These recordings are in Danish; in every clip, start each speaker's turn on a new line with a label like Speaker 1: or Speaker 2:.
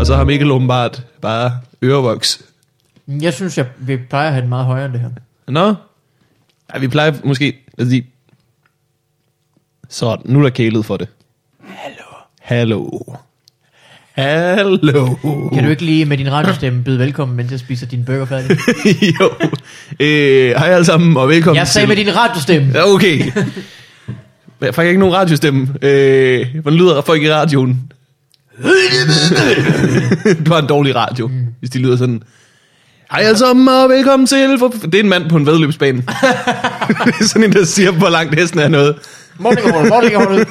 Speaker 1: og så har Mikkel åbenbart bare ørevoks.
Speaker 2: Jeg synes, jeg, vi plejer at have den meget højere end det her.
Speaker 1: Nå? Ja, vi plejer måske... Altså, de... Så nu er der kælet for det. Hallo. Hallo. Hallo.
Speaker 2: Kan du ikke lige med din radiostemme byde velkommen, mens jeg spiser din burger færdig?
Speaker 1: jo. Øh, hej alle sammen, og velkommen
Speaker 2: Jeg sagde
Speaker 1: til...
Speaker 2: med din radiostemme.
Speaker 1: Ja, Okay. Jeg får ikke nogen radiostemme. Øh, hvordan lyder folk i radioen? du har en dårlig radio, mm. hvis de lyder sådan. Hej alle sammen, og velkommen til... For... Det er en mand på en vedløbsbane. det er sådan en, der siger, hvor langt hesten er noget.
Speaker 2: Morning all, morning all.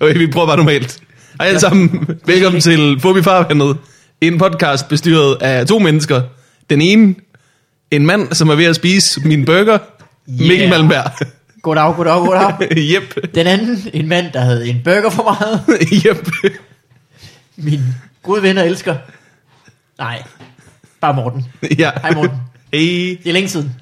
Speaker 1: Okay, vi prøver bare normalt. Hej alle sammen, velkommen til Fobi Farvandet. En podcast bestyret af to mennesker. Den ene, en mand, som er ved at spise min burger. Yeah. Mikkel
Speaker 2: Yeah.
Speaker 1: Malmberg.
Speaker 2: Goddag, goddag, goddag.
Speaker 1: Jep.
Speaker 2: Den anden, en mand, der havde en burger for meget.
Speaker 1: Jep.
Speaker 2: Min gode ven og elsker. Nej, bare Morten.
Speaker 1: Ja.
Speaker 2: Hej Morten.
Speaker 1: Hey.
Speaker 2: Det er længe siden.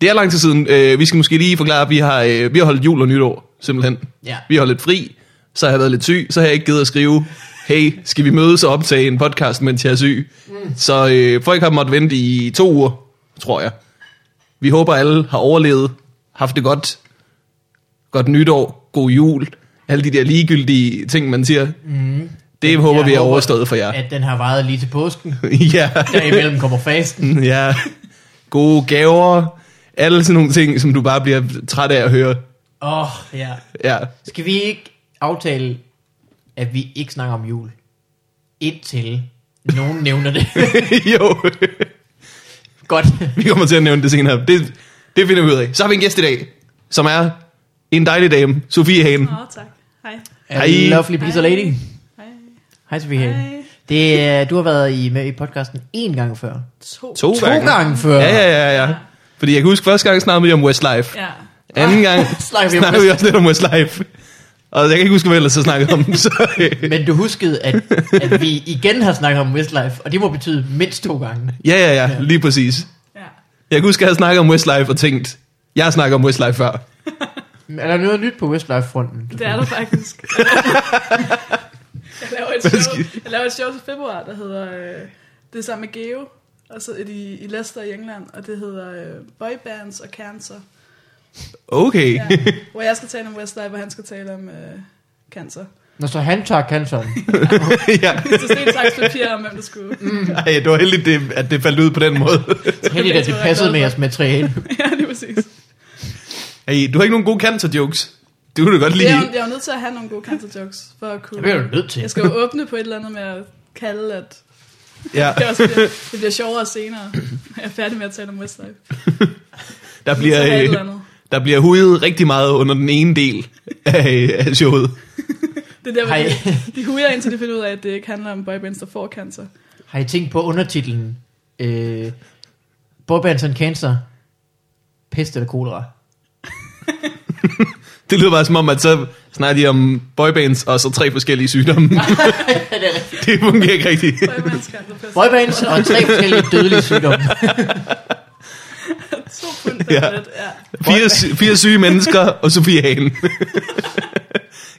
Speaker 1: Det er lang tid siden. Øh, vi skal måske lige forklare, at vi har, øh, vi har holdt jul og nytår, simpelthen.
Speaker 2: Ja.
Speaker 1: Vi har lidt fri, så har jeg været lidt syg, så har jeg ikke givet at skrive, hey, skal vi mødes og optage en podcast, mens jeg er syg? Mm. Så øh, folk har måttet vente i to uger, tror jeg. Vi håber, alle har overlevet, haft det godt, godt nytår, god jul, alle de der ligegyldige ting, man siger. Mm. Det håber
Speaker 2: Jeg
Speaker 1: vi er
Speaker 2: håber,
Speaker 1: overstået for jer.
Speaker 2: At den har varet lige til påsken.
Speaker 1: ja.
Speaker 2: Derimellem kommer fasten.
Speaker 1: Ja, gode gaver, alle sådan nogle ting, som du bare bliver træt af at høre.
Speaker 2: Åh, oh, ja.
Speaker 1: Ja,
Speaker 2: Skal vi ikke aftale, at vi ikke snakker om jul? Indtil nogen nævner det.
Speaker 1: jo,
Speaker 2: Godt.
Speaker 1: vi kommer til at nævne det senere. Det, det finder vi ud af. Så har vi en gæst i dag, som er en dejlig dame, Sofie Hagen.
Speaker 3: Åh, oh, tak. Hej.
Speaker 2: A
Speaker 1: Hej.
Speaker 2: lovely piece of lady.
Speaker 3: Hej.
Speaker 2: Hej Sofie Hagen.
Speaker 3: Hej.
Speaker 2: Det er, du har været i, med i podcasten en gang før.
Speaker 3: To.
Speaker 1: To,
Speaker 2: To gange før.
Speaker 1: Ja, ja, ja, ja. Fordi jeg kan huske, første gang snakkede vi om Westlife.
Speaker 3: Ja.
Speaker 1: Anden gang
Speaker 2: Snakker vi om
Speaker 1: snakkede vi også lidt om Westlife. Og jeg kan ikke huske, hvad jeg ellers har snakket om. Så, øh,
Speaker 2: Men du huskede, at, at vi igen har snakket om Westlife, og det må betyde mindst to gange.
Speaker 1: ja, ja, ja, lige præcis.
Speaker 3: ja.
Speaker 1: Jeg kan huske, at jeg havde snakket om Westlife og tænkt, jeg har snakket om Westlife før.
Speaker 2: Er der noget nyt på Westlife-fronten?
Speaker 3: Det er der faktisk. jeg, laver et show, jeg laver et show til februar, der hedder... Øh, det er sammen med Geo. Og så er de i Leicester i England, og det hedder øh, Boybands og Cancer.
Speaker 1: Okay.
Speaker 3: Ja. Hvor jeg skal tale om Westlife, og han skal tale om øh, cancer.
Speaker 2: Nå, så han tager canceren.
Speaker 1: ja.
Speaker 3: Så det er en slags papir om, hvem der skulle.
Speaker 1: Ej, det var heldigt, det, at det faldt ud på den måde.
Speaker 2: Heldigt, at det passede med jeres materiale.
Speaker 3: ja, det er præcis.
Speaker 1: Ej, du har ikke nogen gode cancer-jokes. Det kunne du godt
Speaker 3: Det
Speaker 1: lide.
Speaker 3: er, jo- jeg er jo nødt til at have nogle gode cancer jokes, for at
Speaker 2: Det
Speaker 3: kunne...
Speaker 2: bliver du nødt til.
Speaker 3: Jeg skal jo åbne på et eller andet med at kalde, at
Speaker 1: Ja,
Speaker 3: Det, også bliver, det bliver sjovere senere, når jeg er færdig med at tale om Westlife.
Speaker 1: der,
Speaker 3: Så har jeg
Speaker 1: bliver,
Speaker 3: et eller
Speaker 1: øh,
Speaker 3: andet.
Speaker 1: der bliver hudet rigtig meget under den ene del af, af showet.
Speaker 3: Det er der, hvor
Speaker 2: Hej.
Speaker 3: de, de huger indtil de finder ud af, at det ikke handler om boybands, der får cancer.
Speaker 2: Har I tænkt på undertitlen? Øh, Bobands and Cancer. Pest eller kolera?
Speaker 1: Det lyder bare som om, at så snakker de om boybands og så tre forskellige sygdomme. det fungerer ikke rigtigt.
Speaker 3: Boybands cancer pest.
Speaker 2: Boybands og tre forskellige dødelige sygdomme.
Speaker 3: To pund
Speaker 1: Ja.
Speaker 3: ja. Lidt, ja.
Speaker 1: Fire, sy- fire syge mennesker og Sofie Hagen.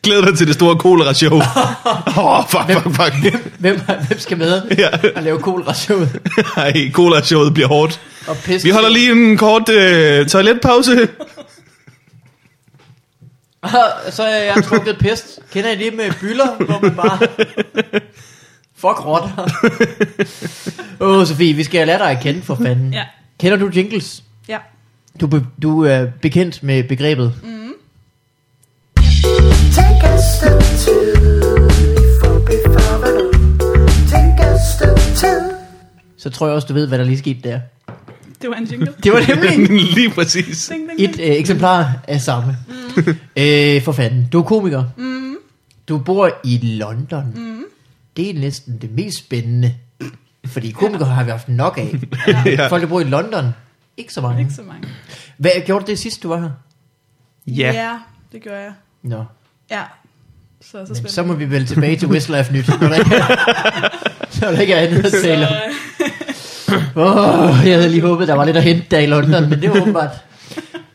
Speaker 1: Glæder dig til det store kolera-show. Åh, oh, fuck, fuck, fuck.
Speaker 2: Hvem, hvem skal med
Speaker 1: Ja.
Speaker 2: og lave kolera-showet?
Speaker 1: Ej, kolera-showet bliver hårdt.
Speaker 2: Og pest.
Speaker 1: Vi holder lige en kort øh, toiletpause.
Speaker 2: Og så er jeg trukket pest. Kender I det med byller, hvor man bare... Fuck rotter. Åh, oh, Sofie, vi skal lære dig at kende for fanden.
Speaker 3: Ja.
Speaker 2: Kender du jingles?
Speaker 3: ja.
Speaker 2: Du, be, du er bekendt med begrebet.
Speaker 4: Take a step two for before Take a step two.
Speaker 2: Så tror jeg også, du ved, hvad der lige skete der.
Speaker 3: Det var en jingle.
Speaker 2: Det var nemlig
Speaker 1: Lige præcis.
Speaker 3: Ding, ding,
Speaker 2: et
Speaker 3: ding.
Speaker 2: øh, eksemplar af samme. øh, for fanden, du er komiker. Mm. Du bor i London. Mm. Det er næsten det mest spændende. Fordi komikere har vi haft nok af.
Speaker 1: Ja.
Speaker 2: Folk, der bor i London, ikke så mange.
Speaker 3: Ikke så mange.
Speaker 2: Hvad gjorde du det sidst, du var her?
Speaker 3: ja. det gjorde jeg.
Speaker 2: Nå,
Speaker 3: Ja. Så, så
Speaker 2: men
Speaker 3: spændende.
Speaker 2: så må vi vel tilbage til Westlife nyt, når der ikke er, når der ikke er andet at tale om.
Speaker 3: Øh,
Speaker 2: Oh, jeg havde lige håbet, der var lidt at hente der i London, men det var åbenbart.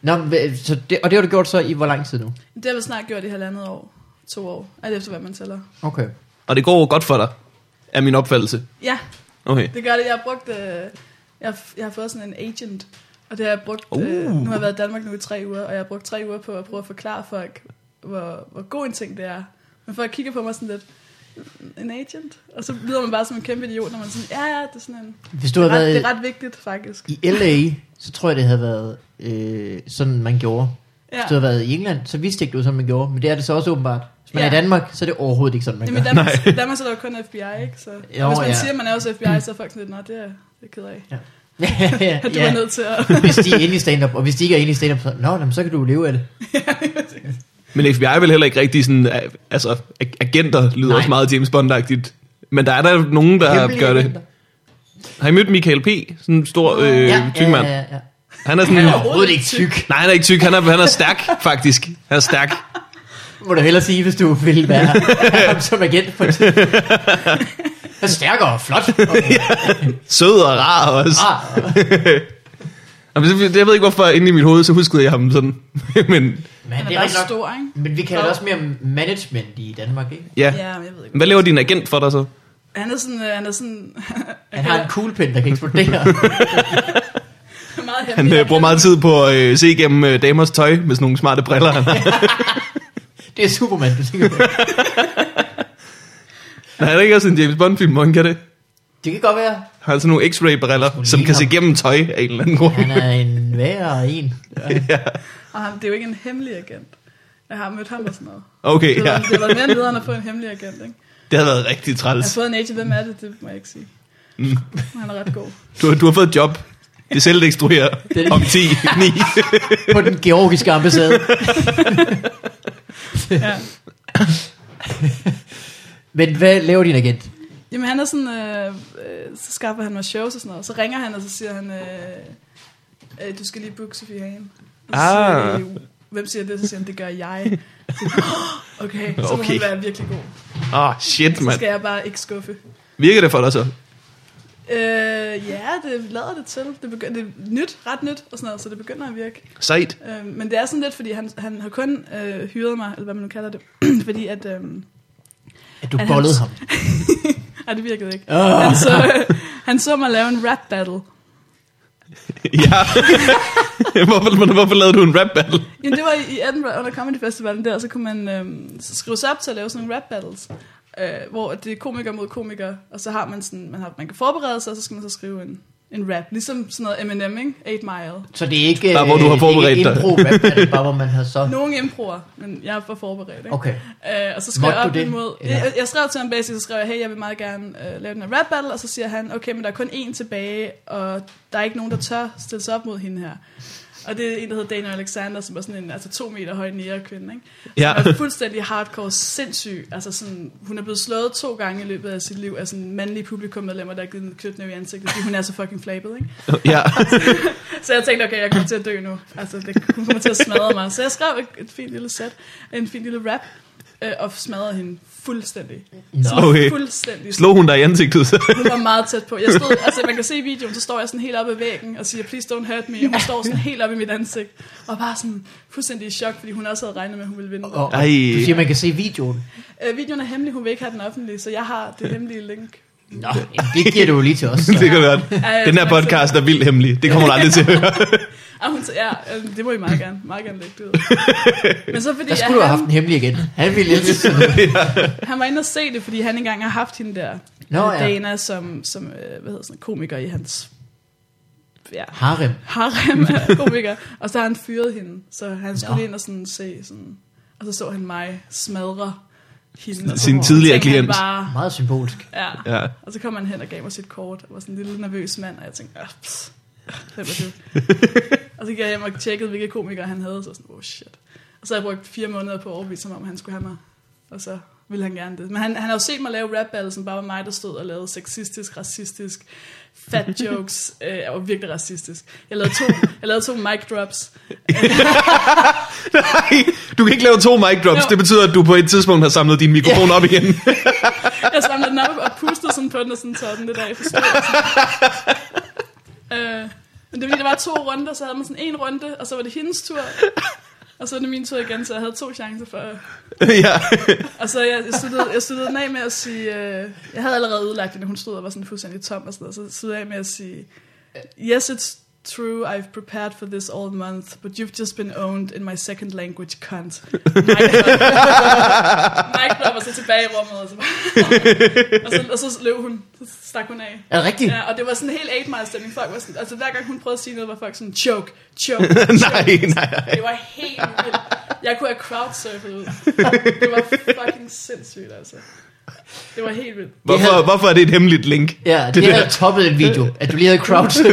Speaker 2: Nå, men hvad- så det, og det har du gjort så i hvor lang tid nu?
Speaker 3: det har vi snart gjort i halvandet år. To år. Alt efter, hvad man tæller.
Speaker 2: Okay.
Speaker 1: Og det går godt for dig. er min opfattelse.
Speaker 3: Ja,
Speaker 1: Okay.
Speaker 3: det gør det. Jeg har brugt... Øh, jeg, har- jeg har fået sådan en agent, og det har jeg brugt...
Speaker 1: Uh.
Speaker 3: Øh, nu har jeg været i Danmark nu i tre uger, og jeg har brugt tre uger på at prøve at forklare folk, hvor, hvor god en ting det er. Men folk kigger på mig sådan lidt, en agent? Og så lyder man bare som en kæmpe idiot, når man er sådan, ja, ja, det er sådan en...
Speaker 2: Hvis du
Speaker 3: Det er,
Speaker 2: havde
Speaker 3: ret, det
Speaker 2: været
Speaker 3: er ret vigtigt, faktisk.
Speaker 2: i LA, så tror jeg, det havde været øh, sådan, man gjorde.
Speaker 3: Ja.
Speaker 2: Hvis du havde været i England, så vidste jeg ikke, det var sådan, man gjorde. Men det er det så også åbenbart. Hvis man
Speaker 3: Ja.
Speaker 2: er i Danmark, så er det overhovedet ikke sådan, man
Speaker 3: Jamen, i
Speaker 2: gør.
Speaker 3: Danmark, i Danmark så er der jo kun FBI, ikke? Så,
Speaker 2: Jo,
Speaker 3: jo, hvis
Speaker 2: ja.
Speaker 3: man ja. siger, at man er også FBI, så er folk sådan lidt, nej, det er det er jeg ked af.
Speaker 2: ja, ja,
Speaker 3: At du
Speaker 2: ja.
Speaker 3: er nødt til at...
Speaker 2: Hvis de er inde i stand-up, og hvis de ikke er inde i stand-up, så, Nå, jamen, så kan du leve af det.
Speaker 1: Men FBI er vel heller ikke rigtig sådan, øh, altså ag- agenter lyder
Speaker 2: Nej.
Speaker 1: Nej. også meget James bond -agtigt. Men der er der nogen, der
Speaker 2: Hemmelige
Speaker 1: gør det.
Speaker 2: agenter.
Speaker 1: Har I mødt Michael P., sådan en stor øh,
Speaker 2: ja,
Speaker 1: tyk mand?
Speaker 2: Ja, ja, ja.
Speaker 1: Han er sådan...
Speaker 2: Han er overhovedet ikke tyk.
Speaker 1: Nej, han er ikke tyk, han er, han er stærk, faktisk. Han er stærk.
Speaker 2: Må du hellere sige, hvis du vil være ham som agent på et tidspunkt. Han er stærkere og flot. Og,
Speaker 1: Sød og rar også.
Speaker 2: rar.
Speaker 1: Jamen, det- Jeg ved ikke, hvorfor inde i mit hoved, så huskede jeg ham sådan. Men
Speaker 2: Men
Speaker 3: Han
Speaker 2: det
Speaker 3: er
Speaker 2: er
Speaker 3: bare
Speaker 2: rigtig nok.
Speaker 3: stor, ikke?
Speaker 2: Men vi kalder det også mere management i Danmark, ikke?
Speaker 1: ja.
Speaker 3: Ja, men jeg ved ikke.
Speaker 1: Hvad laver din agent for dig så?
Speaker 3: Han er sådan... øh, Han er sådan
Speaker 2: Han har en kuglepen, der kan eksplodere.
Speaker 3: meget happy.
Speaker 1: Han øh, bruger meget tid på at øh, se igennem øh, damers tøj med sådan nogle smarte briller. Han, har.
Speaker 2: Det er Superman, du tænker på.
Speaker 1: Nej, er det ikke også en James Bond-film, hvor han kan det?
Speaker 2: Det kan godt være.
Speaker 1: Har altså nogle x-ray-briller, som
Speaker 2: lige
Speaker 1: kan se
Speaker 2: ham.
Speaker 1: igennem tøj af en eller anden grund.
Speaker 2: Han er en værre en.
Speaker 3: Og han, det er jo ikke en hemmelig agent. Jeg har mødt ham og sådan noget.
Speaker 1: Okay,
Speaker 3: Det
Speaker 1: ja.
Speaker 3: har, det har været mere nederen at få en hemmelig agent, ikke?
Speaker 1: Det har været rigtig
Speaker 3: Jeg har
Speaker 1: træls.
Speaker 3: fået en agent, hvem er det? Det må jeg ikke sige.
Speaker 1: Mm.
Speaker 3: Han er ret god.
Speaker 1: Du, du har fået et job. Det selv destruerer
Speaker 2: Det-
Speaker 1: om 10, 9.
Speaker 2: På den georgiske ambassade.
Speaker 3: Ja.
Speaker 2: Men hvad laver din agent?
Speaker 3: Jamen han er sådan, øh, øh, så skaffer han mig shows og sådan noget. Så ringer han, og så siger han, øh, øh, du skal lige booke Sofie Hagen. Og så
Speaker 1: Ah.
Speaker 3: siger jeg, hvem siger det? Så siger han, det gør jeg. Så, okay, så må
Speaker 1: Okay.
Speaker 3: hun være virkelig god.
Speaker 1: Åh, oh, shit,
Speaker 3: Så
Speaker 1: mand.
Speaker 3: skal jeg bare ikke skuffe.
Speaker 1: Virker det for dig så?
Speaker 3: Øh, ja, det lader det til. Det, begynder, det er nyt, ret nyt og sådan noget, så det begynder at virke.
Speaker 1: Sejt.
Speaker 3: Øh, men det er sådan lidt, fordi han, han har kun øh, hyret mig, eller hvad man nu kalder det, fordi at... Øh,
Speaker 2: At du
Speaker 3: At han-
Speaker 2: bollede ham.
Speaker 3: ej, det virkede ikke.
Speaker 2: Oh.
Speaker 3: Han så, øh, han så mig lave en rap battle.
Speaker 1: Ja. hvorfor, hvorfor lavede du en rap battle?
Speaker 3: Jamen, det var i i Edinburgh under Comedy Festivalen der, og så kunne man øhm, s- skrive sig op til at lave sådan nogle rap battles, øh, hvor det er komiker mod komiker, og så har man sådan, man, har, man kan forberede sig, og så skal man så skrive en, en rap. Ligesom sådan noget Eminem, ikke? 8 Mile.
Speaker 2: Så det er ikke...
Speaker 1: Bare hvor du har
Speaker 2: øh, det er
Speaker 1: forberedt
Speaker 2: ikke
Speaker 1: dig.
Speaker 2: impro, hvad- hvad er det bare hvor man har så...
Speaker 3: Nogle improer, men jeg var forberedt, ikke?
Speaker 2: Okay.
Speaker 3: Øh, og så skrev
Speaker 2: Måtte
Speaker 3: jeg
Speaker 2: du
Speaker 3: op
Speaker 2: det,
Speaker 3: imod...
Speaker 2: eller?
Speaker 3: Jeg, jeg skrev til ham basic, så skrev jeg, hey, jeg vil meget gerne øh, lave den her rap battle, og så siger han, okay, men der er kun én tilbage, og der er ikke nogen, der tør stille sig op mod hende her. Og det er en, der hedder Daniel Alexander, som er sådan en altså to meter høj nære kvinde, ikke?
Speaker 1: Ja.
Speaker 3: Som er fuldstændig hardcore sindssyg. Altså sådan, hun er blevet slået to gange i løbet af sit liv af sådan mandlige publikummedlemmer, der har givet en knytnæve i ansigtet, fordi hun er så fucking flabet, ikke?
Speaker 1: Ja.
Speaker 3: Så jeg tænkte, okay, jeg kommer til at dø nu. Altså, det hun kommer til at smadre mig. Så jeg skrev et, et fint lille set, en fin lille rap, øh, og smadrede hende fuldstændig. Så
Speaker 1: Okay.
Speaker 3: Fuldstændig.
Speaker 1: Slog hun dig i ansigtet? så?
Speaker 3: Hun var meget tæt på. Jeg stod, altså, man kan se i videoen, så står jeg sådan helt oppe ad væggen og siger, please don't hurt me. Og hun står sådan helt oppe i mit ansigt, og bare sådan fuldstændig i chok, fordi hun også havde regnet med, at hun ville vinde.
Speaker 2: Og, og
Speaker 1: Ej.
Speaker 2: du siger, man kan se videoen.
Speaker 3: Øh, videoen er hemmelig, hun vil ikke have den offentlig, så jeg har det hemmelige link.
Speaker 2: Nå, det giver du jo lige til os.
Speaker 1: det kan godt.
Speaker 3: Ej,
Speaker 1: Den her
Speaker 3: tak.
Speaker 1: podcast er vildt hemmelig. Det kommer du aldrig til at høre.
Speaker 3: Og hun sagde, ja, øh, det må I meget gerne, meget gerne lægge det ud. Men så fordi
Speaker 2: Der
Speaker 3: at
Speaker 2: skulle du have
Speaker 3: han-
Speaker 2: haft den hemmelig igen. Han ville elske sådan noget.
Speaker 3: Han var inde og se det, fordi han engang har haft hende der,
Speaker 2: Nå,
Speaker 3: Nå,
Speaker 2: ja.
Speaker 3: ja. Dana, som, som øh, hvad hedder sådan, en komiker i hans ja,
Speaker 2: Harem.
Speaker 3: harem af komiker. Og så har han fyret hende, så han skulle
Speaker 2: Nå.
Speaker 3: Nå. ind og sådan se sådan, og så så han mig smadre hende. og så
Speaker 1: Sin tidligere
Speaker 3: tænkte han
Speaker 1: klient.
Speaker 3: Bare,
Speaker 2: Meget symbolsk.
Speaker 3: ja.
Speaker 1: Ja.
Speaker 3: Og så kom han hen og gav mig sit kort, og var sådan en lille nervøs mand, og jeg tænkte, "Ah, pss, hvem er du? og så gik jeg hjem og tjekkede, hvilke komikere han havde, så var jeg sådan, oh shit. Og så har jeg brugt fire måneder på at overbevise ham om, at han skulle have mig, og så ville han gerne det. Men han, han har jo set mig lave rap battle, som bare var mig, der stod og lavede sexistisk, racistisk, fat jokes, øh, jeg var virkelig racistisk. Jeg lavede to, jeg lavede to mic drops.
Speaker 1: Nej, du kan ikke lave to mic drops.
Speaker 3: Jo.
Speaker 1: Det betyder, at du på et tidspunkt har samlet din mikrofon op igen.
Speaker 3: Jeg samlede den op og pustede sådan på den, og sådan tørrede den lidt af for øh, Men det var fordi, der var to runder, så havde man sådan en runde, og så var det hendes tur. Og så er det min tur igen, så jeg havde to chancer for...
Speaker 1: ja.
Speaker 3: Og så jeg, jeg, sluttede, jeg sluttede den af med at sige... Øh, jeg havde allerede udlagt det, hun stod og var sådan fuldstændig tom og sådan noget. Så sluttede jeg af med at sige... Yes, it's true, I've prepared for this all month, but you've just been owned in my second language, cunt. Mike klopper så tilbage i rummet, og så, bare- og så, og så løb hun. Så stak hun af.
Speaker 2: Er det rigtigt?
Speaker 3: Ja, og det var sådan en helt 8 mile stemning. Folk var sådan, altså hver gang hun prøvede at sige noget, var folk sådan, choke, choke, choke.
Speaker 1: nej, nej, nej.
Speaker 3: Det var helt vildt. Jeg kunne have crowdsurfet ud. Det var fucking sindssygt, altså. Det var helt vildt.
Speaker 1: Hvorfor,
Speaker 2: havde-
Speaker 1: hvorfor er det et hemmeligt link?
Speaker 2: Ja, det, det havde toppet en video, at du lige havde crowd.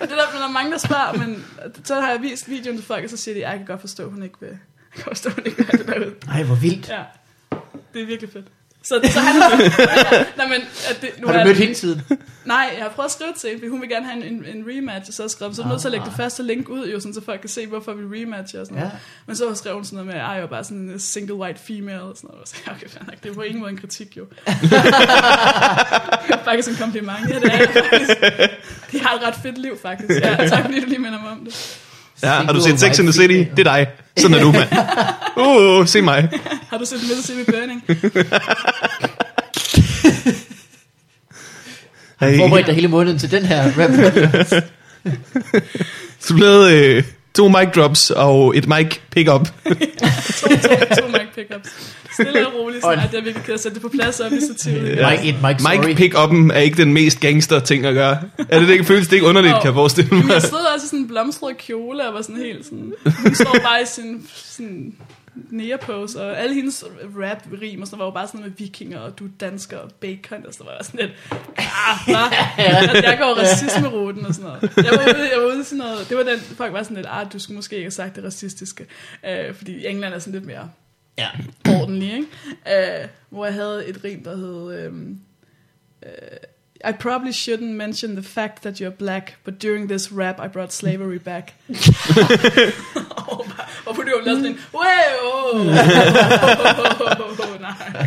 Speaker 3: Og det er der, der er mange, der spørger, men så har jeg vist videoen til folk, og så siger de, "Ej, jeg kan godt forstå, hun ikke vil. Jeg kan godt forstå, hun ikke vil have det derude.
Speaker 2: Nej, hvor vildt.
Speaker 3: Ja, det er virkelig fedt. Så, så han har... Nej, men, at det, nu
Speaker 2: Har du
Speaker 3: er
Speaker 2: mødt
Speaker 3: det-
Speaker 2: hende siden?
Speaker 3: Nej, jeg har prøvet at skrive til hende, fordi hun vil gerne have en, en, en rematch, og så har jeg skrevet, så er du nødt til at lægge det første link ud, jo, sådan, så folk kan se, hvorfor vi rematcher og sådan
Speaker 2: Ah. Ja.
Speaker 3: noget. Men så skrev hun sådan noget med, ej, jeg var bare sådan en single white female, og sådan noget. Og Så, sagde jeg, okay, fair nok, det er på ingen måde en kritik, jo. faktisk en kompliment, ja, det er jeg faktisk. De har et ret fedt liv, faktisk. Ja, tak fordi du lige minder mig om det.
Speaker 1: Ja, har du
Speaker 2: Single
Speaker 1: set Sex and the City?
Speaker 2: white female.
Speaker 1: Det er dig. Sådan er du, mand. Uh, uh, se mig.
Speaker 3: Har du set Mississippi Burning?
Speaker 1: Hey.
Speaker 2: Forberedt dig hele måneden til den her rap.
Speaker 1: Så blev øh, to mic drops og et mic pick-up.
Speaker 3: To, to, to mic pickups. Stille og roligt, sådan, at jeg virkelig kan sætte det på plads op i stativet.
Speaker 2: Mike, et Mike, story.
Speaker 1: Mic pick-uppen er ikke den mest gangster ting at gøre. Er det det ikke føles det ikke underligt,
Speaker 3: Jo.
Speaker 1: kan jeg forestille
Speaker 3: Jamen,
Speaker 1: mig?
Speaker 3: jeg stod også i sådan en blomstret kjole og var sådan helt sådan... Hun står bare i sin sådan nære-pose, og alle hendes rap-rim og sådan var jo bare sådan noget med vikinger, og du er dansker, og bacon, og så var jeg sådan lidt... Ah, hva? Altså, jeg går racisme-ruten og sådan noget. Jeg var, ude, jeg var ude i sådan noget... Det var den, folk var sådan lidt, ah, du skulle måske ikke have sagt det racistiske, øh, fordi i England er sådan lidt mere
Speaker 2: Ja.
Speaker 3: ordentlig, ikke? Øh, hvor jeg havde et rim, der hed... øhm, øh, I probably shouldn't mention the fact that you're black, but during this rap I brought slavery back. Hvorfor du har lavet sådan en... Wow! Nej.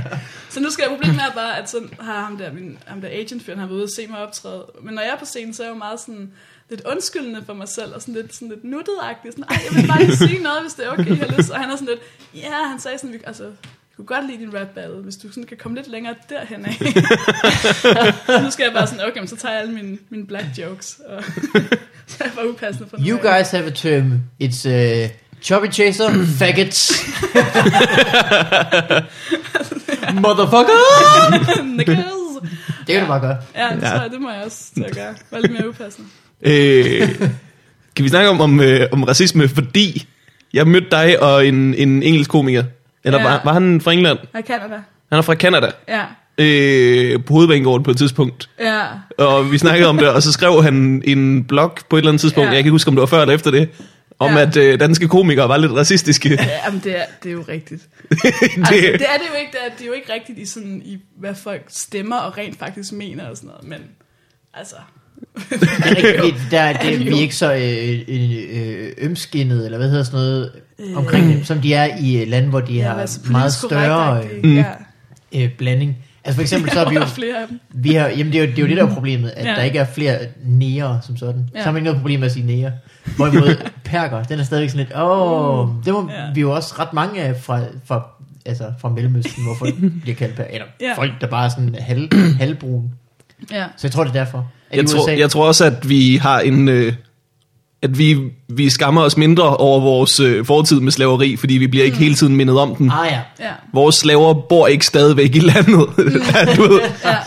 Speaker 3: Så nu skal jeg problemet er bare, at så har ham der, min, ham der agentfyren, har været ude og se mig optræde. Men når jeg er på scenen, så er jeg jo meget sådan lidt undskyldende for mig selv, og sådan lidt, sådan lidt nuttet-agtig. Sådan, Ej, jeg vil bare lige sige noget, hvis det er okay, jeg har lyst. Og han er sådan lidt, ja, yeah, han sagde sådan, vi- altså, jeg kunne godt lide din rap battle, hvis du sådan kan komme lidt længere derhen af. så nu skal jeg bare sådan, okay, men så tager jeg alle mine, mine black jokes. Og så er jeg bare upassende for
Speaker 2: You
Speaker 3: nogen.
Speaker 2: guys have a term. It's uh, Chubby Chaser, faggots. Motherfucker!
Speaker 3: Nichols.
Speaker 2: Det kan du bare gøre.
Speaker 3: Ja, det
Speaker 1: Ja.
Speaker 3: tror jeg, det må jeg også til at gøre. Var lidt mere upassende.
Speaker 1: Øh, kan vi snakke om, om, øh, om racisme? Fordi jeg mødte dig og en, en engelsk komiker. Eller
Speaker 3: Ja.
Speaker 1: ja. var, var han fra England?
Speaker 3: Og i Canada.
Speaker 1: Han er fra Canada.
Speaker 3: Ja,
Speaker 1: Øh, på hovedbanegården på et tidspunkt.
Speaker 3: ja.
Speaker 1: Og vi snakkede om det, og så skrev han en blog på et eller andet tidspunkt.
Speaker 3: Ja.
Speaker 1: Ja. Jeg kan ikke huske, om det var før eller efter det. Om
Speaker 3: Ja.
Speaker 1: ja. at øh, danske komikere var lidt racistiske. Ja.
Speaker 3: Jamen, det er, det er jo rigtigt.
Speaker 1: det,
Speaker 3: Altså, det er det jo ikke. Det er, det er jo ikke rigtigt i, sådan, i, hvad folk stemmer og rent faktisk mener og sådan noget. Men altså,
Speaker 2: Det er rigtigt, det- der, det, vi
Speaker 3: Jo.
Speaker 2: er ikke så øh, øh, øh, ømskinnede, eller hvad hedder sådan noget, øh, omkring dem, som de er i øh, lande, hvor de
Speaker 3: jeg
Speaker 2: har
Speaker 3: var så
Speaker 2: meget
Speaker 3: altså, politisk
Speaker 2: større
Speaker 3: korrekt-agtig,
Speaker 2: øh,
Speaker 3: ikke? Ja,
Speaker 2: øh, blanding. Altså for eksempel, så er vi
Speaker 3: der
Speaker 2: jo,
Speaker 3: er flere af dem.
Speaker 2: vi har, jamen det er jo det, er jo det der er problemet, at
Speaker 3: Ja.
Speaker 2: ja. der ikke er flere nære som sådan.
Speaker 3: Ja.
Speaker 2: Ja. Så har man ikke noget problem med at sige nære. Hvorimod perker, den er stadigvæk sådan lidt, åh, det må
Speaker 3: Mm. Ja.
Speaker 2: ja. vi jo også ret mange af fra, fra, altså fra Mellemøsten, hvor folk bliver kaldt perker, eller
Speaker 3: Ja.
Speaker 2: ja. folk, der bare er sådan halv, halvbrun.
Speaker 3: Ja.
Speaker 2: Så jeg tror, det er derfor. At i
Speaker 1: Jeg tror,
Speaker 2: USA
Speaker 1: jeg tror også, at vi har en... Øh, at vi, vi skammer os mindre over vores øh, fortid med slaveri, fordi vi bliver ikke hele tiden mindet om den.
Speaker 2: Mm. Ah ja,
Speaker 3: Ja.
Speaker 1: Vores slaver bor ikke stadigvæk i landet, Der, du ved,
Speaker 3: Ja.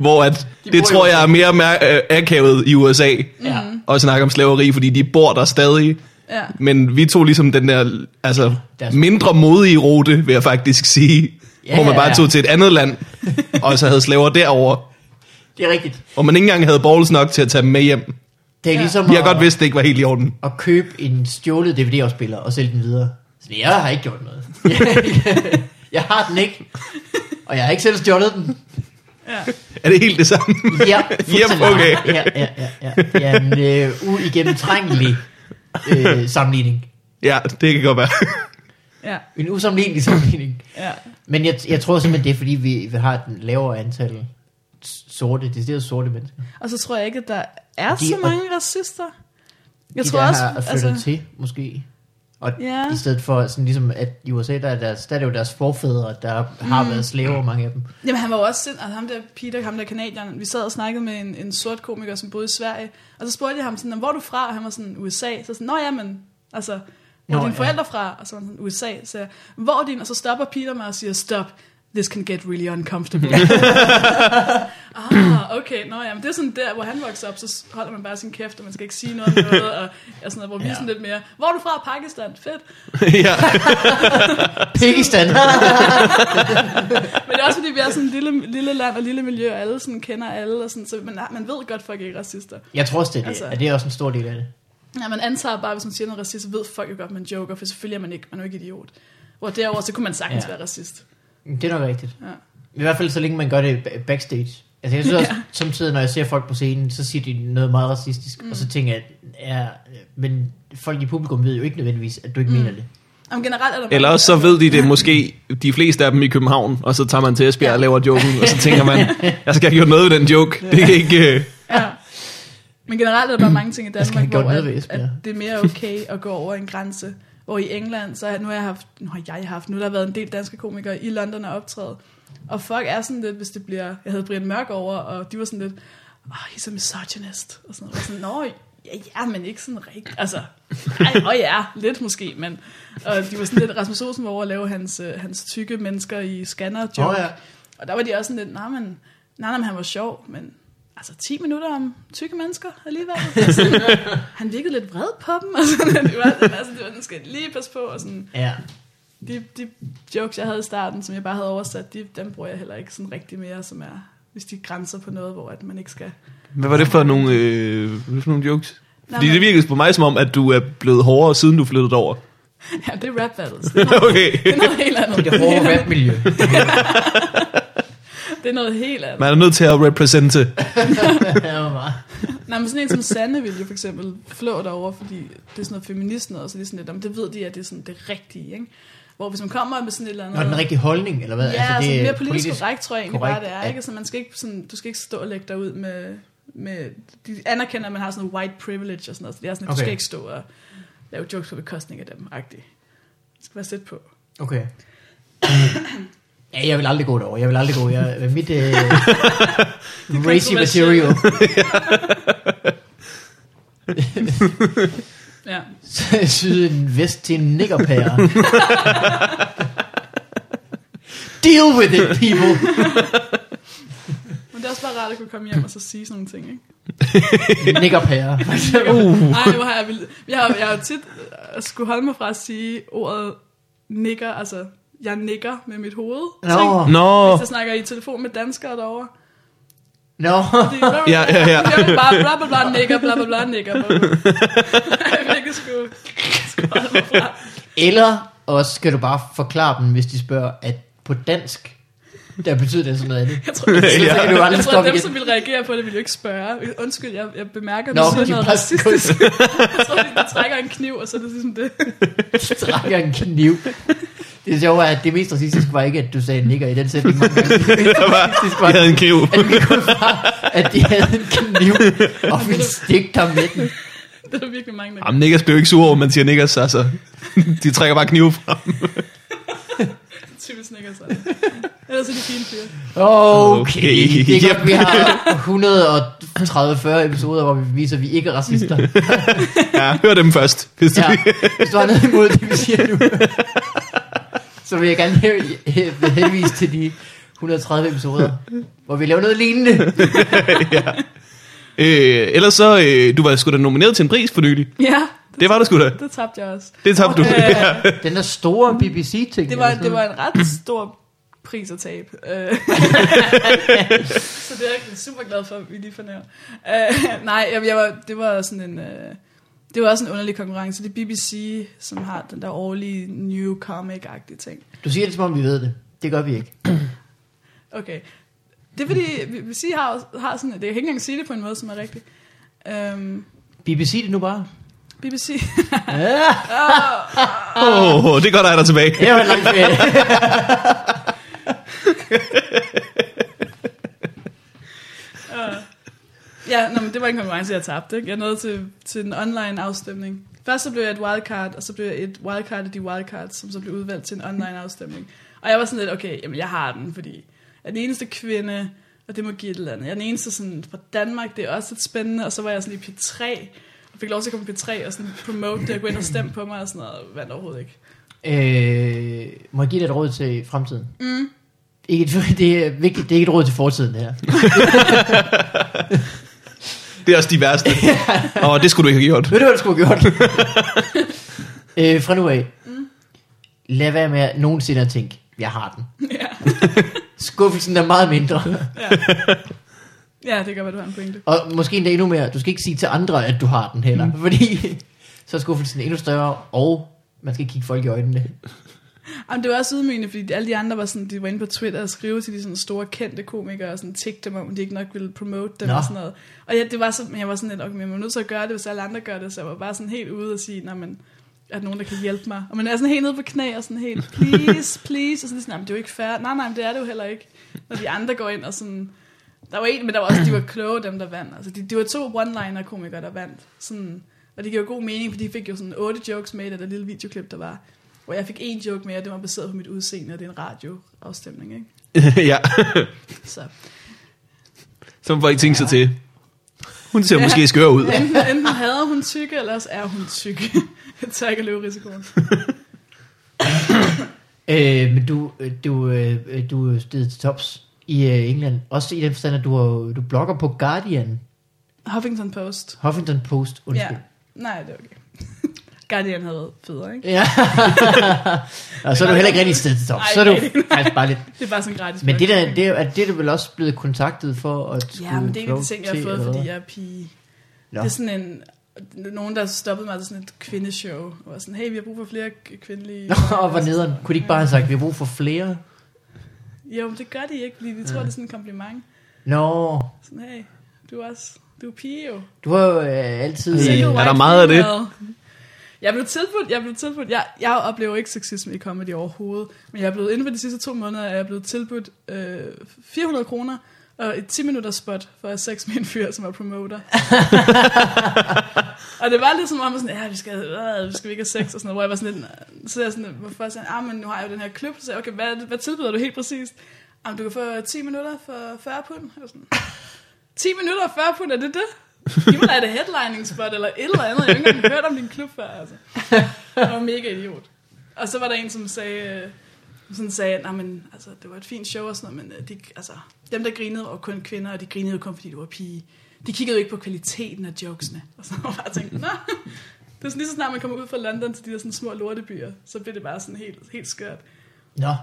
Speaker 1: hvor at,
Speaker 2: De
Speaker 1: det
Speaker 2: bor i
Speaker 1: tror
Speaker 2: USA.
Speaker 1: jeg er mere mær- øh, akavet i USA,
Speaker 2: ja.
Speaker 1: at snakke om slaveri, fordi de bor der stadig.
Speaker 3: Ja.
Speaker 1: Men vi tog ligesom den der altså,
Speaker 2: Deres-
Speaker 1: mindre modige rute, vil jeg faktisk sige,
Speaker 2: Ja.
Speaker 1: hvor man bare tog til et andet land, og så havde slaver derover,
Speaker 2: det er rigtigt.
Speaker 1: og man ikke engang havde balls nok til at tage dem med hjem.
Speaker 2: Det er
Speaker 3: Ja.
Speaker 2: ja. ligesom
Speaker 1: Vi har
Speaker 2: at-
Speaker 1: godt vidst, det ikke var helt i orden.
Speaker 2: at købe en stjålet DVD-afspiller og sælge den videre. Så jeg har ikke gjort noget. jeg har den ikke. Og jeg har ikke selv stjålet den.
Speaker 3: Ja.
Speaker 1: Er det helt det samme?
Speaker 2: Ja,
Speaker 1: Yep, okay.
Speaker 2: Ja, ja, ja, ja. Det er en øh, uigennemtrængelig øh, sammenligning.
Speaker 1: Ja, det kan godt være.
Speaker 3: Ja.
Speaker 2: En usammenlignelig sammenligning.
Speaker 3: Ja.
Speaker 2: Men jeg, jeg tror simpelthen, det er fordi, vi, vi har den lavere antal s- sorte, decideret sorte mennesker.
Speaker 3: Og så tror jeg ikke, at der er
Speaker 2: De-
Speaker 3: så mange racister. Jeg
Speaker 2: De
Speaker 3: tror
Speaker 2: der
Speaker 3: også, altså-
Speaker 2: har flyttet altså... til, måske. Og
Speaker 3: Ja.
Speaker 2: yeah. i stedet for, sådan ligesom at i USA, der er, deres, der er det jo deres forfædre, der har mm. været slaver, mange af dem.
Speaker 3: Jamen han var jo også sind, altså ham der Peter, ham der kanadieren, vi sad og snakkede med en, en sort komiker, som boede i Sverige, og så spurgte jeg ham sådan, "Nå, hvor er du fra? Og han var sådan, USA. Så sådan, nå ja, men, altså, hvor er
Speaker 2: Nå,
Speaker 3: dine
Speaker 2: ja.
Speaker 3: forældre fra? Og så var han sådan, USA. Så jeg, hvor er din? Og så stopper Peter mig og siger, stop, this can get really uncomfortable. ah, okay, nå ja, men det er sådan der, hvor han vokser op, så holder man bare sin kæft, og man skal ikke sige noget om noget, og, og sådan noget, hvor vi
Speaker 2: Ja.
Speaker 3: er sådan lidt mere, hvor er du fra? Pakistan, fedt.
Speaker 1: ja.
Speaker 2: Pakistan!
Speaker 3: Men det er også fordi, vi er sådan et lille, lille land og lille miljø, og alle sådan kender alle, og sådan, så man, man ved godt, folk ikke er racister.
Speaker 2: jeg tror også, det er det.
Speaker 3: Altså.
Speaker 2: Altså. Er det også en stor del af det?
Speaker 3: Ja, man antager bare, hvis man siger noget racist, så ved folk jo godt, man joker, for selvfølgelig er man ikke, man er jo ikke idiot. Hvor derover så kunne man sagtens ja.
Speaker 2: Ja.
Speaker 3: være racist.
Speaker 2: Det er nok rigtigt.
Speaker 3: Ja.
Speaker 2: I hvert fald så længe man gør det ba- backstage. Altså jeg synes også,
Speaker 3: Ja.
Speaker 2: ja. samtidig når jeg ser folk på scenen, så siger de noget meget racistisk, mm. og så tænker jeg, ja, men folk i publikum ved jo ikke nødvendigvis, at du ikke mm. mener det.
Speaker 3: Om generelt er der
Speaker 1: Eller også så ved de det måske, de fleste af dem i København, og så tager man til Esbjerg og laver joken, og så tænker man, jeg skal have gjort noget ved den joke. Det er ikke... øh,
Speaker 3: Ja. Men generelt er der bare mange ting i
Speaker 2: skal
Speaker 3: Danmark,
Speaker 2: have
Speaker 3: hvor
Speaker 2: gjort
Speaker 3: at,
Speaker 2: noget ved Esbjerg.
Speaker 3: at det er mere okay at gå over en grænse. Hvor i England, så har- nu har jeg haft, nu har jeg haft, nu har der været en del danske komikere i London og optræde. Og folk er sådan lidt, hvis det bliver, jeg havde Brian Mørk over, og de var sådan lidt, oh, he's a misogynist, og sådan noget. Og sådan, Nå, ja, ja, men ikke sådan rigtigt, altså, nej, og ja, lidt måske, men, og de var sådan lidt, Rasmus Olsen var over at lave hans, øh, hans tykke mennesker i scanner joke,
Speaker 2: Nå ja.
Speaker 3: og der var de også sådan lidt, nej, men, nej, nej, men han var sjov, men altså 10 minutter om tykke mennesker alligevel. Og Sådan, han virkede lidt vred på dem, og sådan, det var, altså, det var, den skal jeg lige passe på, og sådan,
Speaker 2: Ja.
Speaker 3: de, de jokes, jeg havde i starten, som jeg bare havde oversat, de, dem bruger jeg heller ikke sådan rigtig mere, som er, hvis de grænser på noget, hvor at man ikke skal...
Speaker 1: Hvad var det for nogle, øh, hvad var det for nogle jokes?
Speaker 3: Nej,
Speaker 1: Fordi
Speaker 3: men-
Speaker 1: det virkede på mig som om, at du er blevet hårdere, siden du flyttede over.
Speaker 3: Ja, det er rap battles. Det er noget,
Speaker 1: Okay.
Speaker 3: det er noget helt andet.
Speaker 2: Det hårde rapmiljø.
Speaker 3: Det er noget helt andet.
Speaker 1: Man er nødt til at represente.
Speaker 2: Ja, hvor meget.
Speaker 3: Nej, men sådan en som Sanne ville jo for eksempel flå derover, fordi det er sådan noget feminist noget, så det er sådan lidt, om det ved de, at det er sådan det rigtige, ikke? Hvor hvis man kommer med sådan et eller andet...
Speaker 2: Nå, den rigtige holdning, eller hvad?
Speaker 3: Ja, altså, det mere politisk, politisk
Speaker 2: korrekt.
Speaker 3: korrekt, tror jeg egentlig
Speaker 2: korrekt,
Speaker 3: bare, det er.
Speaker 2: ja.
Speaker 3: Ikke? Så man skal ikke sådan, du skal ikke stå og lægge dig ud med, med... De anerkender, at man har sådan noget white privilege og sådan noget, så det er sådan, at okay. du
Speaker 2: Okay.
Speaker 3: skal ikke stå og lave jokes på bekostning af dem, agtigt. Det skal være sæt på.
Speaker 2: Okay. Ja, jeg vil aldrig gå derover. Jeg vil aldrig gå. Jeg, mit øh, racy
Speaker 3: kontroversielt.
Speaker 2: material.
Speaker 3: Ja.
Speaker 2: Så jeg syede en vest til en niggerpære. Deal with it, people.
Speaker 3: Men det er også bare rart at kunne komme hjem og så sige sådan nogle ting, ikke?
Speaker 2: Niggerpære.
Speaker 1: Uh.
Speaker 3: Ej, hvor har jeg vildt. Jeg har, jeg har jo tit øh, skulle holde mig fra at sige ordet nikker, altså jeg nikker med mit hoved.
Speaker 2: Nå.
Speaker 1: Nå,
Speaker 3: Hvis jeg snakker i telefon med danskere derovre.
Speaker 2: Nå.
Speaker 3: Det er jo-
Speaker 1: Ja, ja, ja.
Speaker 3: Jeg vil bare bla bla bla nikker, bla bla bla nikker. bla, bla. Jeg vil ikke skulle, skulle holde mig fra.
Speaker 2: Eller også skal du bare forklare dem, hvis de spørger, at på dansk, der betyder det sådan noget andet.
Speaker 3: Jeg tror, jeg,
Speaker 2: Så
Speaker 1: Ja.
Speaker 2: kan du aldrig
Speaker 3: jeg tror, at
Speaker 2: stoppe
Speaker 3: dem,
Speaker 2: igen.
Speaker 3: som ville reagere på det, ville jo ikke spørge. Undskyld, jeg, jeg bemærker, at
Speaker 2: Nå,
Speaker 3: du siger
Speaker 2: de
Speaker 3: noget
Speaker 2: bare-
Speaker 3: racistisk. Jeg tror, de trækker en kniv, og så er det ligesom det.
Speaker 2: strækker en kniv. Det sjove er, at det mest racistiske var ikke, at du sagde nigger i den sætning mange gange. Det mest racistiske var,
Speaker 1: jeg havde en kniv.
Speaker 2: at de havde en kniv og ville stikke dig med den.
Speaker 3: Det er der virkelig mange, der
Speaker 1: Jamen, niggers bliver jo ikke sure over, man siger niggers, altså. De trækker bare knive frem.
Speaker 3: typisk nikker sig. Ellers er de fine fyre.
Speaker 2: Okay, det er
Speaker 1: Yep.
Speaker 2: godt, vi har 130-40 episoder, hvor vi viser, at vi ikke er racister.
Speaker 1: Ja, hør dem først. Hvis ja.
Speaker 2: Ja, hvis du har noget imod det, vi siger nu. Så vil jeg gerne he- he- henvise til de 130 episoder, hvor vi laver noget lignende.
Speaker 1: øh, ellers så, øh, du var sgu da nomineret til en pris for nylig.
Speaker 3: Ja,
Speaker 1: Det var du sgu da.
Speaker 3: det tabte jeg også.
Speaker 1: Det tabte du.
Speaker 3: Øh,
Speaker 2: Den der store BBC-ting.
Speaker 3: Det var, det var en ret stor pris at tabe. Øh, så det er jeg ikke super glad for, at vi lige fornævner. Øh, nej, jeg, jeg var, det var sådan en... Øh, det var også en underlig konkurrence. Det er BBC, som har den der årlige new comic-agtige ting.
Speaker 2: Du siger det, som om vi ved det. Det gør vi ikke.
Speaker 3: Okay. Det er fordi, BBC har, har sådan... Det, jeg kan ikke engang sige det på en måde, som er rigtig. Øhm,
Speaker 2: BBC det nu bare.
Speaker 3: BBC...
Speaker 2: Ja,
Speaker 1: Åh, oh, det er godt at have dig tilbage.
Speaker 2: det var en lang ferie.
Speaker 3: ja, nå, men det var en konkurrence, jeg tabte. Ikke? Jeg nåede til, til en online afstemning. Først så blev jeg et wildcard, og så blev jeg et wildcard af de wildcards, som så blev udvalgt til en online afstemning. Og jeg var sådan lidt, okay, jamen jeg har den, fordi jeg er den eneste kvinde, og det må give et eller andet. Jeg er den eneste sådan fra Danmark, det er også lidt spændende, og så var jeg sådan i P3, og fik lov til at komme i P3 og sådan promote det, og gå ind og stemme på mig og sådan noget, og vandt overhovedet ikke.
Speaker 2: Øh, må jeg give dig et råd til fremtiden? Mm. Ikke et, det, er vigtigt, det er ikke et råd til fortiden, det her.
Speaker 1: Det er også de værste. Og det skulle du ikke have gjort.
Speaker 2: Ved du, hvad du skulle have gjort? øh, fra nu af. Mm. Lad være med at nogensinde at tænke, jeg har den.
Speaker 3: Ja,
Speaker 2: Skuffelsen er meget mindre.
Speaker 3: ja. ja det gør, hvad du har en pointe.
Speaker 2: Og måske endda endnu mere, du skal ikke sige til andre, at du har den heller. Mm. Fordi så er skuffelsen endnu større, og man skal kigge folk i øjnene.
Speaker 3: Jamen, det var også ydmygende, fordi alle de andre var sådan, de var inde på Twitter og skrive til de sådan store kendte komikere og sådan tikke dem om, de ikke nok ville promote dem
Speaker 2: Nå.
Speaker 3: og sådan noget. Og jeg, det var så, men jeg var sådan lidt, okay, men jeg er nødt til at gøre det, hvis alle andre gør det, så jeg var bare sådan helt ude og sige, nej, men er der nogen, der kan hjælpe mig? Og man er sådan helt nede på knæ og sådan helt, please, please, og sådan, nej, men det er jo ikke fair. Nej, nej, men det er det jo heller ikke. Når de andre går ind og sådan, der var en, men der var også, de var kloge, dem der vandt. Altså, de, de var to one-liner-komikere, der vandt. Sådan, og det giver jo god mening, for de fik jo sådan otte jokes med i det der lille videoklip, der var. Hvor jeg fik en joke med, og det var baseret på mit udseende, og det er en radioafstemning, ikke?
Speaker 1: ja,
Speaker 3: Så
Speaker 1: som folk tænker sig til. Hun ser måske skør ud.
Speaker 3: enten, enten havde hun tykke, eller også er hun tyk. jeg tager ikke at løbe risikoen.
Speaker 2: Øh, men du, øh, du, øh, øh, du er stedet til tops i øh, England. Også i den forstand, at du, har- du blogger på Guardian.
Speaker 3: Huffington Post.
Speaker 2: Huffington Post, undskyld.
Speaker 3: Nej, det er okay. Guardian havde federe, ikke?
Speaker 2: Ja. og så er du heller ikke rigtig stedet til tops.
Speaker 3: Nej,
Speaker 2: Så er du
Speaker 3: nej, nej.
Speaker 2: faktisk bare lidt
Speaker 3: Det er bare sådan gratis.
Speaker 2: Men det
Speaker 3: blog.
Speaker 2: der, det, er, det er du vel også blevet kontaktet for at skulle
Speaker 3: Ja, men det er ikke
Speaker 2: flow
Speaker 3: en ting, jeg
Speaker 2: til,
Speaker 3: har fået,
Speaker 2: eller
Speaker 3: fordi
Speaker 2: hvad?
Speaker 3: jeg er pige.
Speaker 2: Nå.
Speaker 3: Det er sådan en... Nogen, der stoppede mig til sådan et kvindeshow. Og var sådan, hey, vi har brug for flere k- kvindelige...
Speaker 2: Nå, og hvor nederen. Kunne de ikke bare have sagt, vi har brug for flere?
Speaker 3: Jo, men det gør de ikke, fordi de tror, det er sådan en kompliment.
Speaker 2: Nå,
Speaker 3: Sådan, hey, du er også... Du er pige jo.
Speaker 2: du har jo øh, altid...
Speaker 1: Så
Speaker 3: Så
Speaker 1: er
Speaker 2: Øh,
Speaker 1: du-
Speaker 3: you
Speaker 1: der
Speaker 3: white
Speaker 1: meget af det?
Speaker 3: female. Jeg blev tilbudt, jeg blev tilbudt, jeg, jeg oplever ikke sexisme i comedy overhovedet, men jeg er blevet, inden for de sidste to måneder, er jeg blevet tilbudt øh, 400 kroner og et 10 minutters spot for at have sex med en fyr, som er promoter. og det var lidt som om, sådan, ja, vi skal, øh, vi skal ikke have sex og sådan noget, hvor jeg var sådan lidt, "Nå." så er jeg sådan, hvorfor sådan, ah, men nu har jeg jo den her klub, så sagde jeg, okay, hvad, hvad tilbyder du helt præcist? Jamen, du kan få 10 minutter for 40 pund. Jeg var sådan, 10 minutter og 40 pund, er det det? Giv mig da et headlining spot eller et eller andet. Jeg har ikke engang hørt om din klub før, altså. Jeg var mega idiot. Og så var der en, som sagde, øh, sådan sagde, nej, men altså, det var et fint show og sådan noget, men øh, de, altså, dem, der grinede, var kun kvinder, og de grinede jo kun, fordi du var pige. De kiggede jo ikke på kvaliteten af jokesene. Og så var jeg bare tænkt, nå, det er sådan lige så snart, man kommer ud fra London til de der sådan små lortebyer, så bliver det bare sådan helt, helt skørt.
Speaker 2: Nå.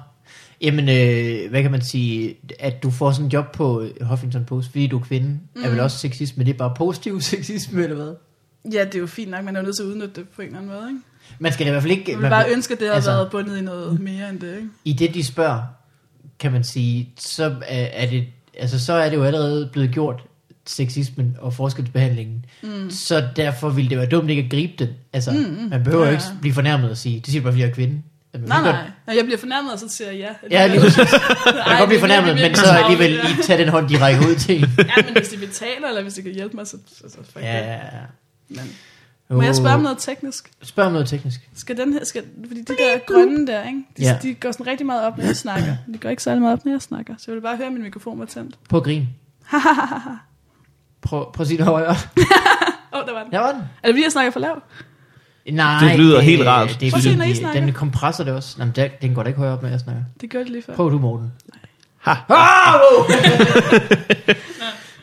Speaker 2: Jamen, øh, hvad kan man sige? At du får sådan en job på øh, Huffington Post, fordi du er kvinde, mm. er vel også sexisme. Det er bare positiv sexisme, eller hvad?
Speaker 3: Ja, det er jo fint nok, man er jo nødt til at udnytte det på en eller anden måde, ikke?
Speaker 2: Man skal da i hvert fald ikke...
Speaker 3: Man vil bare ønske, at det havde
Speaker 2: altså-
Speaker 3: altså, været bundet i noget mere end det, ikke?
Speaker 2: I det, de spørger, kan man sige, så er, er det, altså, så er det jo allerede blevet gjort, sexismen og forskelsbehandlingen. Mm. Så derfor ville det være dumt ikke at gribe den. Altså, mm, man behøver
Speaker 3: Ja,
Speaker 2: ja. ikke
Speaker 3: ja.
Speaker 2: blive fornærmet og sige, det siger du bare, fordi jeg er kvinde. Altså, man
Speaker 3: Nej,
Speaker 2: kan godt-
Speaker 3: nej. Når jeg bliver fornærmet, og så siger jeg ja.
Speaker 2: Ja, lige præcis.
Speaker 3: Jeg
Speaker 2: Man kan godt blive fornærmet, men så alligevel lige tage den hånd, de rækker ud til en.
Speaker 3: Ja, men hvis de betaler, eller hvis de kan hjælpe mig, så... så, så fuck
Speaker 2: Ja,
Speaker 3: det.
Speaker 2: ja, ja.
Speaker 3: Men, må jeg
Speaker 2: Uh,
Speaker 3: spørge om noget teknisk?
Speaker 2: Spørg om noget teknisk.
Speaker 3: Skal den her... Skal, fordi de der grønne der, ikke? De,
Speaker 2: Ja.
Speaker 3: ja. de går sådan rigtig meget op, når jeg snakker. De går ikke særlig meget op, når jeg snakker. Så jeg vil bare høre, at min mikrofon var tændt.
Speaker 2: Prøv at grine. Prøv, prøv at sige det højere.
Speaker 3: Åh, oh, der var den.
Speaker 2: Der var den.
Speaker 3: Er det fordi, jeg snakker for lavt?
Speaker 2: Nej,
Speaker 1: Det lyder helt rart.
Speaker 2: Det er
Speaker 3: Prøv at se,
Speaker 2: fordi,
Speaker 3: når I
Speaker 2: de-
Speaker 3: snakker.
Speaker 2: den kompresser det også. Jamen, der, den går da ikke højere op, når jeg snakker.
Speaker 3: Det gør det lige før.
Speaker 2: Prøv du, Morten.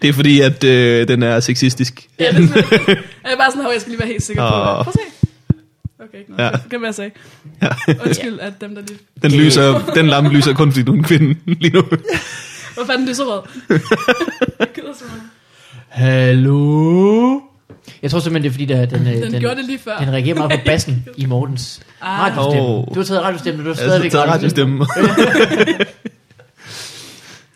Speaker 1: Det er fordi, at øh, den er sexistisk.
Speaker 3: Ja, det er sådan, jeg er bare sådan, at jeg skal lige være helt sikker på
Speaker 1: Åh.
Speaker 3: det. Prøv at se. Okay, ikke noget.
Speaker 1: Ja.
Speaker 3: Ja. Det kan være, jeg sagde.
Speaker 1: Ja.
Speaker 3: Undskyld, at dem, der lige...
Speaker 1: Den, lyser, den lampe lyser kun, fordi du er en kvinde lige nu.
Speaker 3: Hvorfor er den lyserød? jeg gider så meget.
Speaker 2: Hallo? Jeg tror simpelthen, det er fordi, der, den, øh,
Speaker 3: Den, den, gjorde det lige før.
Speaker 2: den reagerer meget på bassen i Mortens
Speaker 3: Ah.
Speaker 2: radiostemme.
Speaker 1: Åh.
Speaker 2: Du har taget radiostemme, du har
Speaker 1: Jeg har
Speaker 2: stadigvæk
Speaker 1: taget radiostemmen.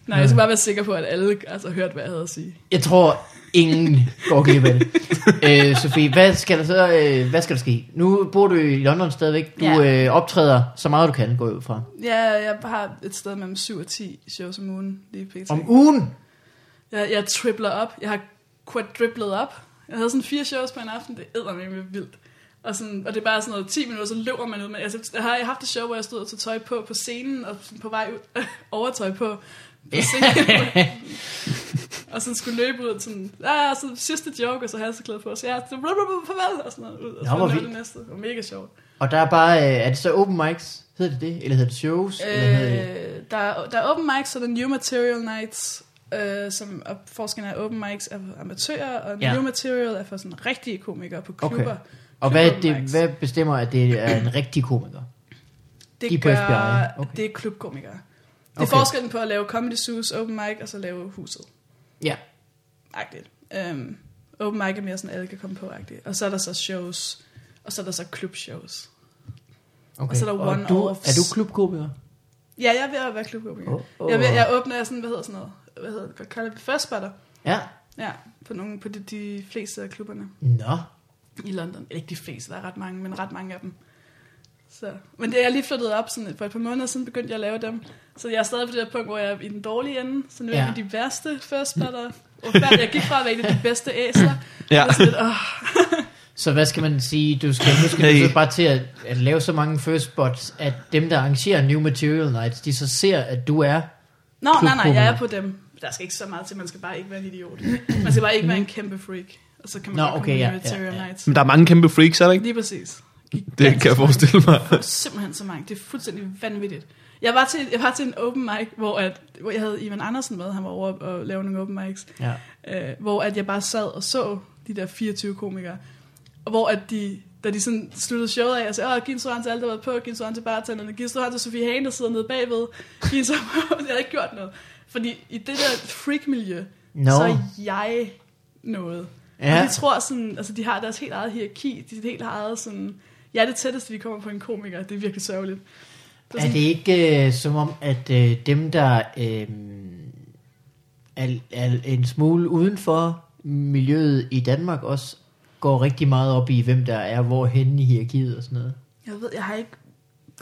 Speaker 3: Nej, jeg skal bare være sikker på, at alle altså, hørte, hvad jeg havde at sige.
Speaker 2: Jeg tror, ingen går glip af det. øh, Sofie, hvad skal der så øh, hvad skal der ske? Nu bor du i London stadigvæk. Du
Speaker 3: Ja.
Speaker 2: øh, optræder så meget, du kan, gå ud fra.
Speaker 3: Ja, jeg har et sted mellem 7 og 10 shows om ugen lige pt.
Speaker 2: Om ugen?
Speaker 3: Jeg, jeg tripler op. Jeg har quadriplet op. Jeg havde sådan fire shows på en aften. Det æder mig vildt. Og, sådan, og det er bare sådan noget 10 minutter, så løber man ud. Men altså, jeg har jeg har haft et show, hvor jeg stod og tog tøj på på scenen, og sådan på vej ud, overtøj på, på scenen. og sådan skulle løbe ud, sådan, ah, så sidste joke, og så halseklæde på, så jeg så blub, blub, blub, farvel, og sådan noget ud, og
Speaker 2: Nå,
Speaker 3: så
Speaker 2: hvor
Speaker 3: løb det
Speaker 2: vildt.
Speaker 3: næste. Det var mega sjovt.
Speaker 2: Og der er bare, øh, er det så open mics? Hedder det det? Eller hedder det shows? Øh, eller hedder det,
Speaker 3: Øh, der, er- der er open mics, og der er new material nights, øh, som og forskellen er open mics er for amatører, og
Speaker 2: Ja.
Speaker 3: new material er for sådan rigtige komikere på
Speaker 2: Okay.
Speaker 3: klubber. Okay.
Speaker 2: og hvad, er
Speaker 3: open
Speaker 2: det,
Speaker 3: mics.
Speaker 2: hvad bestemmer, at det er en rigtig komiker?
Speaker 3: Det
Speaker 2: De er på FBI.
Speaker 3: gør,
Speaker 2: Okay.
Speaker 3: okay. det er klubkomikere. Det er
Speaker 2: Okay.
Speaker 3: okay. forskellen på at lave Comedy Zoo's open mic, og så lave huset.
Speaker 2: Ja.
Speaker 3: Agtigt. Um, open mic er mere sådan, alle kan komme på, agtigt. Og så er der så shows, og så er der så klubshows.
Speaker 2: Okay.
Speaker 3: Og så er der one
Speaker 2: du,
Speaker 3: offs.
Speaker 2: Er du klubkomiker?
Speaker 3: Ja, jeg er ved at være klubkomiker.
Speaker 2: Åh,
Speaker 3: Oh,
Speaker 2: åh.
Speaker 3: oh. Jeg, er ved, jeg åbner sådan, hvad hedder sådan noget? Hvad hedder det? Hvad kalder det? Førstbatter.
Speaker 2: Ja.
Speaker 3: Ja, på, nogle, på de, de fleste af klubberne.
Speaker 2: Nå.
Speaker 3: i London. Eller ikke de fleste, der er ret mange, men ret mange af dem. Så. Men det er jeg lige flyttet op, sådan for et par måneder siden begyndte jeg at lave dem. Så jeg er stadig på det der punkt, hvor jeg er i den dårlige ende. Så nu er
Speaker 2: Ja.
Speaker 3: jeg i de værste førstbatter. Jeg gik fra at være en af de bedste æsler.
Speaker 1: Ja.
Speaker 3: Og sådan lidt, åh,
Speaker 2: Så hvad skal man sige? Du skal, nu skal
Speaker 1: Hey.
Speaker 2: du så bare til at, at lave så mange first spots, at dem, der arrangerer New Material Nights, de så ser, at du er...
Speaker 3: Nå, nej, nej, jeg er på dem. Der skal ikke så meget til, man skal bare ikke være en idiot. Man skal bare ikke være en kæmpe freak. Og så kan man
Speaker 2: Mm. Nå,
Speaker 3: godt
Speaker 2: okay,
Speaker 3: komme
Speaker 2: ja,
Speaker 3: med
Speaker 2: ja,
Speaker 3: Material
Speaker 2: ja.
Speaker 3: Nights.
Speaker 1: Men der er mange kæmpe freaks, er der ikke?
Speaker 3: Lige præcis.
Speaker 1: Det kan jeg forestille mig.
Speaker 3: Simpelthen så mange. Det er fuldstændig vanvittigt. Jeg var til, jeg var til en open mic, hvor, at, hvor jeg havde Ivan Andersen med. Han var over og lave nogle open mics.
Speaker 2: Ja.
Speaker 3: øh, hvor at jeg bare sad og så de der 24 komikere, og hvor at de, da de sådan sluttede showet af, og sagde, åh, giv en stor hånd til alle, der har været på, giv en stor hånd til bartenderne, giv en stor hånd til Sofie Hagen, der sidder nede bagved, giv en stor hånd, jeg havde ikke gjort noget. Fordi i det der freak-miljø,
Speaker 2: Nå.
Speaker 3: så er jeg noget. Ja.
Speaker 2: Ja.
Speaker 3: Og de tror sådan, altså de har deres helt eget hierarki, de er helt eget sådan, jeg er det tætteste, de kommer på en komiker, det er virkelig sørgeligt. Det
Speaker 2: Er det ikke øh, som om, at øh, dem, der øh, er, er en smule uden for miljøet i Danmark, også går rigtig meget op i, hvem der er hvorhen i hierarkiet og sådan noget?
Speaker 3: Jeg ved, jeg har ikke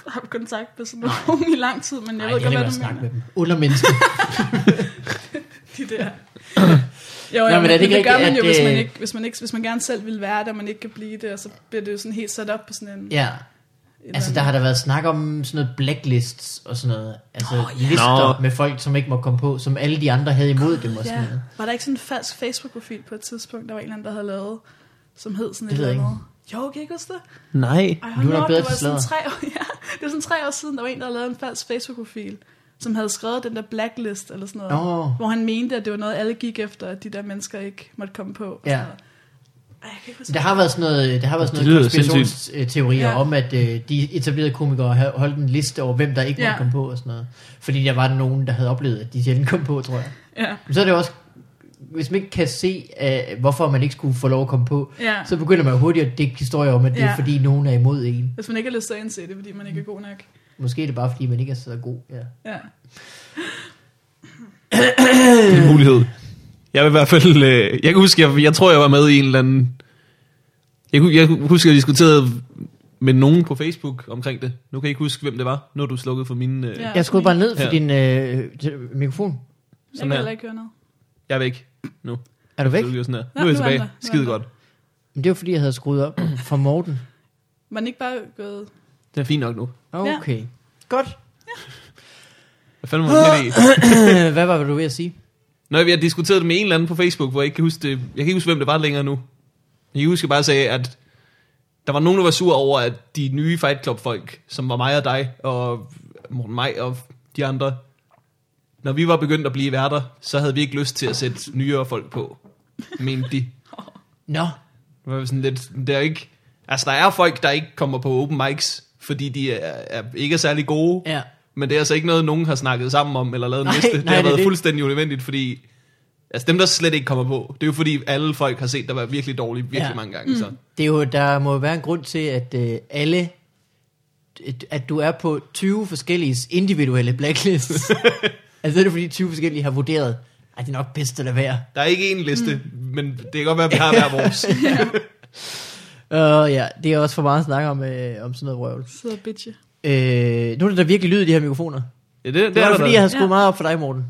Speaker 3: haft kontakt med sådan nogen i lang tid, men jeg
Speaker 2: Nej,
Speaker 3: ved
Speaker 2: det er
Speaker 3: godt,
Speaker 2: ikke
Speaker 3: hvad
Speaker 2: at
Speaker 3: du mener.
Speaker 2: snakke med dem. Undermennesker.
Speaker 3: de der. Jo,
Speaker 2: Nå,
Speaker 3: ja,
Speaker 2: men
Speaker 3: men
Speaker 2: er det
Speaker 3: det,
Speaker 2: ikke
Speaker 3: det gør
Speaker 2: rigtigt,
Speaker 3: man jo,
Speaker 2: at,
Speaker 3: hvis man,
Speaker 2: øh,
Speaker 3: ikke, hvis, man ikke, hvis man gerne selv vil være der, man ikke kan blive det, og så bliver det jo sådan helt sat op på sådan en...
Speaker 2: ja.
Speaker 3: en
Speaker 2: Altså, der har der været snak om sådan noget blacklists og sådan noget. Altså, oh, lister
Speaker 1: Nå.
Speaker 2: med folk, som ikke må komme på, som alle de andre havde imod dem og sådan
Speaker 3: ja.
Speaker 2: noget.
Speaker 3: Var der ikke sådan en falsk Facebook-profil på et tidspunkt, der var en eller anden, der havde lavet, som hed sådan
Speaker 2: Det
Speaker 3: et
Speaker 2: ved
Speaker 3: eller
Speaker 2: jeg
Speaker 3: andet? Jo, kan I ikke huske det?
Speaker 1: Nej.
Speaker 3: Ej,
Speaker 2: Nu er
Speaker 3: hold
Speaker 2: der
Speaker 3: op,
Speaker 2: bedre
Speaker 3: det var,
Speaker 2: til
Speaker 3: sådan tre år, ja, det var sådan tre år siden, der var en, der havde lavet en falsk Facebook-profil, som havde skrevet den der blacklist eller sådan noget,
Speaker 2: Nå.
Speaker 3: hvor han mente, at det var noget, alle gik efter, at de der mennesker ikke måtte komme på. Og
Speaker 2: Ja.
Speaker 3: sådan noget. Ej, jeg kan ikke huske
Speaker 2: Der har været sådan noget, der har været sådan
Speaker 1: Det
Speaker 2: noget
Speaker 1: lyder sindssygt.
Speaker 2: konspirationsteorier ja.
Speaker 3: Ja.
Speaker 2: om, at øh, de etablerede komikere havde holdt en liste over, hvem der ikke måtte
Speaker 3: Ja.
Speaker 2: komme på og sådan noget. Fordi der var nogen, der havde oplevet, at de sjældent kom på, tror jeg.
Speaker 3: Ja.
Speaker 2: Men så er det jo også, hvis man ikke kan se, øh, hvorfor man ikke skulle få lov at komme på,
Speaker 3: Ja.
Speaker 2: så begynder man hurtigt at dække historier om, at det er
Speaker 3: Ja.
Speaker 2: fordi nogen er imod en.
Speaker 3: Hvis man ikke har lyst til at indse det, fordi man ikke er god nok.
Speaker 2: Måske er det bare fordi, man ikke er så god. Ja.
Speaker 3: Ja.
Speaker 1: Det er en mulighed. Jeg vil i hvert fald... Øh, jeg kan huske, jeg, jeg tror, jeg var med i en eller anden... Jeg, kunne- jeg kunne huske, jeg diskuterede med nogen på Facebook omkring det. Nu kan jeg ikke huske, hvem det var. Nu er du slukket for mine... Øh,
Speaker 3: Ja.
Speaker 2: Jeg skulle bare ned for
Speaker 1: Ja.
Speaker 2: ja. din øh, t- mikrofon.
Speaker 3: Jeg
Speaker 1: Sådan
Speaker 3: kan
Speaker 1: her.
Speaker 3: heller ikke høre noget.
Speaker 1: Jeg er væk. Nu.
Speaker 2: Er du væk?
Speaker 1: Så det lyder sådan her. nu er
Speaker 3: Nå,
Speaker 1: jeg
Speaker 3: nu er
Speaker 1: tilbage.
Speaker 3: den der. Nu er
Speaker 1: Skide
Speaker 3: den der.
Speaker 1: godt.
Speaker 2: Men det var fordi, jeg havde skruet op for Morten.
Speaker 3: Man er ikke bare gået...
Speaker 1: Det er fint nok nu.
Speaker 2: Okay. Ja. Godt.
Speaker 1: Hvad fanden var det i?
Speaker 2: Hvad var det, du ved at sige?
Speaker 1: Nå, jeg har diskuteret det med en eller anden på Facebook, hvor jeg ikke kan huske det. Jeg kan ikke huske, hvem det var længere nu. Jeg kan huske, jeg bare sagde, at der var nogen, der var sur over, at de nye Fight Club-folk, som var mig og dig, og Morten mig og de andre, når vi var begyndt at blive værter, så havde vi ikke lyst til at sætte nyere folk på, mente de.
Speaker 2: Nå.
Speaker 1: Det var sådan lidt, der er ikke, altså der er folk, der ikke kommer på open mics, fordi de er, er ikke er særlig gode,
Speaker 2: Ja.
Speaker 1: men det er altså ikke noget, nogen har snakket sammen om, eller lavet en
Speaker 2: Nej,
Speaker 1: liste. Det
Speaker 2: nej,
Speaker 1: har
Speaker 2: det er
Speaker 1: været
Speaker 2: det.
Speaker 1: fuldstændig unødvendigt, fordi... Altså dem, der slet ikke kommer på, det er jo fordi, alle folk har set, der var virkelig dårlige virkelig
Speaker 2: Ja.
Speaker 1: ja. mange gange. Så.
Speaker 2: Det er jo, der må være en grund til, at øh, alle, at- at du er på 20 forskellige individuelle blacklists. altså det er fordi 20 forskellige har vurderet, at det er nok bedst at lade være.
Speaker 1: Der er ikke én liste, mm. men det kan godt være, at vi har hver vores.
Speaker 2: Og ja, det er også for meget at snakke om, øh, om sådan noget vrøvl.
Speaker 3: Sidder og bitche.
Speaker 2: Øh, nu er det da virkelig lyd i de her mikrofoner.
Speaker 1: Ja, det, det,
Speaker 2: Det var
Speaker 1: er
Speaker 2: det,
Speaker 1: der
Speaker 2: fordi,
Speaker 1: da.
Speaker 2: jeg havde skruet
Speaker 3: Ja.
Speaker 2: meget op for dig, Morten.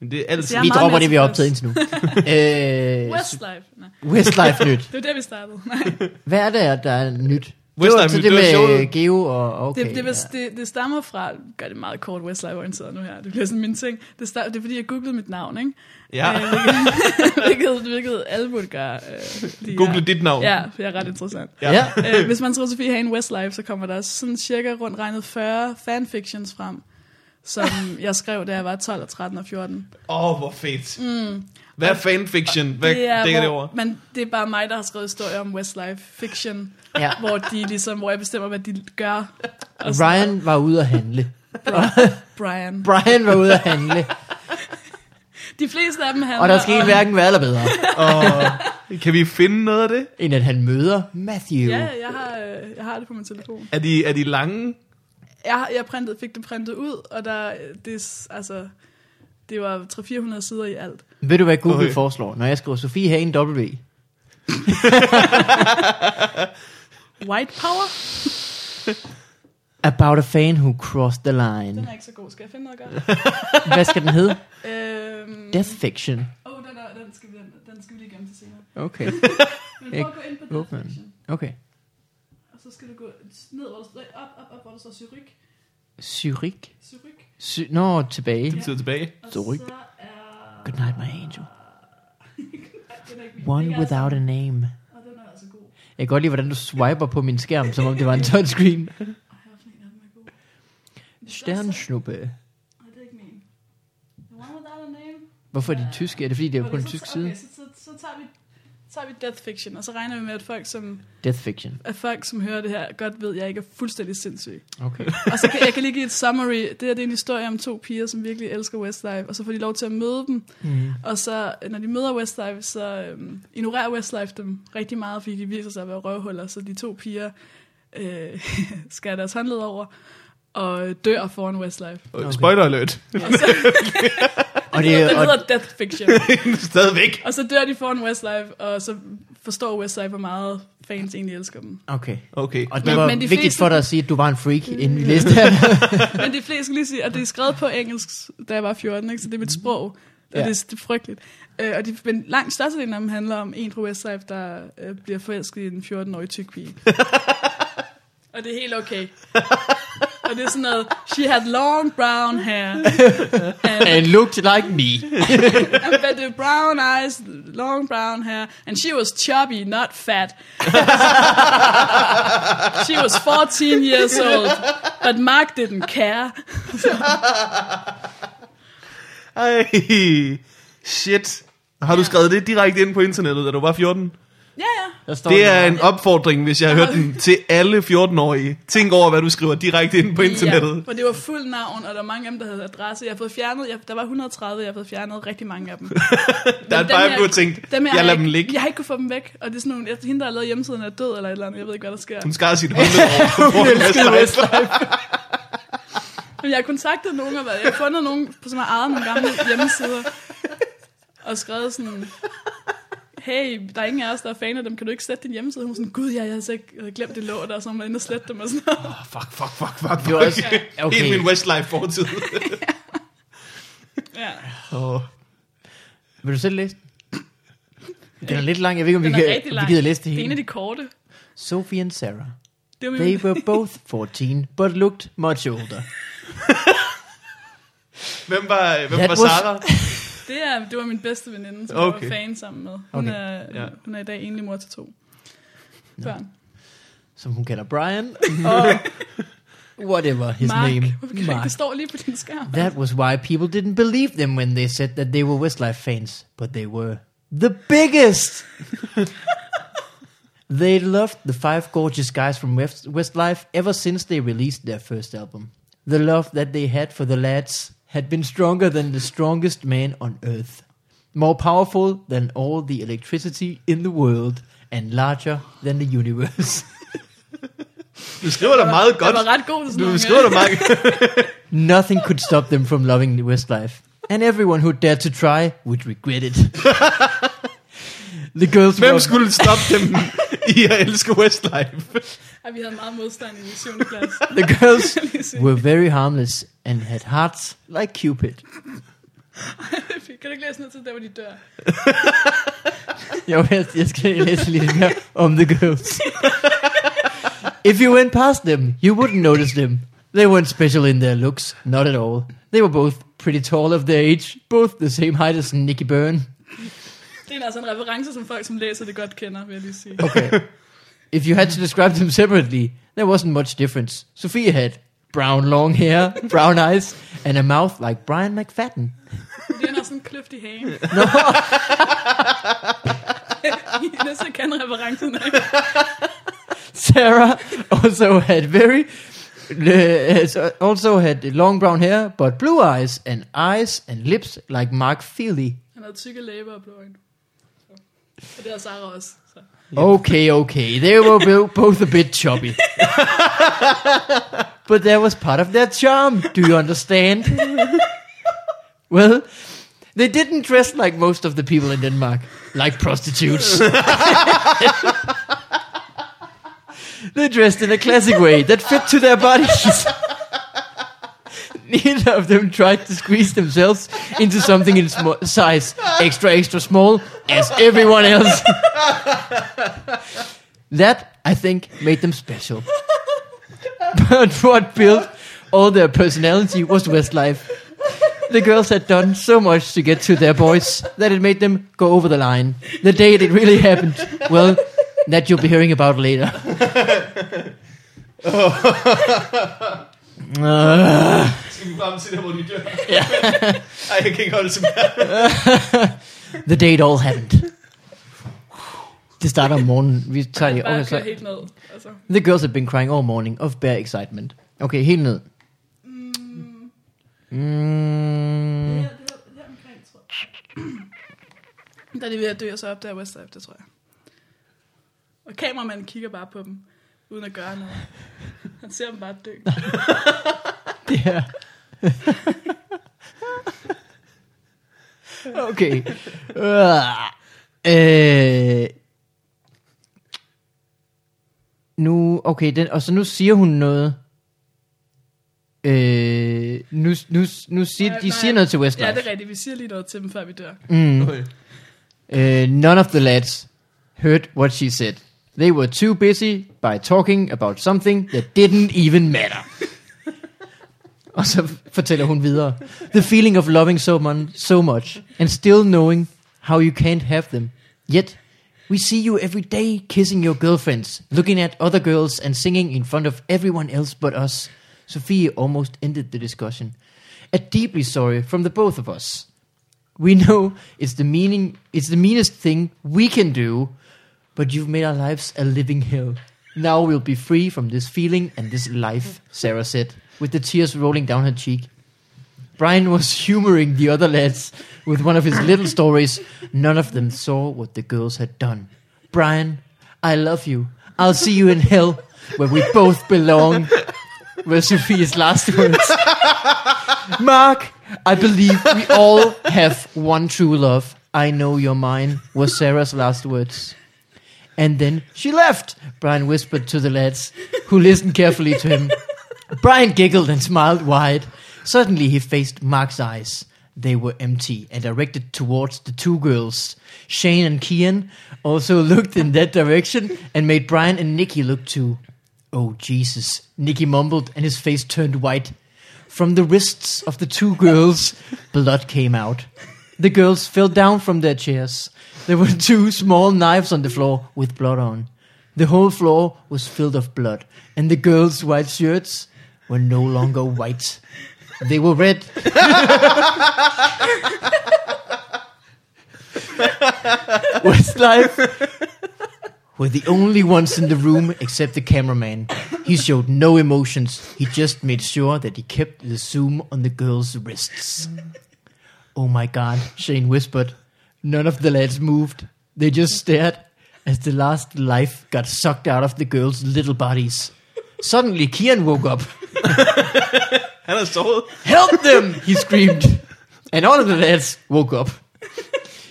Speaker 1: Men det er altid...
Speaker 3: Jeg er
Speaker 2: Vi
Speaker 3: meget
Speaker 2: dropper
Speaker 3: mere
Speaker 2: det, vi har optaget
Speaker 3: tilfreds.
Speaker 2: indtil nu. øh,
Speaker 3: Westlife. Nej,
Speaker 2: Westlife nyt.
Speaker 3: det var der, vi startede. Nej.
Speaker 2: Hvad er det, at der er nyt?
Speaker 1: Westlife
Speaker 2: det var altså
Speaker 1: nyt,
Speaker 2: det
Speaker 1: det var
Speaker 2: med
Speaker 1: showet.
Speaker 2: Geo og... Okay,
Speaker 3: Det, det, var, det, det stammer fra, gør det meget kort Westlife-orienteret nu her, det bliver sådan min ting. Det, star, det er fordi, jeg googlede mit navn, ikke?
Speaker 1: Ja.
Speaker 3: Øh, hvilket- hvilket, hvilket alle burde gøre. Øh, fordi
Speaker 1: Google
Speaker 3: jeg,
Speaker 1: dit navn.
Speaker 3: Ja, for jeg er ret interessant.
Speaker 2: ja. ja.
Speaker 3: øh, hvis man tror Sofie Hagen Westlife, så kommer der sådan cirka rundt regnet 40 fanfictions frem, som jeg skrev, da jeg var 12, og 13 og 14.
Speaker 1: Åh, oh, hvor fedt. Mm. Hvad er fanfiction? Hvad det er, dækker det over?
Speaker 3: hvor, men det er bare mig, der har skrevet historier om Westlife fiction,
Speaker 2: ja.
Speaker 3: hvor, de ligesom, hvor jeg bestemmer, hvad de gør. Og sådan-
Speaker 2: Ryan var ude at handle.
Speaker 3: Brian.
Speaker 2: Brian var ude at handle.
Speaker 3: De fleste af dem handler
Speaker 2: Og der skete
Speaker 3: om-
Speaker 2: hverken værre eller bedre,
Speaker 1: Og kan vi finde noget af det?
Speaker 2: end at han møder Matthew.
Speaker 3: Ja, jeg har, øh, jeg har det på min telefon.
Speaker 1: Er de, er de lange?
Speaker 3: Jeg, har- jeg printede, fik det printet ud, og der, det, s- altså, det var 300-400 sider i alt.
Speaker 2: Ved du, hvad Google
Speaker 1: Okay.
Speaker 2: foreslår? Når jeg skriver Sofie Hagen W.
Speaker 3: White Power?
Speaker 2: About a fan who crossed the line.
Speaker 3: Den er ikke så god. Skal jeg finde noget godt?
Speaker 2: Hvad skal den hedde?
Speaker 3: øhm,
Speaker 2: Death Fiction.
Speaker 3: Åh, oh, den, er- den, skal vi, den skal vi lige gemme til senere.
Speaker 2: Okay.
Speaker 3: Men prøv at gå ind på Death
Speaker 2: Åbne den.
Speaker 3: Fiction,
Speaker 2: Okay.
Speaker 3: og så skal du gå ned, hvor der står, op, op, op, hvor der står Cyryk.
Speaker 2: Zurich.
Speaker 3: Cyryk.
Speaker 2: Sy- Nå, tilbage.
Speaker 1: Den sidder tilbage.
Speaker 3: Og
Speaker 2: Zurich.
Speaker 3: så er...
Speaker 2: Good night, my angel.
Speaker 3: Den er ikke min.
Speaker 2: One
Speaker 3: Det er
Speaker 2: without a
Speaker 3: altså-
Speaker 2: name.
Speaker 3: Og den er altså god.
Speaker 2: Jeg kan godt lide, hvordan du swiper på min skærm, som om det var en touchscreen.
Speaker 3: Ej, hvorfor en af dem er god?
Speaker 2: Sternsnuppe.
Speaker 3: Nej, det er ikke min. The one without a name.
Speaker 2: Hvorfor er de tyske? Er det fordi, det er på
Speaker 3: Okay,
Speaker 2: en
Speaker 3: så-
Speaker 2: tysk side?
Speaker 3: Okay, så, så, så tager vi så tager vi death fiction, og så regner vi med, at folk, som,
Speaker 2: Death Fiction.
Speaker 3: at folk, som hører det her, godt ved, at jeg ikke er fuldstændig sindssyg.
Speaker 2: Okay.
Speaker 3: Og så kan jeg kan lige give et summary. Det her det er en historie om to piger, som virkelig elsker Westlife, og så får de lov til at møde dem.
Speaker 2: Mm.
Speaker 3: Og så, når de møder Westlife, så øhm, ignorerer Westlife dem rigtig meget, fordi de viser sig at være røvhuller. Så de to piger øh, skærer deres håndled over og dør foran Westlife.
Speaker 1: Okay. Spoiler alert.
Speaker 2: Og det,
Speaker 3: Det, det
Speaker 2: og,
Speaker 3: hedder death fiction.
Speaker 1: Stadigvæk.
Speaker 3: og så dør de foran Westlife, og så forstår Westlife, hvor meget fans egentlig elsker dem.
Speaker 2: okay.
Speaker 1: Okay.
Speaker 2: Og det
Speaker 3: Men-
Speaker 2: var
Speaker 3: men de
Speaker 2: vigtigt
Speaker 3: fleste-
Speaker 2: for dig at sige, at du var en freak, inden vi læste det.
Speaker 3: Men de fleste skal lige sige, og det er skrevet på engelsk, da jeg var 14, ikke? så det er mit sprog, og
Speaker 2: Ja.
Speaker 3: ja. det, er- det er frygteligt. Øh, og de, men langt størstedelen af dem handler om en fra Westlife, der øh, bliver forelsket i en 14-årig tyk pige. og det er helt okay. og det er sådan noget, she had long brown hair, and,
Speaker 2: And looked like me.
Speaker 3: and but the brown eyes, long brown hair, and she was chubby, not fat. she was 14 years old, but Mark didn't care.
Speaker 1: Ej. Shit. Har du skrevet det direkte ind på internettet, da du var 14?
Speaker 3: Ja, ja.
Speaker 2: Der står
Speaker 1: Det
Speaker 2: der.
Speaker 1: er en opfordring, hvis jeg har hørt den, til alle 14-årige. Tænk over, hvad du skriver direkte ind på
Speaker 3: Ja,
Speaker 1: internettet.
Speaker 3: for det var fuld navn, og der var mange af dem, der havde adresse. Jeg har fået fjernet, jeg, der var 130, jeg har fået fjernet rigtig mange af dem. Men
Speaker 1: Der er
Speaker 3: dem,
Speaker 1: bare,
Speaker 3: jeg-
Speaker 1: du har tænkt,
Speaker 3: dem,
Speaker 1: jeg
Speaker 3: har
Speaker 1: lader dem
Speaker 3: ikke-
Speaker 1: ligge.
Speaker 3: Jeg har ikke kunnet få dem væk, og det er sådan nogle, jeg- hende, der har lavet hjemmesiden, er død eller et eller andet, jeg ved ikke, hvad der sker.
Speaker 1: Hun skar sit håndled over på foran Westlife.
Speaker 3: Men jeg har kontaktet nogen, og været- jeg har fundet nogen, som har ejet nogle gamle hjemmesider, og skrevet sådan, hey, der er ingen af os, der er fan af dem, kan du ikke slette din hjemmeside? Hun var sådan, gud ja, jeg havde, slet ikke, jeg havde glemt, det lå der, og så var man inde og slette dem og sådan noget.
Speaker 1: Ah, Fuck, fuck, fuck, fuck,
Speaker 2: Det var
Speaker 1: fuck.
Speaker 2: også, okay.
Speaker 1: Helt min Westlife-fortid.
Speaker 3: Ja.
Speaker 1: Åh.
Speaker 2: Vil du selv læse den? Den er lidt lang. Jeg ved ikke, om vi,
Speaker 3: Den er rigtig
Speaker 2: kan, vi
Speaker 3: lang.
Speaker 2: gider læse det
Speaker 3: Det er en af
Speaker 2: hele.
Speaker 3: de korte.
Speaker 2: Sophie and Sarah.
Speaker 3: Det var
Speaker 2: They
Speaker 3: min,
Speaker 2: were both 14, but looked much older.
Speaker 1: Hvem var, hvem
Speaker 2: That
Speaker 1: var
Speaker 2: was-
Speaker 1: Sarah?
Speaker 3: det, er, det var min bedste veninde, som okay.
Speaker 1: Okay.
Speaker 3: jeg var fan sammen med. Hun,
Speaker 2: Okay.
Speaker 3: okay. er,
Speaker 1: Ja.
Speaker 3: hun er i dag enlig mor til to børn.
Speaker 2: Som hun kalder Brian. Og whatever his
Speaker 3: Mark.
Speaker 2: name.
Speaker 3: Hvorfor kan Mark. Det står lige på din skærm.
Speaker 2: That was why people didn't believe them when they said that they were Westlife fans, but they were the biggest. they loved the five gorgeous guys from West- Westlife ever since they released their first album. The love that they had for the lads had been stronger than the strongest man on earth, more powerful than all the electricity in the world, and larger than the universe.
Speaker 1: Du skriver da meget
Speaker 3: Jeg
Speaker 1: godt.
Speaker 3: var ret god til sådan
Speaker 1: Du
Speaker 3: noget.
Speaker 1: skriver da meget
Speaker 2: Nothing could stop them from loving Westlife, and everyone who dared to try would regret it. the girls
Speaker 1: Hvem
Speaker 2: were
Speaker 1: skulle stoppe dem i at elske Westlife?
Speaker 3: Ej, vi havde meget modstand i 7. klasse.
Speaker 2: the girls
Speaker 3: Lige se.
Speaker 2: were very harmless and had hearts like Cupid.
Speaker 3: Fy, kan du ikke læse ned til der, hvor de dør?
Speaker 2: Jo, jeg, jeg skal læse lidt mere om um, the ghosts. If you went past them, you wouldn't notice them. They weren't special in their looks, not at all. They were both pretty tall of their age, both the same height as Nicky Byrne.
Speaker 3: Det er altså en reference, som folk, som læser det godt kender, vil jeg lige sige.
Speaker 2: Okay. If you had to describe them separately, there wasn't much difference. Sophia had brown long hair, brown eyes, and a mouth like Brian McFadden.
Speaker 3: Det er sådan en kløft i hagen. Ines kan referencen ikke.
Speaker 2: Sarah also had very uh, also had long brown hair, but blue eyes and eyes and lips like Mark Feely.
Speaker 3: Han havde tykke læber og blå øjne. Og det har Sarah også. Så.
Speaker 2: Okay, okay, they were bo- both a bit chubby. but that was part of their charm, do you understand? well, they didn't dress like most of the people in Denmark, like prostitutes. they dressed in a classic way that fit to their bodies. Neither of them tried to squeeze themselves into something in sm- size extra, extra small, as everyone else. That, I think, made them special. but what built all their personality was Westlife. The girls had done so much to get to their boys that it made them go over the line. The day it really happened, well, that you'll be hearing about later. Uh,
Speaker 1: Skal vi frem til der, hvor de dør?
Speaker 2: Ja.
Speaker 1: Ej, jeg kan ikke holde tilbage.
Speaker 2: the day it all happened. Det starter om morgenen. Vi tager det.
Speaker 3: Bare
Speaker 2: Okay,
Speaker 3: okay,
Speaker 2: så.
Speaker 3: helt ned. Altså.
Speaker 2: The girls had been crying all morning of bare excitement. Okay, helt ned. Mm.
Speaker 3: Der er de ved at dø, og så op der Westlife, det tror jeg. Og kameramanden kigger bare på dem, uden at gøre noget. Han ser dem bare dø.
Speaker 2: Det her. okay. Øh. Nu, okay, den, og så nu siger hun noget. Øh, nu, nu, nu siger,
Speaker 3: Nej,
Speaker 2: de
Speaker 3: nej.
Speaker 2: siger noget til Westlife.
Speaker 3: Ja, det er rigtigt. Vi siger lige noget til dem, før vi dør.
Speaker 1: Okay.
Speaker 2: Uh, none of the lads heard what she said. They were too busy by talking about something that didn't even matter. Og så fortæller hun videre. The feeling of loving someone so much and still knowing how you can't have them. Yet, we see you every day kissing your girlfriends, looking at other girls and singing in front of everyone else but us. Sophie almost ended the discussion. A deeply sorry from the both of us. We know it's the meaning it's the meanest thing we can do, but you've made our lives a living hell. Now we'll be free from this feeling and this life, Sarah said, with the tears rolling down her cheek. Brian was humoring the other lads with one of his little stories. None of them saw what the girls had done. Brian, I love you. I'll see you in hell, where we both belong. Were Sophia's last words. Mark, I believe we all have one true love. I know you're mine, was Sarah's last words. And then she left, Brian whispered to the lads, who listened carefully to him. Brian giggled and smiled wide. Suddenly he faced Mark's eyes. They were empty and directed towards the two girls. Shane and Kian also looked in that direction and made Brian and Nikki look too. Oh, Jesus. Nikki mumbled and his face turned white. From the wrists of the two girls, blood came out. The girls fell down from their chairs. There were two small knives on the floor with blood on. The whole floor was filled of blood, and the girls' white shirts were no longer white. They were red. Westlife were the only ones in the room except the cameraman. He showed no emotions. He just made sure that he kept the zoom on the girls' wrists. Oh my god, Shane whispered. None of the lads moved. They just stared as the last life got sucked out of the girls' little bodies. Suddenly, Kian woke up.
Speaker 1: Han er såret.
Speaker 2: Help them! He screamed. And all of the lads woke up.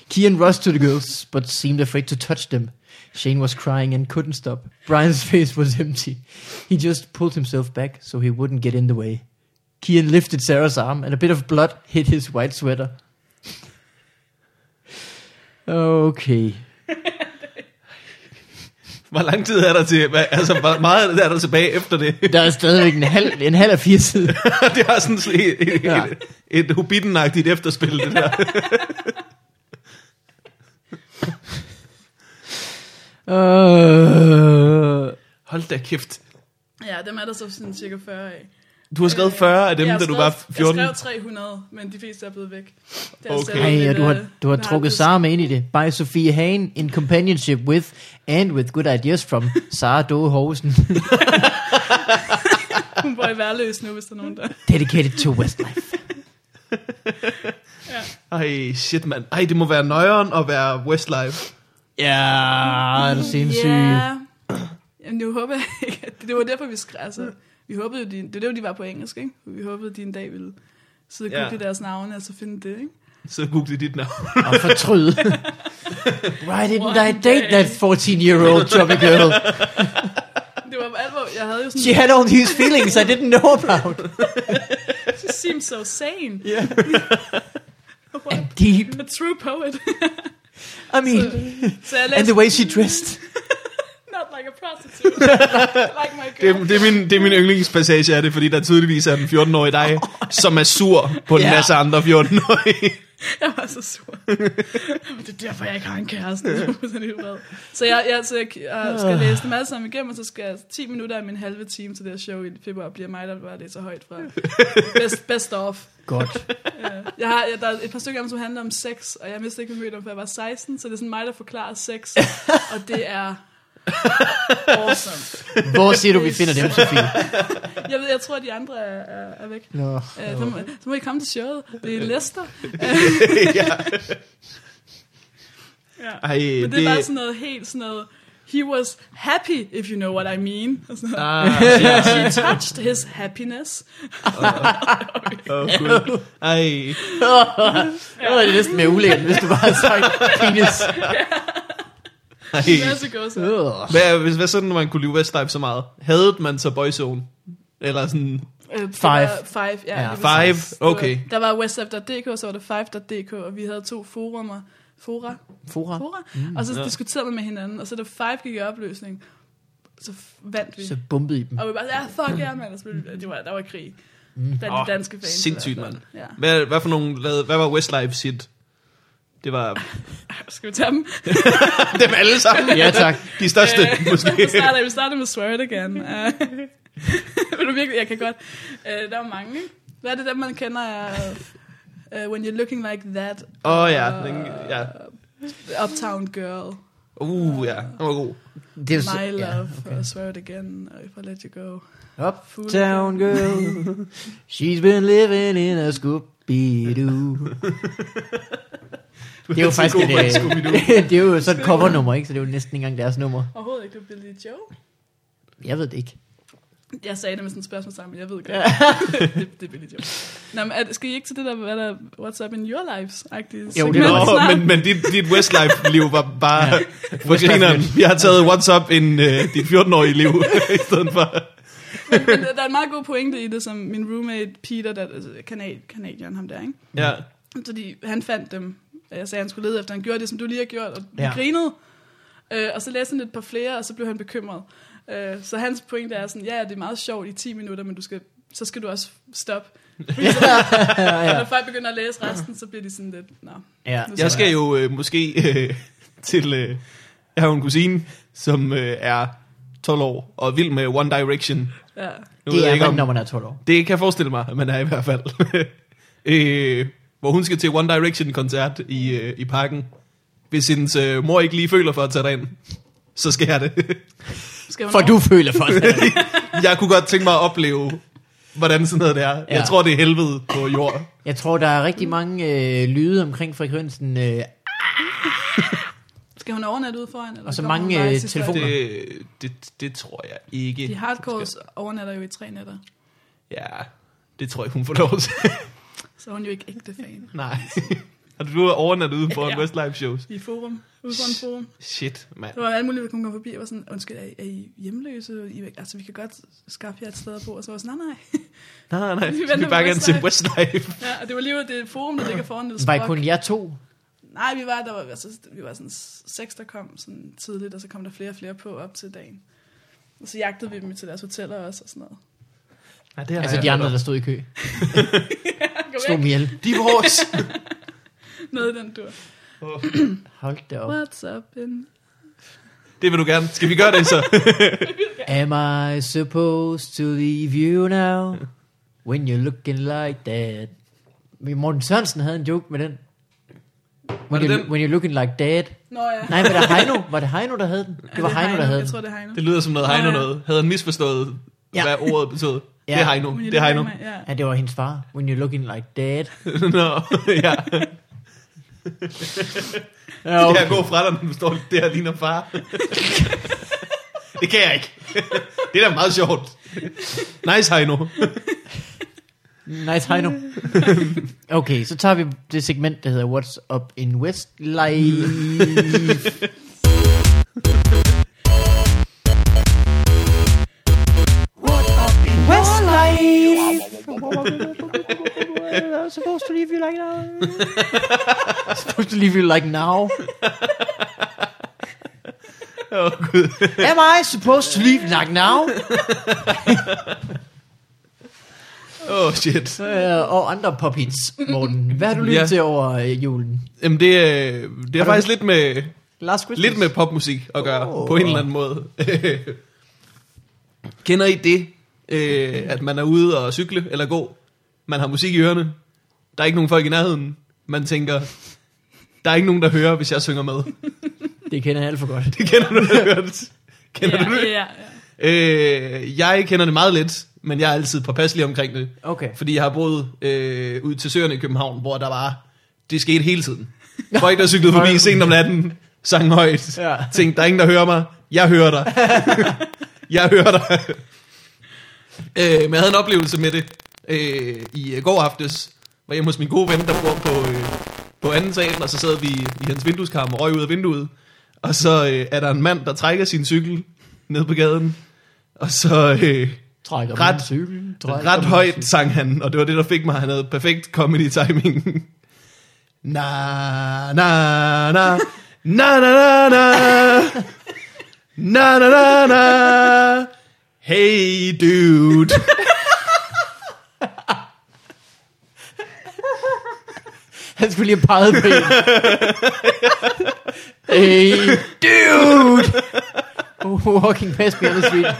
Speaker 2: Kian rushed to the girls, but seemed afraid to touch them. Shane was crying and couldn't stop. Brian's face was empty. He just pulled himself back so he wouldn't get in the way. Kian lifted Sarah's arm, and a bit of blood hit his white sweater. Okay.
Speaker 1: Hvor lang tid er der til? Hva- Altså, hvor meget er der tilbage efter det?
Speaker 2: Der er stadigvæk en halv, en halv af fire sider.
Speaker 1: det har sådan et, et,
Speaker 2: Ja.
Speaker 1: et, et hobbiten-agtigt efterspil, det der.
Speaker 2: Uh,
Speaker 1: Hold da kæft.
Speaker 3: Ja, dem er der så sådan cirka 40 af.
Speaker 1: Du har skrevet 40 af dem,
Speaker 3: Jeg har
Speaker 1: da du
Speaker 3: skrevet-
Speaker 1: var 14.
Speaker 3: Jeg skrev 300, men de fleste er blevet væk. Det er
Speaker 1: Okay.
Speaker 3: stadig
Speaker 2: ej,
Speaker 3: lidt,
Speaker 2: og du
Speaker 3: øh,
Speaker 2: har, du har
Speaker 3: lidt
Speaker 2: trukket
Speaker 3: harmløst.
Speaker 2: Sara med ind i det. By Sofie Hagen in companionship with and with good ideas from Sara Doe Hosen.
Speaker 3: Hun bor i værløs nu, hvis der er nogen der.
Speaker 2: Dedicated to Westlife.
Speaker 1: Ej, shit, mand. Ej, det må være nøjeren at være Westlife.
Speaker 2: Ja, er du sindssyg. Yeah.
Speaker 3: Ja. Jamen, nu håber jeg ikke. at- Det var derfor, vi skrev. Altså, vi håbede jo, de, det var det, de var på engelsk, ikke? Vi håbede, de en dag ville sidde og
Speaker 1: Ja.
Speaker 3: google deres navne, og så finde det, ikke?
Speaker 1: Så google dit navn.
Speaker 2: Og fortryd. Why didn't I
Speaker 3: One
Speaker 2: date
Speaker 3: day.
Speaker 2: that 14-year-old chubby girl?
Speaker 3: Det var alvor. Jeg havde jo sådan...
Speaker 2: She had all these feelings I didn't know about.
Speaker 3: She seems so sane.
Speaker 1: Ja.
Speaker 3: What
Speaker 2: And deep.
Speaker 3: a true poet.
Speaker 2: I mean,
Speaker 3: så jeg
Speaker 2: and
Speaker 3: læste,
Speaker 2: the way she dressed.
Speaker 3: not like a prostitute. like my
Speaker 1: Det,
Speaker 3: girl.
Speaker 1: er- det, er min, det er min yndlingspassage af det, fordi der tydeligvis er den 14-årige dig, som er sur på en
Speaker 2: Ja.
Speaker 1: masse andre 14-årige.
Speaker 3: Jeg var så sur. Men det er derfor, jeg ikke har en kæreste. Det er fuldstændig vred. så jeg, jeg, så jeg øh, skal læse dem alle sammen igennem, og så skal jeg 10 minutter af min halve time til det her show i februar bliver mig, der bare læser højt fra. Best, best of.
Speaker 2: Godt.
Speaker 3: Ja. Jeg har, jeg, der er et par stykker af dem, som handler om sex, og jeg mistede ikke min møde om, for jeg var 16, så det er sådan mig, der forklarer sex, og det er awesome.
Speaker 2: Hvor siger du, vi finder dem, Sofie?
Speaker 3: Jeg, ved, jeg tror, at de andre er, er, er væk.
Speaker 2: Nå.
Speaker 3: Øh, så, må, så må I komme til showet. Det er Lester.
Speaker 1: ja.
Speaker 3: Ja.
Speaker 1: Ej,
Speaker 3: Men det, det var sådan noget helt sådan noget, he was happy, if you know what I mean. Og sådan noget.
Speaker 1: Ah,
Speaker 3: She touched his happiness.
Speaker 1: oh, cool. Ej.
Speaker 2: Det var det næsten mere ulækkert, hvis du bare havde sagt penis.
Speaker 3: Det er
Speaker 1: Ej.
Speaker 3: så godt så.
Speaker 2: Ugh.
Speaker 1: Hvad, hvis, hvad sådan, når man kunne lide Westlife så meget? Havde man så Boyzone? Eller sådan...
Speaker 3: Øh, det
Speaker 2: Five.
Speaker 3: var Five, ja.
Speaker 2: Ja.
Speaker 3: lige
Speaker 1: Five,
Speaker 3: præcis. Det var-
Speaker 1: okay.
Speaker 3: Der var westlife.dk, og så var der five.dk, og vi havde to forumer. Fora?
Speaker 2: Fora.
Speaker 3: Fora? Og så
Speaker 1: Mm. Ja.
Speaker 3: diskuterede man med hinanden, og så da five gik i opløsning, så f- vandt vi.
Speaker 2: Så bumpede I dem.
Speaker 3: Og vi bare, ja, fuck ja, mand. Og så blev det- Det var, der var krig.
Speaker 2: Mm.
Speaker 3: Der er
Speaker 1: Åh,
Speaker 3: de danske fans.
Speaker 1: sindssygt,
Speaker 3: i hvert fald. Ja.
Speaker 1: Hvad, hvad for nogle... Lavede, hvad var Westlife sit? Det var
Speaker 3: Skal vi tage dem?
Speaker 1: dem alle sammen.
Speaker 2: Ja, tak.
Speaker 1: De største,
Speaker 3: Øh, Vi
Speaker 1: måske.
Speaker 3: starter, vi starter med Swear It Again. Øh, Vil du virkelig? Jeg kan godt. Øh, der er mange, ikke? Hvad er det, der man kender? er, øh, when You're Looking Like That.
Speaker 1: Åh oh, ja,
Speaker 3: og
Speaker 1: den, ja.
Speaker 3: The Uptown Girl.
Speaker 1: Uh, ja, den var god.
Speaker 2: Det er jo så-
Speaker 3: My Love.
Speaker 2: ja, okay.
Speaker 3: Og Swear It Again. Og If I Let You Go.
Speaker 2: Uptown girl. She's been living in a Scooby-Doo. Det er jo faktisk et,
Speaker 1: god,
Speaker 2: øh, det er jo sådan et covernummer, ikke? Så det er jo næsten ikke engang deres nummer.
Speaker 3: Overhovedet ikke, du Billy Joe.
Speaker 2: Jeg ved det ikke.
Speaker 3: Jeg sagde det med sådan et spørgsmål sammen, men jeg ved godt. det, det er Billy Joe. Nå, men er, det- skal I ikke til det der, hvad der, what's up in your lives-agtigt?
Speaker 2: Jo, det
Speaker 1: Nå,
Speaker 2: var-
Speaker 1: men, men dit, dit Westlife-liv var bare...
Speaker 2: Ja.
Speaker 1: Ja. For grineren. Jeg har taget WhatsApp en uh, dit 14-årige liv, i stedet for...
Speaker 3: Men der er en meget god pointe i det, som min roommate Peter, der altså, kanad, kanadieren, ham der, ikke?
Speaker 1: Ja.
Speaker 3: Fordi han fandt dem, og jeg sagde, at han skulle lede efter, han gjorde det, som du lige har gjort, og
Speaker 2: Ja.
Speaker 3: vi ja. grinede. Øh, og så læste han et par flere, og så blev han bekymret. Øh, så hans pointe er sådan, ja, ja, det er meget sjovt i 10 minutter, men du skal, så skal du også stoppe.
Speaker 2: Ja,
Speaker 3: Og
Speaker 2: ja.
Speaker 3: når folk begynder at læse resten, så bliver de sådan lidt, nå.
Speaker 2: ja.
Speaker 3: nu
Speaker 1: Jeg
Speaker 3: stopper
Speaker 1: skal jo øh, måske øh, til... Øh, jeg har jo en kusine, som øh, er 12 år og vild med One Direction. Nu
Speaker 3: Ja.
Speaker 2: Det
Speaker 1: ved jeg
Speaker 2: er
Speaker 1: ikke,
Speaker 2: man,
Speaker 1: om,
Speaker 2: når man er 12 år.
Speaker 1: det kan jeg forestille mig, at man er i hvert fald. øh, hvor hun skal til One Direction-koncert i, øh, i parken. Hvis hendes øh, mor ikke lige føler for at tage dig ind, så skal jeg det.
Speaker 3: Skal hun
Speaker 2: For
Speaker 3: over?
Speaker 2: du føler for det.
Speaker 1: jeg kunne godt tænke mig at opleve, hvordan sådan noget det er. Ja.
Speaker 2: Ja.
Speaker 1: Jeg tror, det er helvede på jord.
Speaker 2: Jeg tror, der er rigtig mange øh, lyde omkring frekvensen, øh,
Speaker 3: Skal hun overnatte ude foran? Eller
Speaker 2: Og så
Speaker 3: kommer
Speaker 2: mange,
Speaker 3: hun bare
Speaker 2: øh,
Speaker 3: i sidste øjeblik?
Speaker 2: telefoner.
Speaker 1: Det, det, det tror jeg ikke.
Speaker 3: De hardcores overnatter jo i tre nætter,
Speaker 1: Ja, det tror jeg ikke, hun får lov til.
Speaker 3: så er hun jo ikke ægte fan.
Speaker 1: Nej. Har du overnattet ude for ja.
Speaker 3: Ja.
Speaker 1: en Westlife shows?
Speaker 3: I forum. Ude foran forum.
Speaker 1: Shit, mand.
Speaker 3: Der var alt muligt, vi kunne komme forbi og var sådan, undskyld, er I, er I hjemløse? I, altså, vi kan godt skaffe jer et sted at bo. Og så var jeg sådan, nej, nej.
Speaker 1: Nej, nej, nej.
Speaker 3: Vi
Speaker 1: Vi
Speaker 3: venter
Speaker 1: vil bare
Speaker 3: på
Speaker 1: gerne se Westlife.
Speaker 3: Ja, og det var lige ud af det forum, der ligger foran det
Speaker 2: var
Speaker 3: sprog.
Speaker 2: I kun jer to.
Speaker 3: nej, vi var, der var, altså, vi var sådan seks, der kom sådan tidligt, og så kom der flere og flere på op til dagen. Og så jagtede vi dem til deres hoteller også og sådan noget.
Speaker 1: Ja, det har
Speaker 2: Altså
Speaker 1: jeg
Speaker 2: de
Speaker 1: hørt
Speaker 2: andre,
Speaker 1: om.
Speaker 2: der stod i kø. Slog
Speaker 3: Kom
Speaker 2: dem
Speaker 3: væk.
Speaker 2: ihjel.
Speaker 1: De er vores.
Speaker 3: Noget i den dur.
Speaker 2: Hold da op.
Speaker 3: What's up, in?
Speaker 1: det vil du gerne. Skal vi gøre det så?
Speaker 2: Am I supposed to leave you now? When you're looking like that. Men Morten Sørensen havde en joke med den.
Speaker 1: Var
Speaker 2: When,
Speaker 1: det
Speaker 2: you,
Speaker 1: den?
Speaker 2: when you're looking like that.
Speaker 3: Nå ja.
Speaker 2: Nej, var det Heino? Var det Heino, der havde den?
Speaker 3: Ja,
Speaker 2: Det var
Speaker 3: er
Speaker 2: Heino, der havde
Speaker 3: Jeg
Speaker 2: den.
Speaker 3: tror, det er Heino.
Speaker 1: Det lyder som noget
Speaker 3: Nå,
Speaker 1: Heino
Speaker 3: ja.
Speaker 1: noget. Havde han misforstået,
Speaker 2: Ja.
Speaker 1: hvad ordet betød?
Speaker 2: Ja.
Speaker 1: Det er Heino.
Speaker 3: Men jeg
Speaker 1: Det er
Speaker 3: lige
Speaker 1: Heino.
Speaker 3: med, Ja.
Speaker 2: Ja, det var hendes far. When you're looking like that.
Speaker 1: Nå, ja.
Speaker 2: Ja,
Speaker 1: Det kan jeg gå fra dig, når du står det her ligner far. det kan jeg ikke. det er da meget sjovt. Nice, Heino.
Speaker 2: Nice Heino. Okay, så tager vi det segment, der hedder What's Up in Westlife.
Speaker 4: What up in
Speaker 2: Westlife! supposed to leave you like now. supposed to leave you like now.
Speaker 1: Åh, Gud.
Speaker 2: Am I supposed to leave like now?
Speaker 1: Åh, oh, shit.
Speaker 2: Uh, og andre pop hits, Morten. Hvad har du lyttet
Speaker 1: Ja.
Speaker 2: yeah. til over øh, julen?
Speaker 1: Jamen, det, øh, det er
Speaker 2: du-
Speaker 1: faktisk lidt med,
Speaker 2: Last Christmas?
Speaker 1: lidt med popmusik at gøre,
Speaker 2: Åh.
Speaker 1: oh. på en eller anden måde. Kender I det, øh, at man er ude og cykle eller gå? Man har musik i ørerne. Der er ikke nogen folk i nærheden. Man tænker, der er ikke nogen, der hører, hvis jeg synger med.
Speaker 2: Det kender jeg alt for godt.
Speaker 1: Det kender du da godt. Kender
Speaker 3: Ja,
Speaker 1: du det?
Speaker 3: ja, ja.
Speaker 1: Øh, jeg kender det meget lidt, men jeg er altid påpasselig omkring det.
Speaker 2: Okay.
Speaker 1: Fordi jeg har boet øh, ud til søerne i København, hvor der var, det skete hele tiden. Folk, der cyklede forbi sent om natten, sang højt,
Speaker 2: Ja.
Speaker 1: ja. tænkte, der er ingen, der hører mig. Jeg hører dig. jeg hører dig. øh, men jeg havde en oplevelse med det øh, i øh, går aftes, var hjemme hos min gode ven, der bor på, øh, på anden salen, og så sad vi i hans vindueskarm og røg ud af vinduet. Og så øh, er der en mand, der trækker sin cykel ned på gaden, og så... Øh,
Speaker 2: Trækker
Speaker 1: Ret-
Speaker 2: min cykel. trækker
Speaker 1: Ret
Speaker 2: min
Speaker 1: højt sang han, og det var det, der fik mig. Han havde perfekt comedy timing. Na, na, na, na, na, na, na, na, na, na, na, hey dude.
Speaker 2: Han skulle lige have peget på en. hey, dude! Uh, Walking past me on the street.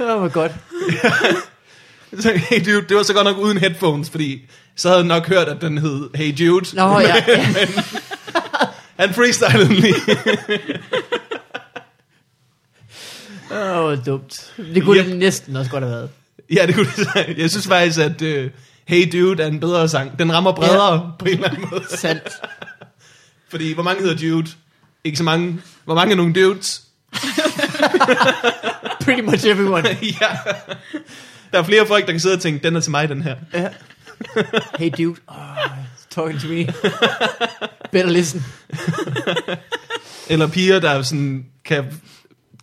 Speaker 2: Åh, oh, hvor godt.
Speaker 1: Så, hey dude, det var så godt nok uden headphones, fordi så havde jeg nok hørt, at den hed Hey Jude.
Speaker 2: Nå, ja.
Speaker 1: Han freestylede den lige.
Speaker 2: Åh, oh, dumt. Det kunne
Speaker 1: Yep.
Speaker 2: det næsten også godt have været.
Speaker 1: Ja, det kunne det. Jeg synes faktisk, at øh, Hey Dude er en bedre sang. Den rammer bredere på en eller anden måde.
Speaker 2: Sandt.
Speaker 1: Fordi, hvor mange hedder Dude? Ikke så mange. Hvor mange er nogle dudes?
Speaker 2: Pretty much everyone.
Speaker 1: ja. Der er flere folk, der kan sidde og tænke, den er til mig, den her.
Speaker 2: Hey, dude. Oh, talking to me. Better listen.
Speaker 1: Eller piger, der sådan kan,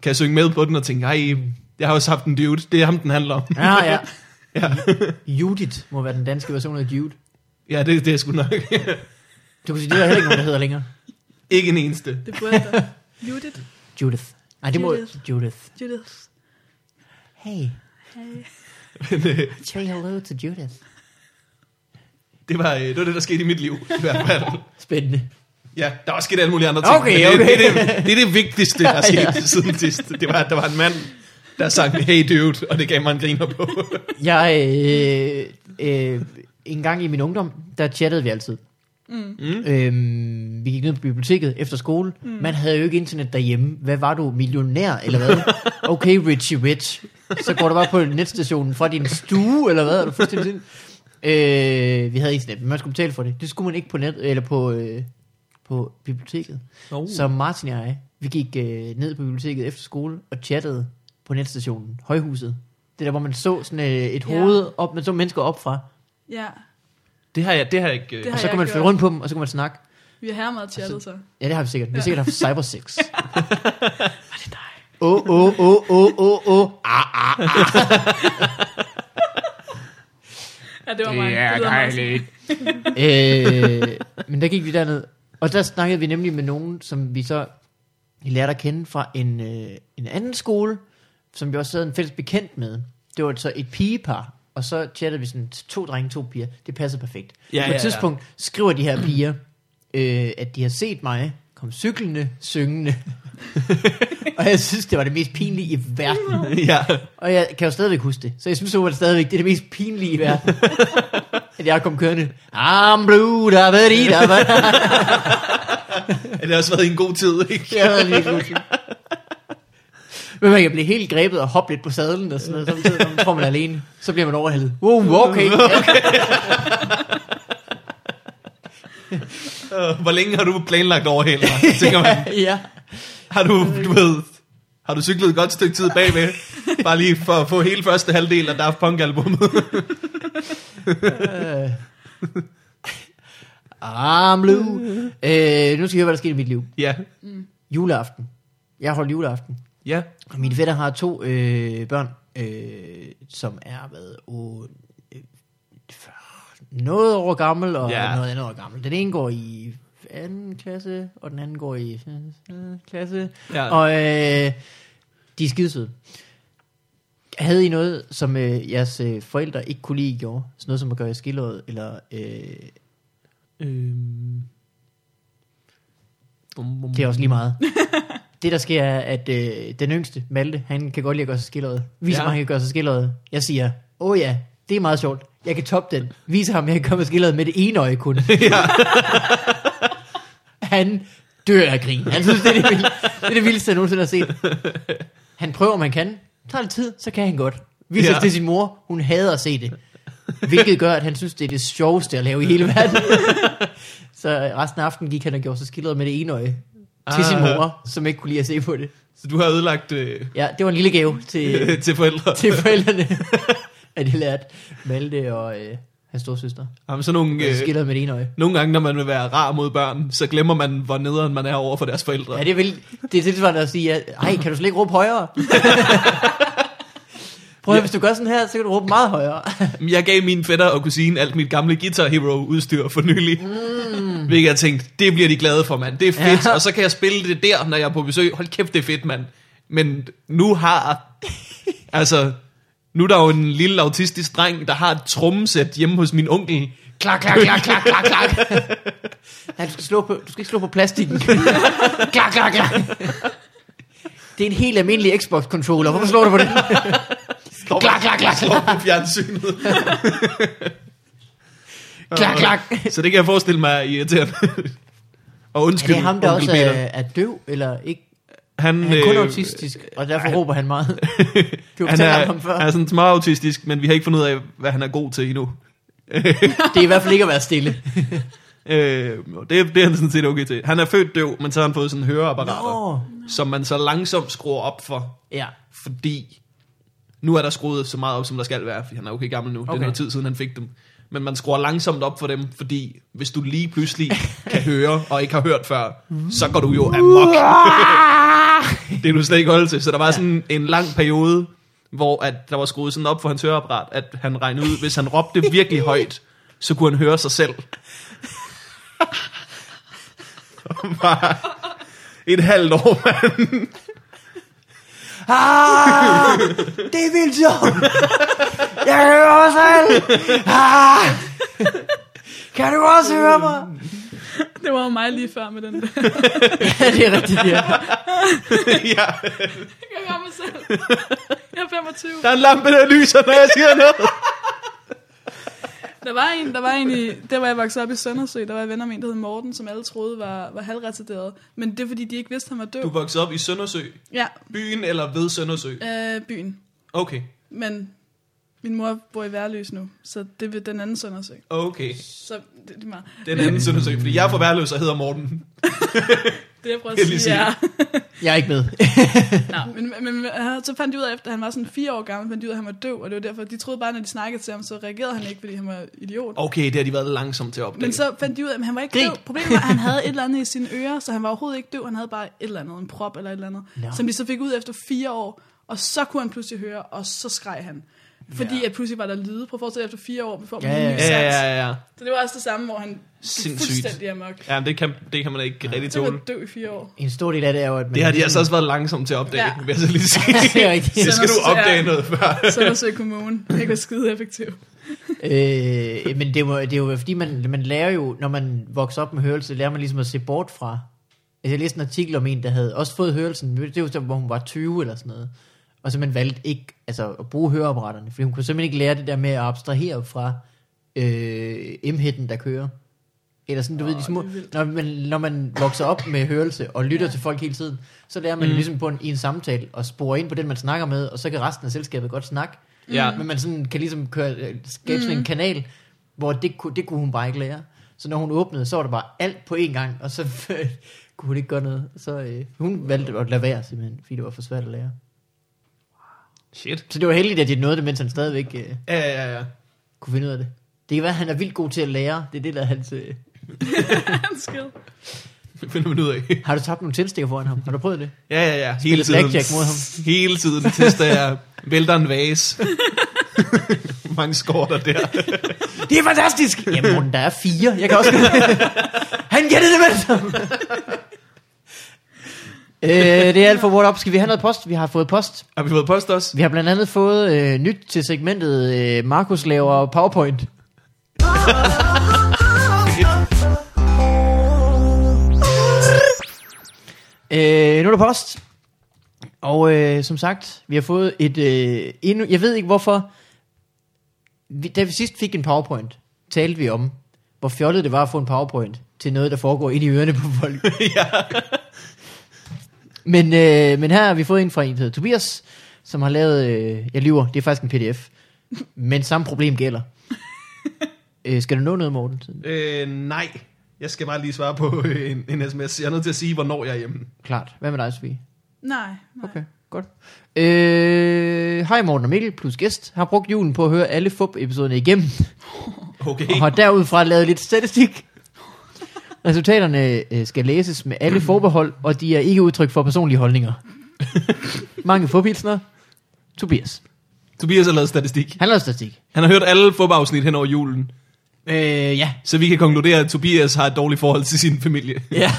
Speaker 1: kan synge med på den og tænke, ej, jeg har også haft en dude. Det er ham, den handler om.
Speaker 2: Ja, ja.
Speaker 1: ja.
Speaker 2: Judith må være den danske version af Jude.
Speaker 1: ja, det, det er sgu nok.
Speaker 2: Du kan sige, det er der heller ikke nogen, der hedder længere.
Speaker 1: Ikke en eneste.
Speaker 3: Det burde der. Judith.
Speaker 2: Judith. Nej, det må...
Speaker 3: Judith.
Speaker 2: Judith.
Speaker 3: Judith.
Speaker 2: Hey,
Speaker 3: Hey.
Speaker 1: Men, øh,
Speaker 2: say hello to Judith.
Speaker 1: det, var, øh, det var det, der skete i mit liv, i hvert fald.
Speaker 2: Spændende.
Speaker 1: Ja, der er også sket alle mulige andre ting.
Speaker 2: Okay,
Speaker 1: men det,
Speaker 2: okay.
Speaker 1: Det, er det, det er det vigtigste, der er sket
Speaker 2: Ja.
Speaker 1: ja. siden sidst. Det var, at der var en mand, der sang, hey dude, og det gav mig en griner på.
Speaker 2: Jeg, øh, øh, en gang i min ungdom, der chattede vi altid. Mm. Øhm, vi gik ned på biblioteket efter skole. Mm. Man havde jo ikke internet derhjemme. Hvad var du, millionær eller hvad? Okay, Richie Rich. Så går du bare på netstationen fra din stue eller hvad? Er du fuldstændig sindssyg? øh, vi havde internet, men man skulle betale for det. Det skulle man ikke på net eller på, øh, på biblioteket.
Speaker 3: Uh.
Speaker 1: Oh.
Speaker 2: Så Martin og jeg, vi gik øh, ned på biblioteket efter skole og chattede på netstationen, Højhuset. Det der, hvor man så sådan øh, et
Speaker 3: Ja.
Speaker 2: hoved op, man så mennesker op fra,
Speaker 3: Ja,
Speaker 1: Det har jeg, det har jeg ikke... øh-
Speaker 3: Det
Speaker 2: og
Speaker 3: har
Speaker 2: så
Speaker 3: jeg
Speaker 2: kunne man
Speaker 3: gjort.
Speaker 2: flytte rundt på dem, og så kunne man snakke.
Speaker 3: vi har her meget chattet så.
Speaker 2: Ja, det har vi sikkert. Vi har
Speaker 3: Ja.
Speaker 2: sikkert haft cybersex.
Speaker 3: Var det dig?
Speaker 2: Åh, åh, åh, åh, åh, åh.
Speaker 3: Ja, det var mig. Det lyder meget sådan.
Speaker 2: Øh, Men der gik vi derned, og der snakkede vi nemlig med nogen, som vi så lærte at kende fra en, øh, en anden skole, som vi også havde en fælles bekendt med. Det var så et pigepar, og så chattede vi sådan, to drenge, to piger, det passer perfekt.
Speaker 5: Ja,
Speaker 2: På
Speaker 5: ja,
Speaker 2: et
Speaker 5: ja.
Speaker 2: tidspunkt skriver de her piger, øh, at de har set mig komme cyklende, syngende. og jeg synes, det var det mest pinlige i verden.
Speaker 5: ja.
Speaker 2: Og jeg kan jo stadigvæk huske det. Så jeg synes, det var stadigvæk det, er det mest pinlige i verden. at jeg kom kørende. I'm blue, da ved de, da ved
Speaker 1: Det har også været en god tid, ikke?
Speaker 2: Det var lige pludselig. Men man kan blive helt grebet og hoppe lidt på sadlen og sådan noget. Samtidig, når man tror, man er alene, så bliver man overhældet. Wow, okay.
Speaker 1: Øh, Hvor længe har du planlagt overhæld? Tænker man,
Speaker 2: ja.
Speaker 1: har du, du ved, har du cyklet et godt stykke tid bagved? Bare lige for at få hele første halvdel af Daft Punk-albummet.
Speaker 2: Øh. I'm blue. Øh, nu skal jeg høre, hvad der skete i mit liv.
Speaker 1: ja,
Speaker 2: Juleaften. Jeg holdt juleaften.
Speaker 1: ja.
Speaker 2: Og mine fætter har to øh, børn, øh, som er hvad, åh, øh, noget år gammel og
Speaker 1: Ja.
Speaker 2: yeah. noget andet år gammel. Den ene går i anden klasse, og den anden går i øh, øh, klasse.
Speaker 1: Ja.
Speaker 2: Og øh, de er skidesøde. Havde I noget, som øh, jeres øh, forældre ikke kunne lide, I gjorde? Sådan noget som at gøre i skilleret, eller... Øh,
Speaker 1: Øhm. Bum, bum.
Speaker 2: Det er også lige meget. det, der sker, er, at øh, den yngste, Malte, han kan godt lide at gøre sig skildret. Vis
Speaker 1: Ja.
Speaker 2: ja. mig, han kan gøre sig skildret. Jeg siger, åh oh, ja, det er meget sjovt. Jeg kan toppe den. Vis ham, jeg kan gøre mig skildret med det ene øje kun. han dør af grin. Han synes, det er det, vildt, det, er det vildeste, jeg nogensinde har set. Han prøver, om han kan. Det tager lidt tid, så kan han godt. Viser
Speaker 1: Ja.
Speaker 2: ja. til sin mor, hun hader at se det. Hvilket gør, at han synes, det er det sjoveste at lave i hele verden. så resten af aftenen gik han og gjorde sig skildret med det ene øje. Til sin
Speaker 1: Ah.
Speaker 2: mor, som ikke kunne lide at se på det.
Speaker 1: Så du har ødelagt øh,
Speaker 2: Ja, det var en lille gave til,
Speaker 1: til forældre.
Speaker 2: Øh. til forældrene, at de lærte Malte og øh, hans storsøster.
Speaker 1: Jamen, sådan nogle,
Speaker 2: Øh.
Speaker 1: øh,
Speaker 2: Skildret med det ene øje.
Speaker 1: nogle gange, når man vil være rar mod børn, så glemmer man, hvor nederen man er over for deres forældre.
Speaker 2: Ja, det er, vel, det er tilsvarende at sige, at, ej, kan du slet ikke råbe højere? Prøv at, ja. hvis du gør sådan her, så kan du råbe meget højere.
Speaker 1: Jamen, Jeg gav mine fætter og kusine alt mit gamle Guitar Hero udstyr for nylig. Mm. Hvilket jeg tænkte, det bliver de glade for, mand. Det er fedt, ja.
Speaker 2: Ja.
Speaker 1: og så kan jeg spille det der, når jeg er på besøg. Hold kæft, det er fedt, mand. Men nu har... altså, nu er der jo en lille autistisk dreng, der har et trommesæt hjemme hos min onkel.
Speaker 2: klak, klak, klak, klak, klak, klak. Nej, du skal, slå på, du skal ikke slå på plastikken. klak, klak, klak. Det er en helt almindelig Xbox-controller. Hvorfor slår du på den?
Speaker 1: Står
Speaker 2: klak, klak, klak,
Speaker 1: slår på fjernsynet.
Speaker 2: klak, klak.
Speaker 1: så det kan jeg forestille mig er irriterende. og
Speaker 2: Er
Speaker 1: undskyld,
Speaker 2: det ham, der
Speaker 1: onkel
Speaker 2: også
Speaker 1: Peter.
Speaker 2: er, er døv, eller ikke?
Speaker 1: Han,
Speaker 2: Han er kun
Speaker 1: øh,
Speaker 2: autistisk, og derfor råber han meget. Du
Speaker 1: Han
Speaker 2: fortalte
Speaker 1: er,
Speaker 2: om ham før.
Speaker 1: er sådan meget autistisk, men vi har ikke fundet ud af, hvad han er god til endnu.
Speaker 2: Det er i hvert fald ikke at være stille.
Speaker 1: Øh, og det, det er han sådan set okay til. Han er født døv, men så har han fået sådan en høreapparater,
Speaker 2: Nå.
Speaker 1: som man så langsomt skruer op for,
Speaker 2: Ja.
Speaker 1: fordi nu er der skruet så meget op, som der skal være, fordi han er okay gammel nu. Okay. Det er
Speaker 2: Okay.
Speaker 1: noget tid siden, han fik dem. Men man skruer langsomt op for dem, fordi hvis du lige pludselig kan høre, og ikke har hørt før, så går du jo amok. det kan du slet ikke holde til. Så der var sådan en lang periode, hvor at der var skruet sådan op for hans høreapparat, at han regnede ud, hvis han råbte virkelig højt, så kunne han høre sig selv. Bare et halvt år, mand.
Speaker 2: Ah, det er vildt sjovt. Jeg hører også alt. Ah, kan du også høre mig?
Speaker 3: Det var jo mig lige før med den der.
Speaker 2: Ja, det er rigtigt, ja.
Speaker 1: ja.
Speaker 3: Jeg kan høre mig selv. Jeg er 25.
Speaker 1: Der er en lampe, der lyser, når jeg siger noget.
Speaker 3: Der var en, der var en i, der var jeg vokset op i Søndersø, der var jeg venner med en, der hed Morten, som alle troede var, var halvretarderet. Men det er fordi, de ikke vidste, han var død.
Speaker 1: Du voksede op i Søndersø.
Speaker 3: Ja,
Speaker 1: Byen eller ved Søndersø?
Speaker 3: øh, byen.
Speaker 1: Okay.
Speaker 3: Men min mor bor i Værløs nu, så det vil den anden Søndersø.
Speaker 1: Okay.
Speaker 3: Så det, det er meget.
Speaker 1: Den anden Søndersø, fordi jeg er fra Værløs og hedder Morten.
Speaker 3: Det jeg prøver
Speaker 1: Jeg
Speaker 3: at
Speaker 1: vil
Speaker 3: sige, er...
Speaker 2: Jeg er ikke med.
Speaker 3: Nå, men, men, men han- så fandt de ud af, efter han var sådan fire år gammel, fandt de ud af, at han var død, og det var derfor, de troede bare, når de snakkede til ham, så reagerede han ikke, fordi han var idiot.
Speaker 1: Okay, det har de været langsomt til at opdage.
Speaker 3: Men så fandt de ud af, at han var ikke
Speaker 2: Grin.
Speaker 3: død. Problemet var, at han havde et eller andet i sine ører, så han var overhovedet ikke død. Han havde bare et eller andet, en prop eller et eller andet,
Speaker 2: Nå.
Speaker 3: som de så fik ud efter fire år. Og så kunne han pludselig høre, og så skreg han. Fordi
Speaker 1: Ja.
Speaker 3: ja. at pludselig var der lyde. Prøv at forestille dig, efter fire år, vi får
Speaker 2: Ja,
Speaker 3: ja, ja,
Speaker 2: ja,
Speaker 3: ja.
Speaker 1: Ja, ja, ja, ja.
Speaker 3: Så det var også det samme, hvor han gik
Speaker 1: Sindssygt.
Speaker 3: fuldstændig amok.
Speaker 1: ja men det, kan, det kan man ikke rigtig
Speaker 3: Så var
Speaker 1: tåle.
Speaker 3: død i fire år.
Speaker 2: En stor del af det er jo, at man...
Speaker 1: Det har de altså også været langsomme til at opdage, ja.
Speaker 3: Ja.
Speaker 1: vil jeg så lige sige.
Speaker 2: det er rigtigt.
Speaker 1: Det skal du opdage noget før.
Speaker 3: Søndersø Kommune. Det kan være skide effektiv.
Speaker 2: øh, men det er, jo, det er jo fordi, man, man lærer jo, når man vokser op med hørelse, lærer man ligesom at se bort fra. Altså, jeg læste en artikel om en, der havde også fået hørelsen, men det var der, hvor hun var 20 eller sådan noget. Og så man valgte ikke altså, at bruge høreapparaterne, fordi hun kunne simpelthen ikke lære det der med at abstrahere fra øh, emheden, der kører. Eller sådan, du oh, ved, de små, når man, når man vokser op med hørelse og lytter ja. til folk hele tiden, så lærer man mm. ligesom på en, i en samtale at spore ind på den, man snakker med, og så kan resten af selskabet godt snakke.
Speaker 1: Ja.
Speaker 2: Men man sådan kan ligesom køre, øh, skabe sådan en kanal, hvor det, kunne- det kunne hun bare ikke lære. Så når hun åbnede, så var det bare alt på én gang, og så kunne hun ikke gøre noget. Så øh, hun valgte at lade være simpelthen, fordi det var for svært at lære.
Speaker 1: Shit.
Speaker 2: Så det var heldigt, at de nåede det, mens han stadigvæk øh,
Speaker 1: Ja, ja, ja.
Speaker 2: kunne finde ud af det. Det kan være, at han er vildt god til at lære. Det er det, der er hans... Øh.
Speaker 3: Han skid.
Speaker 1: Det finder man ud af.
Speaker 2: Har du tabt nogle tændstikker foran ham? Har du prøvet det?
Speaker 1: Ja, ja, ja. Hele
Speaker 2: Spille
Speaker 1: tiden.
Speaker 2: blackjack mod ham.
Speaker 1: Hele tiden tester jeg. Vælter en vase. Mange skorter der.
Speaker 2: Det er fantastisk! Jamen, Morten, der er fire. Jeg kan også... Han gættede det med sammen. øh, det er alt for What Up. Skal vi have noget post? Vi har fået post.
Speaker 1: Har vi fået post også?
Speaker 2: Vi har blandt andet fået øh, nyt til segmentet øh, Markus laver PowerPoint. Øh, nu er der post. Og øh, som sagt, vi har fået et... Øh, endnu, jeg ved ikke hvorfor... Vi, da vi sidst fik en PowerPoint, talte vi om, hvor fjollet det var at få en PowerPoint til noget, der foregår ind i ørerne på folk.
Speaker 1: ja.
Speaker 2: Men, øh, men her har vi fået en fra en, der hedder Tobias, som har lavet, øh, jeg lyver, det er faktisk en pdf, men samme problem gælder. øh, skal du nå noget, Morten?
Speaker 1: Øh, nej. Jeg skal bare lige svare på øh, en, en sms. Jeg er nødt til at sige, hvornår jeg er hjemme.
Speaker 2: Klart. Hvad med dig, Sofie?
Speaker 3: Nej, nej.
Speaker 2: Okay, godt. Øh, Hej Morten og Mikkel, plus gæst, har brugt julen på at høre alle FUP-episoderne igennem,
Speaker 1: Okay.
Speaker 2: og har derudfra lavet lidt statistik. Resultaterne øh, skal læses med alle forbehold, og de er ikke udtryk for personlige holdninger. Mange forbilsner. Tobias.
Speaker 1: Tobias har lavet statistik.
Speaker 2: Han lavede statistik.
Speaker 1: Han har hørt alle fodboldafsnit hen over julen.
Speaker 2: Øh, ja,
Speaker 1: Så vi kan konkludere, at Tobias har et dårligt forhold til sin familie.
Speaker 2: Ja.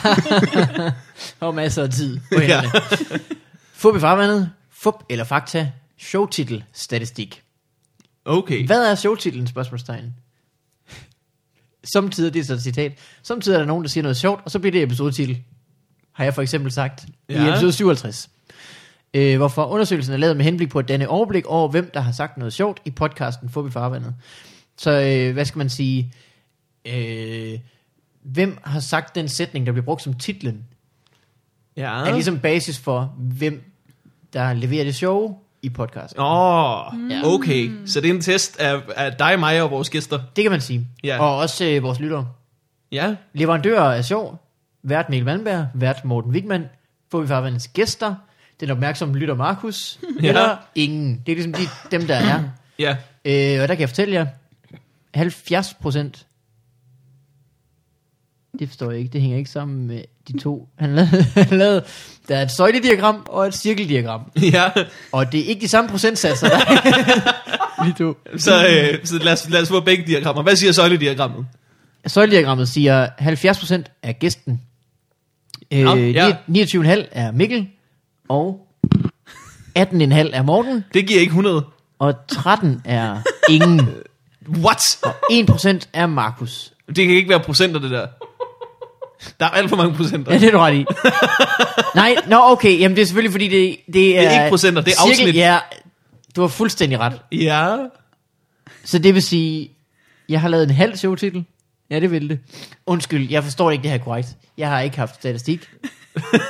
Speaker 2: og masser af tid på hænderne. Ja. Fup i farvandet. Fup eller fakta. Showtitel. Statistik.
Speaker 1: Okay.
Speaker 2: Hvad er showtitlen? Spørgsmålstegn. Samtidig, det er så et citat, samtidig er der nogen, der siger noget sjovt, og så bliver det episodetitel. Har jeg for eksempel sagt ja. i
Speaker 1: Ja.
Speaker 2: episode 57. Øh, hvorfor undersøgelsen er lavet med henblik på at danne overblik over, hvem der har sagt noget sjovt i podcasten Fup i farvandet. Så øh, hvad skal man sige? Øh, hvem har sagt den sætning, der bliver brugt som titlen
Speaker 1: Ja.
Speaker 2: er ligesom basis for, hvem der leverer det sjove i podcasten.
Speaker 1: Åh, oh, okay. Så det er en test af, af dig, mig og vores gæster.
Speaker 2: Det kan man sige.
Speaker 1: Ja.
Speaker 2: Og også øh, vores lyttere.
Speaker 1: Ja.
Speaker 2: Leverandører er sjov. Vært Mikkel Malmberg. Vært Morten Wigman. Får vi farvandets gæster. Den opmærksomme lytter Markus.
Speaker 1: Ja.
Speaker 2: Eller ingen. Det er ligesom de, dem, der er.
Speaker 1: Ja.
Speaker 2: øh, og der kan jeg fortælle jer, 70 procent. Det forstår jeg ikke. Det hænger ikke sammen med de to. Han lavede, han lavede, der er et søjlediagram og et cirkeldiagram.
Speaker 1: Ja.
Speaker 2: Og det er ikke de samme procentsatser, der er. Lige to.
Speaker 1: Så, øh, så lad, os, lad os få begge diagrammer. Hvad siger søjlediagrammet?
Speaker 2: Søjlediagrammet siger, 70% er gæsten, øh,
Speaker 1: Nå,
Speaker 2: ja.
Speaker 1: ja.
Speaker 2: 29,5 er Mikkel, og 18,5 er Morten,
Speaker 1: Det giver ikke 100.
Speaker 2: og 13 er ingen.
Speaker 1: What?
Speaker 2: 1% er Markus.
Speaker 1: Det kan ikke være procenter, det der. Der er alt for mange procenter.
Speaker 2: Ja, det er du ret i. Nej, nå okay, jamen det er selvfølgelig fordi det, det er...
Speaker 1: er ikke procenter, det er
Speaker 2: cirkel-
Speaker 1: afsnit.
Speaker 2: Ja, du har fuldstændig ret.
Speaker 1: Ja.
Speaker 2: Så det vil sige, jeg har lavet en halv showtitel. Ja, det ville det. Undskyld, jeg forstår ikke det her korrekt. Jeg har ikke haft statistik. Det,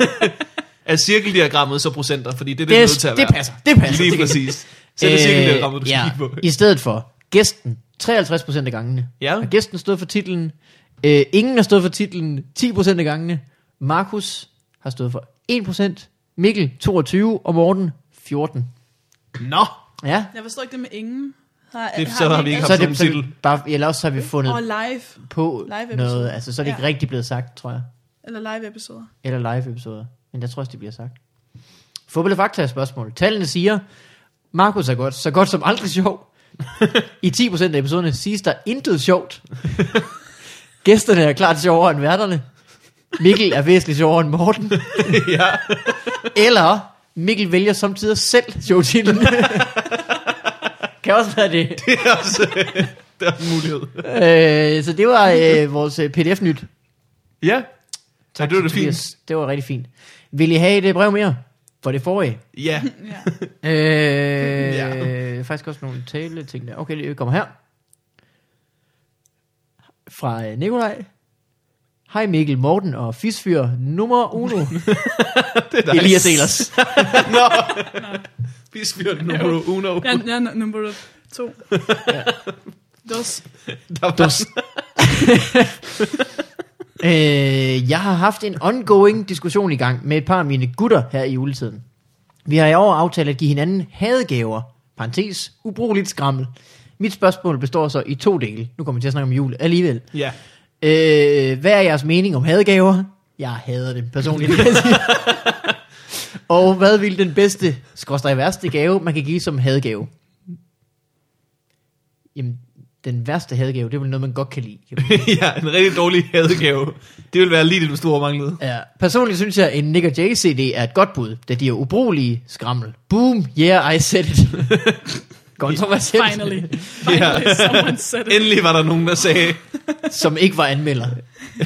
Speaker 1: Er cirkeldiagrammet så procenter? Fordi det er det, det
Speaker 2: det,
Speaker 1: nødt til at
Speaker 2: det
Speaker 1: være.
Speaker 2: passer, det passer.
Speaker 1: Lige
Speaker 2: det Øh,
Speaker 1: præcis. Så er det cirkeldiagrammet, du skal
Speaker 2: ja,
Speaker 1: kigge på.
Speaker 2: I stedet for gæsten, 53% af gangene.
Speaker 1: Ja.
Speaker 2: Og gæsten stod for titlen. Øh, ingen har stået for titlen 10% af gangene. Markus har stået for 1%. Mikkel 22 og Morten 14.
Speaker 1: Nå.
Speaker 2: Ja.
Speaker 3: Jeg forstår ikke det med ingen. Har,
Speaker 1: Det- så har vi ikke
Speaker 2: Så er
Speaker 1: Som
Speaker 2: det, så er det
Speaker 1: titel.
Speaker 2: bare, eller også har vi fundet
Speaker 3: Og live.
Speaker 2: på
Speaker 3: live-episode.
Speaker 2: noget. Altså, så er det ikke
Speaker 3: Ja.
Speaker 2: rigtig blevet sagt, tror jeg.
Speaker 3: Eller live episoder.
Speaker 2: Eller live-episoder. Men jeg tror også, det bliver sagt. Fodbold og fakta er spørgsmål. Tallene siger, Markus er godt, så godt som aldrig sjov. I 10% af episoderne siges der intet sjovt. Gæsterne er klart sjovere end værterne. Mikkel er væsentligt sjovere end Morten.
Speaker 1: ja.
Speaker 2: Eller Mikkel vælger samtidig selv showtitlen. kan også være det.
Speaker 1: Det er også, det er også en mulighed.
Speaker 2: Øh, så det var øh, vores øh, pdf-nyt.
Speaker 1: Ja. Tak, det var det fint.
Speaker 2: Tobias. Det var rigtig fint. Vil I have et øh, brev mere? For det forrige.
Speaker 1: Ja.
Speaker 3: Ja.
Speaker 2: Øh, ja.
Speaker 1: Ja.
Speaker 2: Øh, Faktisk også nogle tale ting der. Okay, det kommer her. Fra øh, Nikolaj. Hej Mikkel Morten og Fisfyr nummer uno.
Speaker 1: Det er nice.
Speaker 2: Elias Elers.
Speaker 1: Nå. Vi spiller nummer uno.
Speaker 3: Jeg, jeg er nu- nummer to. Dos.
Speaker 1: Der var
Speaker 2: Dus. øh, jeg har haft en ongoing diskussion i gang med et par af mine gutter her i juletiden. Vi har i år aftalt at give hinanden hadegaver. Parentes, ubrugeligt skrammel. Mit spørgsmål består så i to dele. Nu kommer vi til at snakke om jul alligevel.
Speaker 1: Ja.
Speaker 2: Øh, hvad er jeres mening om hadegaver? Jeg hader dem personligt. og hvad vil den bedste, skråstrej værste gave, man kan give som hadegave? Jamen, den værste hadegave, det er vel noget, man godt kan lide. kan man sige.
Speaker 1: ja, en rigtig dårlig hadegave. Det ville være lige det, du stod og manglede.
Speaker 2: ja. Personligt synes jeg, en Nick og Jay CD er et godt bud, da de er ubrugelige skrammel. Boom, yeah, I said it. Kontroversielt.
Speaker 3: Finally. Finally, someone said it.
Speaker 1: Endelig var der nogen, der sagde,
Speaker 2: som ikke var anmelder.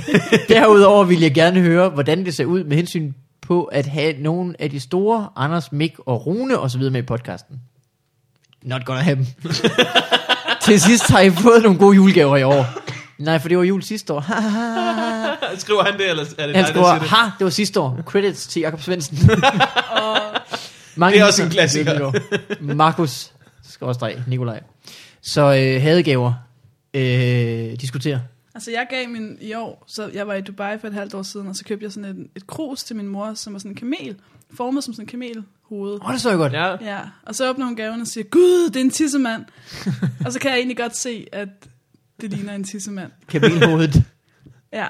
Speaker 2: Derudover vil jeg gerne høre, hvordan det ser ud med hensyn på at have nogen af de store, Anders, Mik og Rune osv. med i podcasten. Not gonna have dem. Til sidst har I fået nogle gode julegaver i år. Nej, for det var jul sidste år.
Speaker 1: skriver han det, eller er det dig,
Speaker 2: Han
Speaker 1: der
Speaker 2: skriver,
Speaker 1: siger det?
Speaker 2: ha, det var sidste år. Credits til Jakob Svendsen. Mange
Speaker 1: Det er også en
Speaker 2: hilsner.
Speaker 1: klassiker.
Speaker 2: Markus, skråstreg, Nikolaj. Så øh, hadegaver. Øh, diskuter.
Speaker 3: Altså, jeg gav min i år, så jeg var i Dubai for et halvt år siden, og så købte jeg sådan et, et krus til min mor, som var sådan en kamel, formet som sådan en kamelhoved.
Speaker 2: Åh, oh, det så jeg godt.
Speaker 1: Ja.
Speaker 3: Ja, og så åbner hun gaven og siger, Gud, det er en tissemand. og så kan jeg egentlig godt se, at det ligner en tissemand.
Speaker 2: Kamelhovedet.
Speaker 3: Ja,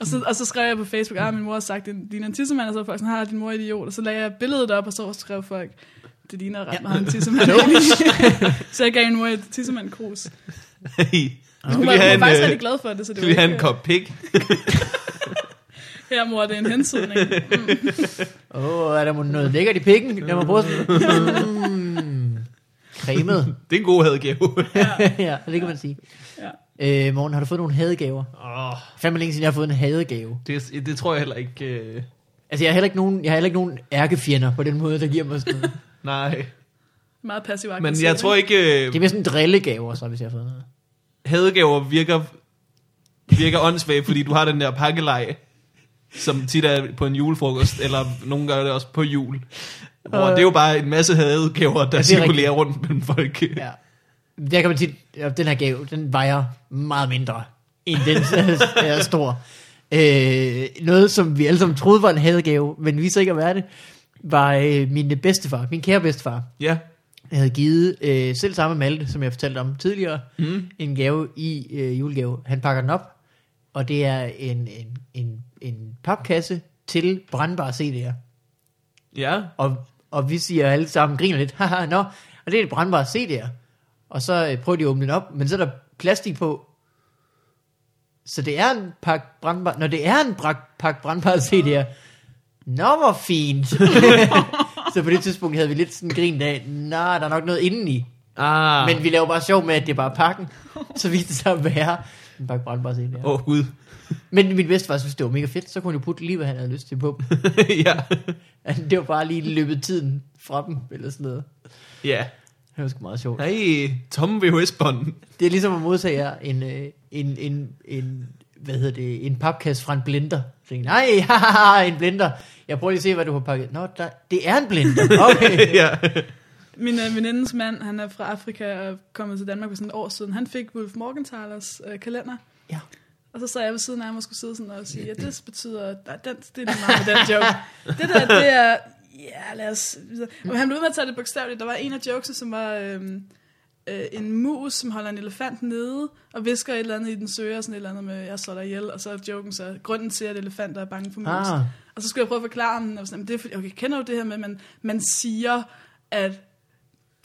Speaker 3: og så, og så skrev jeg på Facebook, at min mor har sagt, det ligner en tissemand, og så var folk sådan, har din mor er idiot, og så lagde jeg billedet op, og så skrev folk, det ligner ret meget en tissemand. så jeg gav min mor et tissemand krus.
Speaker 1: Nu
Speaker 3: Hun
Speaker 1: skal
Speaker 3: var,
Speaker 1: vi have
Speaker 3: hun
Speaker 1: en,
Speaker 3: var faktisk
Speaker 1: øh,
Speaker 3: rigtig glad for det, så det
Speaker 1: skal vi
Speaker 3: var
Speaker 1: have en
Speaker 3: ikke,
Speaker 1: kop pik?
Speaker 3: her mor, det er en hensydning.
Speaker 2: Åh, oh, er der mon noget lækkert i pikken? Lad mig prøve sådan. Mm, cremet.
Speaker 1: Det er en god hadegave.
Speaker 2: ja, det kan man sige.
Speaker 3: Ja.
Speaker 2: Øh, Morgen, har du fået nogle hadegaver?
Speaker 1: Åh,
Speaker 2: Fandme længe siden, jeg har fået en hadegave.
Speaker 1: det, det tror jeg heller ikke. Øh,
Speaker 2: Altså, jeg har heller ikke nogen, jeg har heller ikke nogen ærkefjender på den måde, der giver mig sådan noget.
Speaker 1: nej.
Speaker 3: Meget passiv
Speaker 1: Men jeg tror ikke,
Speaker 2: Det er
Speaker 1: øh,
Speaker 2: mere sådan drillegaver, så hvis jeg har fået noget.
Speaker 1: hadegaver virker, virker åndssvagt, fordi du har den der pakkelej, som tit er på en julefrokost, eller nogen gør det også på jul. Hvor
Speaker 2: Øh.
Speaker 1: det er jo bare en masse hadegaver, der
Speaker 2: er
Speaker 1: ja, cirkulerer rundt mellem folk. Ja.
Speaker 2: Ja. Der kan man sige, at den her gave, den vejer meget mindre, end den er stor. Øh, noget, som vi alle sammen troede var en hadegave, men viste sig ikke at være det, var øh, min bedstefar, min kære bedstefar,
Speaker 1: ja.
Speaker 2: Jeg havde givet øh, selv samme Malte, som jeg fortalte om tidligere, mm. en gave i øh, julegave. Han pakker den op, og det er en, en, en, en papkasse til brandbare CD'er.
Speaker 1: Ja.
Speaker 2: Og, og vi siger alle sammen, griner lidt, haha, nå, og det er et brandbare CD'er. Og så øh, prøver de at åbne den op, men så er der plastik på. Så det er en pakke brandbare, når det er en brak, pakke brandbare CD'er, nå hvor fint. så på det tidspunkt havde vi lidt sådan grint af, nej, der er nok noget indeni.
Speaker 1: Ah.
Speaker 2: Men vi laver bare sjov med, at det er bare pakken. Så viste det sig at være en pakke brandbare CD'er.
Speaker 1: Åh, oh, Gud.
Speaker 2: Men min bedstefar synes, det var mega fedt, så kunne han jo putte lige, hvad han havde lyst til på dem. Altså,
Speaker 1: ja.
Speaker 2: Det var bare lige løbet tiden fra dem, eller sådan noget.
Speaker 1: Ja.
Speaker 2: Det var sgu meget sjovt.
Speaker 1: Nej, tomme VHS-bånd.
Speaker 2: Det er ligesom at modtage jer en, øh, en, en, en, hvad hedder det, en papkasse fra en blender. Så tænkte, jeg, nej, haha, en blender. Jeg prøver lige at se, hvad du har pakket. Nå, der, det er en blender. Okay.
Speaker 1: ja.
Speaker 3: Min øh, venindens mand, han er fra Afrika og kommet til Danmark for sådan et år siden. Han fik Wolf Morgenthalers øh, kalender.
Speaker 2: Ja.
Speaker 3: Og så sad jeg ved siden af ham og skulle sidde sådan og sige, ja, det betyder, nej, den, det er lige meget med den joke. Det der, det er, ja, lad os... videre. Men han blev ved med at tage det bogstaveligt. Der var en af jokesene, som var øhm, øh, en mus, som holder en elefant nede og visker et eller andet i den søger, sådan et eller andet med, jeg slår dig ihjel, og så er joken så, grunden til, at elefanter er bange for mus.
Speaker 2: Ah,
Speaker 3: Og så skulle jeg prøve at forklare ham, og sådan, "Jamen, det er fordi, okay, jeg kender jo det her med, at man, man siger, at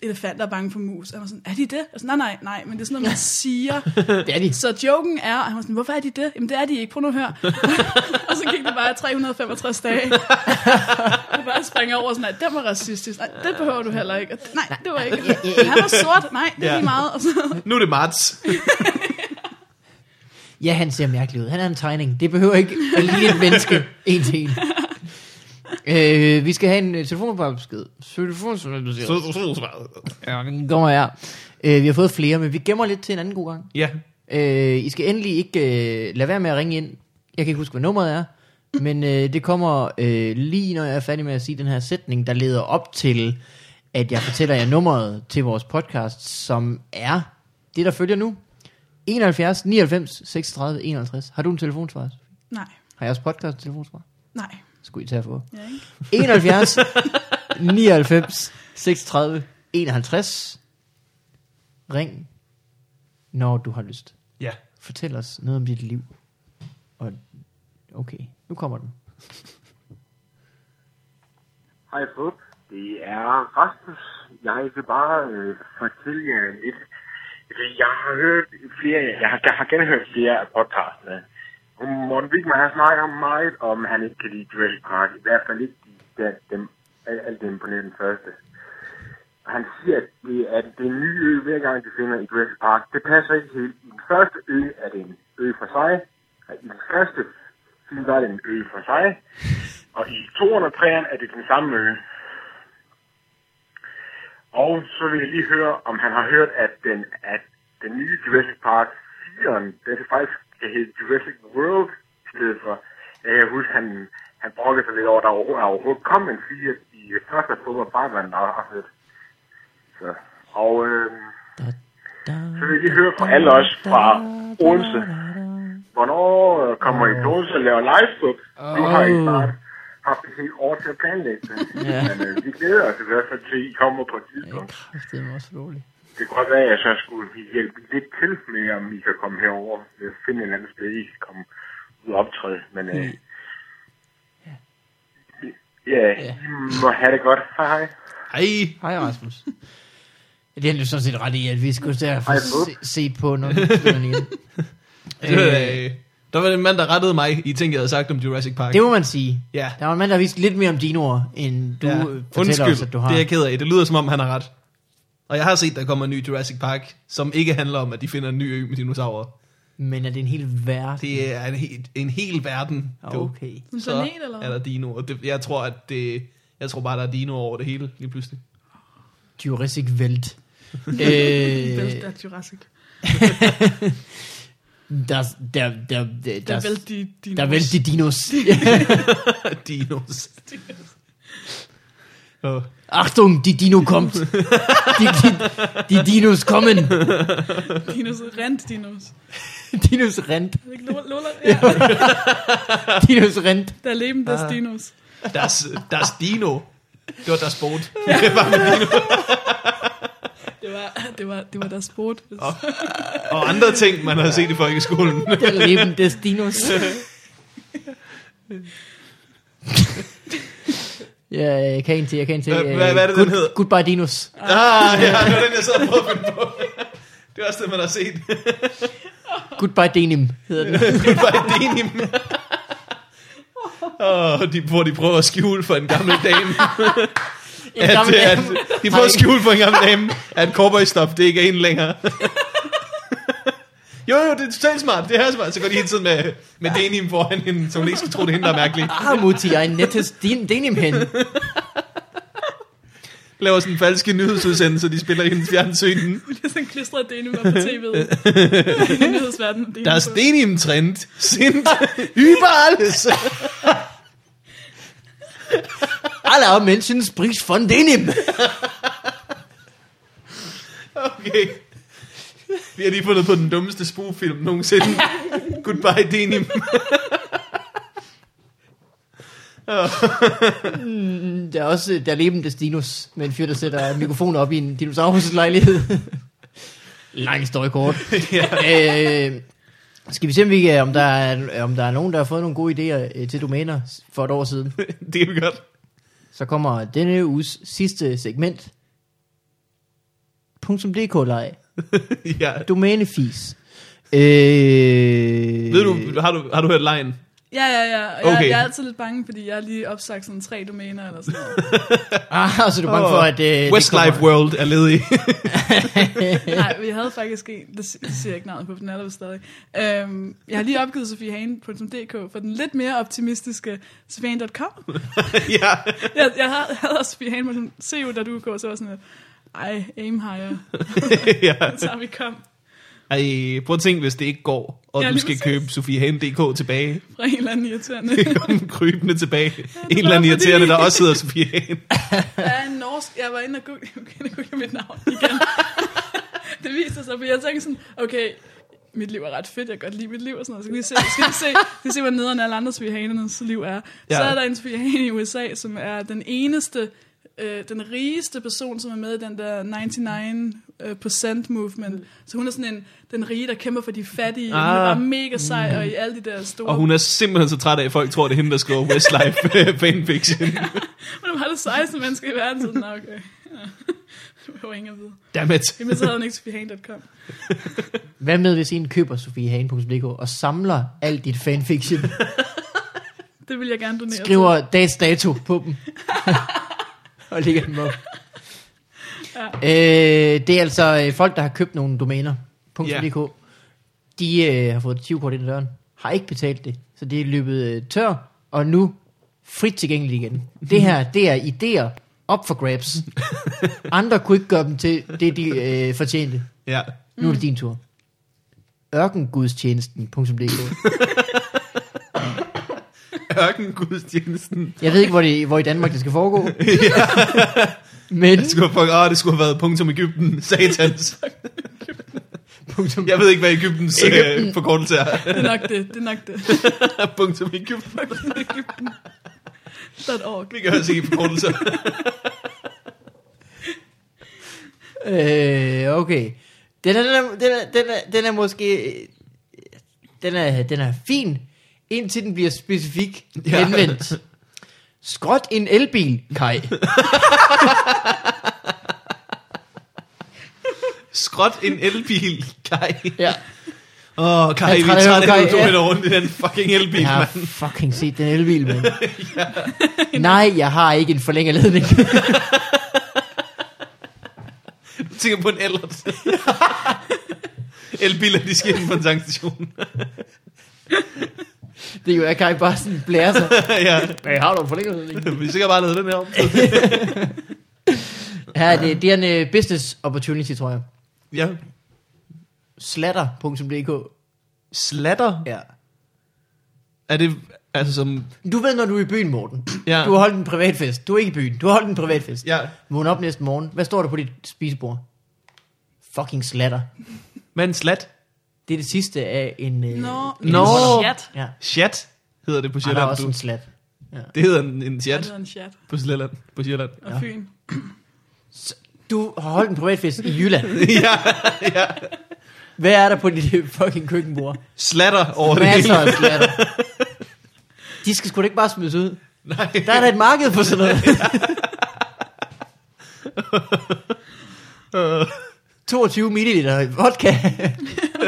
Speaker 3: elefanter er bange for mus. Og han var sådan, er de det? Og sådan, nej, nej, nej, men det er sådan noget, man siger.
Speaker 2: Det er de.
Speaker 3: Så joken er, og han var sådan, hvorfor er de det? Jamen det er de ikke, prøv nu at høre. og så gik det bare 365 dage. og bare springer over sådan, nej, den var racistisk. Nej, det behøver du heller ikke. Og, nej, det var ikke. Han var sort, nej, det er
Speaker 1: Ja.
Speaker 3: lige meget. Og så,
Speaker 1: Nu er det marts.
Speaker 2: Ja, han ser mærkelig ud. Han er en tegning. Det behøver ikke at ligne et menneske en til en. Øh, vi skal have en øh, telefonopbesked. Telefon, som du siger. Ja, den kommer her. Øh, vi har fået flere, men vi gemmer lidt til en anden god gang.
Speaker 1: Ja,
Speaker 2: Øh, I skal endelig ikke øh, lade være med at ringe ind. Jeg kan ikke huske, hvad nummeret er. Men øh, det kommer øh, lige, når jeg er færdig med at sige den her sætning, der leder op til, at jeg fortæller jer nummeret til vores podcast, som er det, der følger nu. 71 99 36 51. Har du en telefonsvarer?
Speaker 3: nej,
Speaker 2: Har jeres podcast en telefonsvarer?
Speaker 3: nej.
Speaker 2: Skulle I tage for?
Speaker 3: Ja, ikke?
Speaker 2: 71 99 36 51. Ring, når du har lyst.
Speaker 1: ja.
Speaker 2: Fortæl os noget om dit liv. Og okay, nu kommer den.
Speaker 5: Hej Bob, det er Rasmus. Jeg vil bare øh, fortælle jer lidt. Fordi Jeg har hørt flere, jeg har, jeg har genhørt flere af podcastene. Og Morten Wigman har snakket meget om, at han ikke kan lide Jurassic Park. I hvert fald ikke de, der, dem, al- alt dem på den første. Og Han siger, at det, at det nye ø, hver gang de finder i Jurassic Park, det passer ikke helt. I den første ø er det en ø for sig. I den første film, der er det en ø for sig. Og i 203'eren er det den samme ø. Og så vil jeg lige høre, om han har hørt, at den, at den nye Jurassic Park 4'eren, den skal faktisk skal hedde Jurassic World i stedet for. Jeg kan huske, han, han brokkede sig lidt over, at der overho- overhovedet kom en 4 i første fodbold, bare man der har hørt. Så, og øh,
Speaker 2: Da, da,
Speaker 5: så vil jeg lige høre fra alle os fra Odense. Hvornår øh, kommer I til Odense og laver live Nu har I snart haft et helt år til at planlægge det.
Speaker 2: Ja.
Speaker 5: Men øh, vi glæder os i hvert fald til, at I kommer på et tidspunkt.
Speaker 2: Det er også roligt.
Speaker 5: Det kan godt være, at jeg så skulle hjælpe lidt til med, om I kan komme herover. Øh, Finde en anden sted, I kan komme ud og optræde. Men øh, ja, I må have det godt. Hej hej.
Speaker 1: Hej.
Speaker 2: Hej Rasmus. Det er han jo sådan set ret i, at vi skulle der få
Speaker 5: Hej, Bob.
Speaker 2: se, set på noget. øh,
Speaker 1: Det var, øh, der var en mand, der rettede mig i ting, jeg havde sagt om Jurassic Park.
Speaker 2: det må man sige.
Speaker 1: Ja.
Speaker 2: Der var en mand, der vidste lidt mere om dinoer, end du ja. fortæller
Speaker 1: Undskyld,
Speaker 2: os, at du har.
Speaker 1: det er jeg ked af. Det lyder, som om han har ret. Og jeg har set, der kommer en ny Jurassic Park, som ikke handler om, at de finder en ny ø med dinosaurer.
Speaker 2: Men er det en hel verden?
Speaker 1: Det er en, he- en hel verden. du.
Speaker 2: Okay.
Speaker 3: En planet, eller hvad?
Speaker 1: er der dinoer. Det, jeg tror, at det, jeg tror bare, der er dinoer over det hele lige pludselig.
Speaker 2: Jurassic Øh, Welt.
Speaker 3: Bælt
Speaker 2: øh,
Speaker 3: af Jurassic.
Speaker 2: der, der, der, der,
Speaker 3: Der
Speaker 2: der,
Speaker 3: vælte de, de
Speaker 2: der vælte de dinos.
Speaker 1: Dinos. Åh.
Speaker 2: Achtung, die Dino kommt. Die, die, die Dinos kommen.
Speaker 3: dinos. Rent dinos.
Speaker 2: Dinos rennt.
Speaker 3: Er det ikke Lola? Lola? Ja,
Speaker 2: Dinos rennt.
Speaker 3: der er leben
Speaker 1: Ah.
Speaker 3: des dinos.
Speaker 1: Deres, deres dino. Det var deres sport.
Speaker 3: Det var, det var, det var deres sport.
Speaker 1: Åh. Og andre ting, man har set i folkeskolen.
Speaker 2: Der Leben des Dinos. Ja, jeg kan en til, jeg kan en til.
Speaker 1: Hvad- hvad- hvad er det, den
Speaker 2: Good-
Speaker 1: hedder?
Speaker 2: Goodbye Dinos.
Speaker 1: Ah, ja, det var den, jeg sad og prøvede at finde på. Det er også det, man har set.
Speaker 2: Goodbye Denim hedder den.
Speaker 1: Det var et denim. Oh, de, hvor de prøver at skjule for en gammel dame.
Speaker 2: En gammel
Speaker 1: at,
Speaker 2: dame.
Speaker 1: At, de prøver at
Speaker 2: Nej.
Speaker 1: skjule for en gammel dame, at cowboystop, det ikke er en længere. Jo, jo, det er totalt smart. Det er smart. Så går de hele tiden med, med denim foran hende, så hun ikke skal tro, det er hende, der er mærkelig.
Speaker 2: Ah, Mutti, jeg er nettes din, denim hen.
Speaker 1: Laver sådan en falske nyhedsudsendelse, de spiller i hendes fjernsyn.
Speaker 3: Det er sådan en klistret denim op på tv'et. I nyhedsverdenen.
Speaker 1: Der er
Speaker 3: denim.
Speaker 1: denim-trend. Sind. Über alles.
Speaker 2: Alle Menschen spricht von Denim.
Speaker 1: Okay. Vi har lige fundet på den dummeste spugfilm nogensinde. Goodbye, denim.
Speaker 2: Der er også øh, Der Leben des Dinos, med en fyr, der sætter mikrofoner op i en dinosaurus lejlighed. Lang historie kort. ja. øh, skal vi se, om, vi, kan- om, der er, om der er nogen, der har fået nogle gode idéer øh, til domæner for et år siden.
Speaker 1: Det er jo godt.
Speaker 2: Så kommer denne uges sidste segment. .dk leg
Speaker 1: ja.
Speaker 2: Domænefis. Øh, Ved
Speaker 1: Ved du, har du, har du hørt lejen?
Speaker 3: Ja, ja, ja. Og jeg,
Speaker 1: Okay.
Speaker 3: jeg er altid lidt bange, fordi jeg har lige opsagt sådan tre domæner eller sådan noget.
Speaker 2: Ah, så er du bange for, at... Øh, det
Speaker 1: Westlife
Speaker 2: kommer-
Speaker 1: World er ledig.
Speaker 3: Nej, vi havde faktisk en, det si- det siger jeg ikke navnet på, for den er der vist stadig. Øhm, jeg har lige opgivet sofiehane.dk for den lidt mere optimistiske sofiehane.com.
Speaker 1: ja.
Speaker 3: Jeg, jeg havde, havde også sofiehane.co, da du går, så var jeg sådan, øh, ej, aim higher,
Speaker 1: ja.
Speaker 3: så har vi kom
Speaker 1: Ej, prøv at tænke, hvis det ikke går, og
Speaker 3: Ja,
Speaker 1: ja, du
Speaker 3: lige
Speaker 1: skal
Speaker 3: præcis.
Speaker 1: købe sofiehane.dk tilbage.
Speaker 3: fra en eller anden irriterende.
Speaker 1: Kom krybende tilbage. en
Speaker 3: er
Speaker 1: eller anden
Speaker 3: bare fordi-
Speaker 1: irriterende, der også hedder Sofiehane.
Speaker 3: Der er en norsk, jeg var inde og google, jeg var inde og google mit navn igen. det viser sig, for jeg tænkte sådan, okay, mit liv er ret fedt, jeg kan godt lide mit liv og sådan noget. Så kan vi se, skal vi se, skal vi se hvor nederen alle andre svihanernes liv er. Ja. Så
Speaker 1: Ja.
Speaker 3: er der en svihane i USA, som er den eneste, øh, den rigeste person, som er med i den der 99% movement. Så hun er sådan en, den rige, der kæmper for de fattige. Ah. Hun er
Speaker 1: Ah.
Speaker 3: bare mega sej, og i alle de der store...
Speaker 1: Og hun er simpelthen så træt af, at folk tror, det er hende, der skriver Westlife øh, fanfiction.
Speaker 3: hun er bare det sejeste menneske i verden. Sådan, "Nå, okay. Ja. Det var ingen at vide.
Speaker 1: Dammit.
Speaker 3: Jamen, så havde hun ikke sofiehane.com.
Speaker 2: Hvad med, hvis en køber sofiehane.dk og samler alt dit fanfiction,
Speaker 3: Det vil jeg gerne donere
Speaker 2: skriver dags dato på dem, og lægger dem op?
Speaker 3: Ja.
Speaker 2: Øh, det er altså øh, folk, der har købt nogle domæner.
Speaker 1: Ja.
Speaker 2: .dk. De øh, har fået 20 kort ind ad døren, har ikke betalt det, så det er løbet øh, tør, og nu frit tilgængeligt igen. Det her, det er idéer op for grabs. Andre kunne ikke gøre dem til det, de øh, fortjente.
Speaker 1: Ja.
Speaker 2: Nu er det din tur. Ørkengudstjenesten.dk
Speaker 1: Ørkengudstjenesten.
Speaker 2: Jeg ved ikke, hvor, det, hvor i Danmark det skal foregå. Men
Speaker 1: Det skulle, have, fuck, åh, det skulle have været punktum Ægypten, satans. Jeg ved ikke, hvad Ægyptens øh, forkortelse er.
Speaker 3: til. Det er nok det, det er nok det.
Speaker 1: punktum Ægypten.
Speaker 3: Der er et ork.
Speaker 1: Vi kan også ikke forkortelser.
Speaker 2: Øh, okay. Den er, den, er, den, er, den, er, den er måske... øh, Den er, den er fin, indtil den bliver specifik
Speaker 1: Ja.
Speaker 2: ja. anvendt. Skråt en elbil, Kai.
Speaker 1: Skråt en elbil, Kai.
Speaker 2: Ja.
Speaker 1: Åh, oh, Kai,
Speaker 2: Jeg
Speaker 1: vi
Speaker 2: træder
Speaker 1: er trætte af,
Speaker 2: over,
Speaker 1: at du
Speaker 2: Kai, ja.
Speaker 1: ja. rundt i den fucking elbil,
Speaker 2: Jeg
Speaker 1: ja.
Speaker 2: har
Speaker 1: mand.
Speaker 2: fucking set den elbil, mand. Nej, jeg har ikke en forlænget ledning.
Speaker 1: Du tænker på en ellert. Elbiler, de skal ind på en tankstation.
Speaker 2: Det er jo, at Kai bare sådan blærer sig.
Speaker 1: ja,
Speaker 2: Hey, har du en forlænget ledning?
Speaker 1: vi sikkert bare lavet den her om.
Speaker 2: Ja, det, det er en øh, business opportunity, tror jeg.
Speaker 1: ja.
Speaker 2: Slatter.dk
Speaker 1: Slatter?
Speaker 2: Ja.
Speaker 1: Er det, altså som,
Speaker 2: Du ved, når du er i byen, Morten.
Speaker 1: Ja.
Speaker 2: Du har holdt en privatfest. Du er ikke i byen. Du har holdt en privatfest.
Speaker 1: ja,
Speaker 2: Vågn op næste morgen. Hvad står der på dit spisebord? Fucking slatter.
Speaker 1: men slat.
Speaker 2: Det er det sidste af en... Øh...
Speaker 3: Nå,
Speaker 1: Nå.
Speaker 3: en chat.
Speaker 2: Ja.
Speaker 1: Chat hedder det på
Speaker 2: Ej, der er
Speaker 1: Sjælland.
Speaker 2: også
Speaker 1: du.
Speaker 2: en slat.
Speaker 1: Det hedder en, en
Speaker 3: Ja,
Speaker 1: chat
Speaker 3: det er en chat.
Speaker 1: på Sjælland. På Sjælland.
Speaker 3: Og
Speaker 2: Ja.
Speaker 3: Fyn.
Speaker 2: Du har holdt en privatfest i Jylland.
Speaker 1: ja, ja.
Speaker 2: Hvad er der på dit øh, fucking køkkenbord?
Speaker 1: Slatter over det
Speaker 2: Masser
Speaker 1: hele.
Speaker 2: af slatter. De skal sgu da ikke bare smides ud.
Speaker 1: Nej.
Speaker 2: Der er da et marked for sådan noget. 22 ml vodka.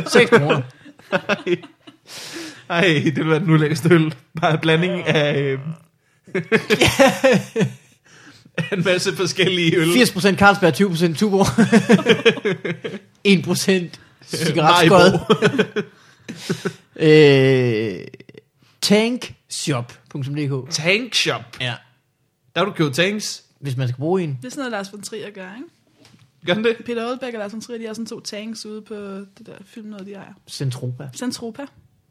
Speaker 2: 6 kroner.
Speaker 1: Ej, det ville være den ulækkeste øl. Bare en blanding af... Øh, af en masse forskellige øl.
Speaker 2: 80% Carlsberg, 20% Tuborg. 1% cigaretskod. øh, tankshop.dk
Speaker 1: Tankshop.
Speaker 2: Ja.
Speaker 1: Der har du købt tanks.
Speaker 2: Hvis man skal bruge en.
Speaker 3: Det er sådan noget, Lars von Trier gør, ikke?
Speaker 1: Gør den det?
Speaker 3: Peter Olbæk og Lars von Trier, de har sådan to tanks ude på det der film, noget de ejer.
Speaker 2: Centropa.
Speaker 3: Centropa.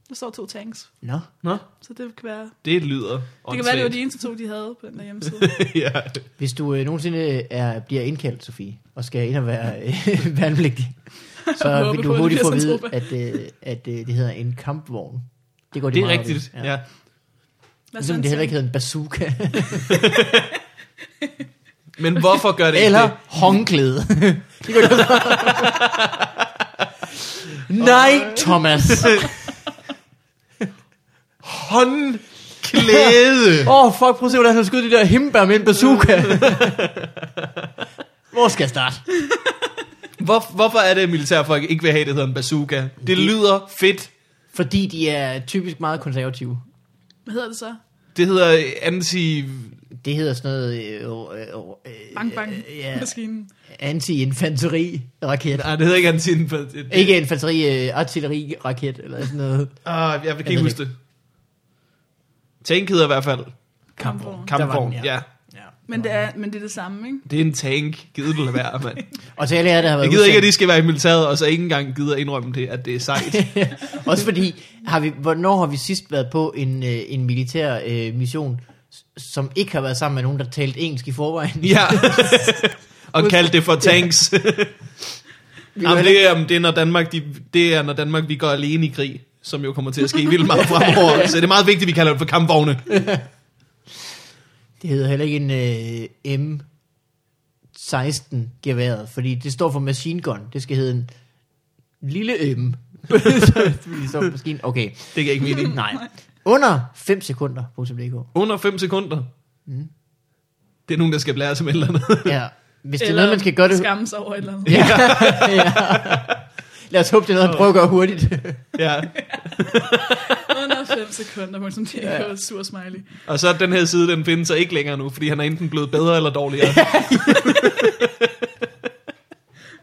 Speaker 3: Der står to tanks.
Speaker 2: Nå.
Speaker 1: Nå,
Speaker 3: Så det kan være...
Speaker 1: det lyder
Speaker 3: Det kan være, det var de eneste to, de havde på den der hjemmeside.
Speaker 1: ja.
Speaker 2: Hvis du øh, nogensinde er, bliver indkaldt, Sofie, og skal ind og være øh, værnepligtig, så
Speaker 3: Håber
Speaker 2: vil
Speaker 3: på,
Speaker 2: du
Speaker 3: at
Speaker 2: hurtigt
Speaker 3: det
Speaker 2: få at vide,
Speaker 3: bliver
Speaker 2: at, øh, at øh, det hedder en kampvogn. Det går de
Speaker 1: Det er
Speaker 2: meget op i.
Speaker 1: rigtigt, ja.
Speaker 2: ja.
Speaker 1: ja.
Speaker 3: Hvad så
Speaker 2: Ligesom
Speaker 3: en
Speaker 2: det heller ikke
Speaker 3: tank?
Speaker 2: hedder en bazooka.
Speaker 1: Men hvorfor gør det ikke
Speaker 2: Eller
Speaker 1: det?
Speaker 2: håndklæde. Det kan du også- Nej, Thomas.
Speaker 1: Håndklæde!
Speaker 2: Åh, oh, fuck, prøv at se, hvordan han skød de der himbær med en bazooka. Hvor skal jeg starte?
Speaker 1: Hvor, hvorfor er det, at militærfolk ikke vil have, det hedder en bazooka? Det lyder fedt.
Speaker 2: Fordi de er typisk meget konservative.
Speaker 3: Hvad hedder det så?
Speaker 1: Det hedder anti...
Speaker 2: Det hedder sådan noget... Øh, øh, øh, øh,
Speaker 3: Bang, bang,
Speaker 2: Ja,
Speaker 3: maskinen.
Speaker 2: anti-infanteri-raket.
Speaker 1: Nej, det hedder ikke anti...
Speaker 2: Ikke infanteri-artilleri-raket, eller sådan noget.
Speaker 1: Ah, jeg kan
Speaker 2: ved
Speaker 1: ikke huske det. Tank hedder i hvert fald.
Speaker 3: Kampvogn.
Speaker 1: Kampvogn,
Speaker 2: den, ja.
Speaker 1: ja.
Speaker 2: Ja.
Speaker 3: Men det, er, men det er det samme, ikke?
Speaker 1: Det er en tank. Gider du lade være, mand.
Speaker 2: Og til alle jer, der har været
Speaker 1: Jeg gider ikke, at
Speaker 2: udsendt-
Speaker 1: de skal være i militæret, og så ikke engang gider indrømme det, at det er sejt.
Speaker 2: Også fordi, har vi, hvornår har vi sidst været på en, øh, en militær øh, mission, s- som ikke har været sammen med nogen, der talte engelsk i forvejen?
Speaker 1: Ja. og kalde det for tanks. Jamen, det, er, det, er, når Danmark, de, det er, når Danmark vi går alene i krig, som jo kommer til at ske vildt meget fremover. Så det er meget vigtigt, at vi kalder det for kampvogne.
Speaker 2: Det hedder heller ikke en øh, M16-geværet, fordi det står for machine gun. Det skal hedde en lille M. Så- fordi det står for machine. Okay,
Speaker 1: Det giver ikke mening.
Speaker 2: nej. Under 5 sekunder, .dk.
Speaker 1: Under 5 sekunder. Det er nogen, der skal blære sig med et eller andet.
Speaker 2: Ja, hvis det er noget, man skal gøre det...
Speaker 3: skamme sig over et eller andet.
Speaker 2: Ja. ja. Lad os håbe, det er noget, man prøver at gøre hurtigt.
Speaker 1: ja.
Speaker 3: Under 5 sekunder, må som de ikke ja. sur smiley.
Speaker 1: Og så er den her side, den findes så ikke længere nu, fordi han er enten blevet bedre eller dårligere.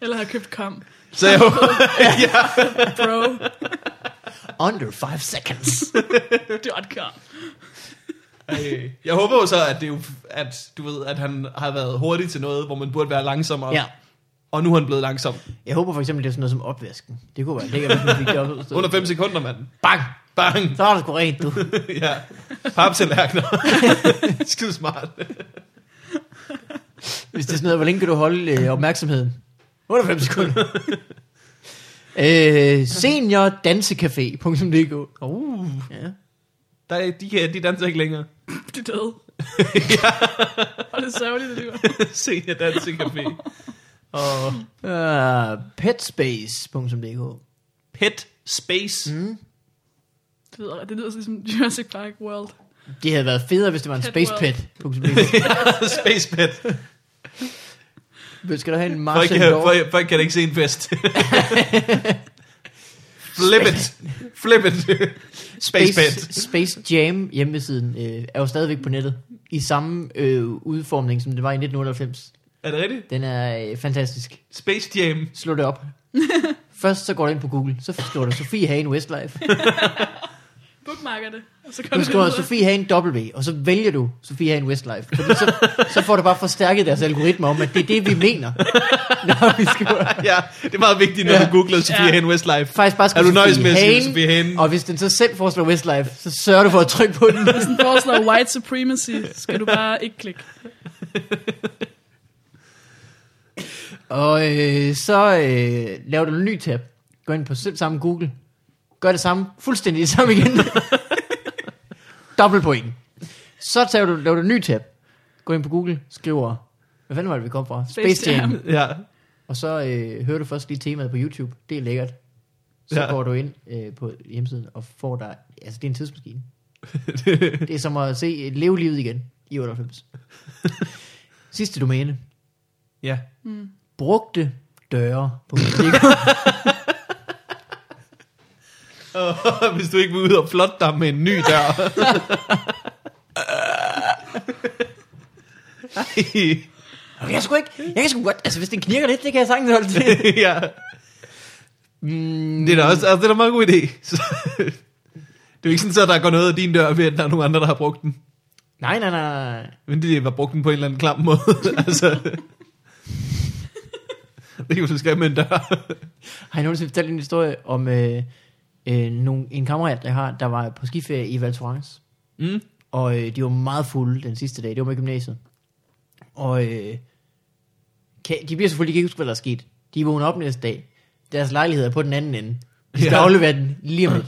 Speaker 3: Eller har købt kom.
Speaker 1: Så jeg håber,
Speaker 3: Bro,
Speaker 2: Under 5 seconds.
Speaker 3: dot com.
Speaker 1: øh, jeg håber jo så, at, det er jo, at, du ved, at han har været hurtig til noget, hvor man burde være langsommere.
Speaker 2: Ja.
Speaker 1: Og nu er han blevet langsom.
Speaker 2: Jeg håber for eksempel, det er sådan noget som opvasken. Det kunne være lækkert, hvis man fik det op.
Speaker 1: Under 5 sekunder, mand.
Speaker 2: Bang!
Speaker 1: Bang!
Speaker 2: Så er det sgu rent, du.
Speaker 1: ja. Paptalærkner. Skide smart.
Speaker 2: Hvis det er sådan noget, hvor længe kan du holde øh, opmærksomheden? 105 sekunder. øh, seniordansecafé.dk
Speaker 1: Uh,
Speaker 2: ja.
Speaker 1: der er, de, kan, de danser ikke længere.
Speaker 3: De er døde. Og det er sørgeligt, det lyder.
Speaker 1: Senior dansecafé. Og
Speaker 2: uh, Petspace.dk
Speaker 1: Pet Space. Mm.
Speaker 3: Det lyder, det lyder ligesom Jurassic Park World.
Speaker 2: Det havde været federe, hvis det var en
Speaker 3: Pet
Speaker 2: spacepet.dk
Speaker 1: Space Pet.
Speaker 2: Skal du have en
Speaker 1: Folk
Speaker 2: Martian
Speaker 1: kan,
Speaker 2: Law?
Speaker 1: folk, folk kan ikke se en fest. Flip it. Flip it. Space Pet.
Speaker 2: Space, Space Jam hjemmesiden øh, er jo stadigvæk på nettet. I samme øh, udformning, som det var i 1998.
Speaker 1: Er det rigtigt?
Speaker 2: Den er øh, fantastisk.
Speaker 1: Space Jam.
Speaker 2: Slå det op. Først så går du ind på Google, så skriver du Sofie Hagen Westlife.
Speaker 3: Bookmarker det. Og så går
Speaker 2: Du
Speaker 3: det
Speaker 2: skriver
Speaker 3: videre.
Speaker 2: Sofie Hagen W, og så vælger du Sofie Hagen Westlife. Fordi så, så får du bare forstærket deres algoritme om, at det er det, vi mener, når vi skriver.
Speaker 1: Ja, det er meget vigtigt, når ja. du googler Sofia ja.
Speaker 3: Ja.
Speaker 1: Hen Westlife.
Speaker 2: Faktisk bare
Speaker 1: Er
Speaker 2: skriver
Speaker 1: du nøjes med
Speaker 2: Sophie
Speaker 1: at sige
Speaker 2: Hagen,
Speaker 1: Sophie Hagen?
Speaker 2: Og hvis den så selv foreslår Westlife, så sørger du for at trykke på den.
Speaker 3: Hvis den foreslår white supremacy, skal du bare ikke klikke.
Speaker 2: Og øh, så øh, laver du en ny tab. Gå ind på selv samme Google. Gør det samme, fuldstændig det samme igen. Dobbelt point. Så tager du, laver du en ny tab. Gå ind på Google, skriver, hvad fanden var det, vi kom fra?
Speaker 3: Space Jam.
Speaker 1: Ja.
Speaker 2: Og så øh, hører du først lige temaet på YouTube. Det er lækkert. Så
Speaker 1: Ja.
Speaker 2: ja. går du ind øh, på hjemmesiden og får dig... Altså, det er en tidsmaskine. det er som at se øh, leve livet igen i 98. Sidste domæne.
Speaker 1: ja.
Speaker 2: Brugte døre. På
Speaker 1: Og hvis du ikke vil ud og flotte dig med en ny dør. Ej.
Speaker 2: jeg kan sgu ikke... Jeg kan sgu godt... Altså, hvis den knirker lidt, det kan jeg sagtens holde til.
Speaker 1: ja. Mm. Det er da også, altså, det er da en meget god idé. Så, det er jo ikke sådan, at der går noget af din dør ved, at der er nogen andre, der har brugt den.
Speaker 2: nej, nej, nej.
Speaker 1: Men det var brugt den på en eller anden klam måde. altså, det er jo, du skal med en dør.
Speaker 2: Har I nogensinde fortalt en historie om øh, øh, nogle, en kammerat, jeg har, der var på skiferie i Val Thorens?
Speaker 1: Mm.
Speaker 2: Og øh, de var meget fulde den sidste dag. Det var med gymnasiet. Og øh, kan, de bliver selvfølgelig de kan ikke huske, hvad der er sket. De vågner op næste dag. Deres lejlighed er på den anden ende. De skal
Speaker 1: Ja.
Speaker 2: ja. aflevere den lige om lidt.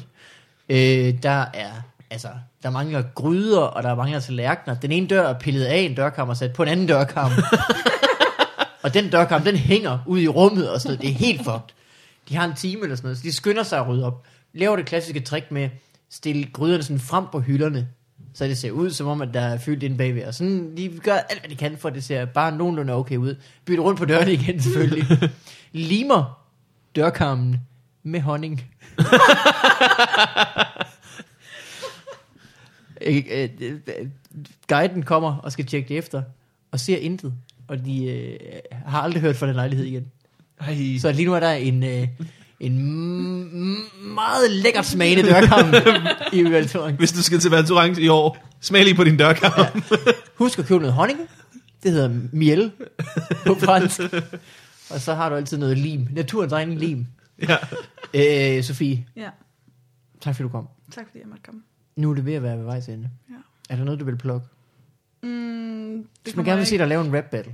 Speaker 2: Øh, der er, altså, der mangler gryder, og der mangler tallerkener. Den ene dør er pillet af en dørkarm og sat på en anden dørkarm. og den dørkarm, den hænger ud i rummet og sådan noget. Det er helt fucked. De har en time eller sådan noget, så de skynder sig at rydde op. Laver det klassiske trick med at stille gryderne sådan frem på hylderne, så det ser ud som om, at der er fyldt ind bagved. Og sådan, de gør alt, hvad de kan for, at det ser bare nogenlunde okay ud. Bytter rundt på dørene igen, selvfølgelig. Limer dørkarmen med honning. Øh, øh, øh, Guiden kommer og skal tjekke det efter, og ser intet. Og de øh, har aldrig hørt fra den lejlighed igen.
Speaker 1: Ej,
Speaker 2: Så lige nu er der en, øh, en m- meget lækkert smagende dørkarm i Valtoren.
Speaker 1: hvis du skal til Valtorans i år, smag lige på din dørkarm. Ja.
Speaker 2: Husk at købe noget honning. Det hedder miel på fransk. Og så har du altid noget lim. Naturens egen lim.
Speaker 1: ja.
Speaker 2: Øh, Sofie,
Speaker 3: Ja,
Speaker 2: tak fordi du kom.
Speaker 3: tak fordi jeg måtte komme.
Speaker 2: Nu er det ved at være ved vejs ende.
Speaker 3: Ja.
Speaker 2: Er der noget, du vil plukke?
Speaker 3: Mm, det
Speaker 2: Hvis man
Speaker 3: kommer
Speaker 2: gerne vil
Speaker 3: jeg
Speaker 2: se dig lave en rap battle.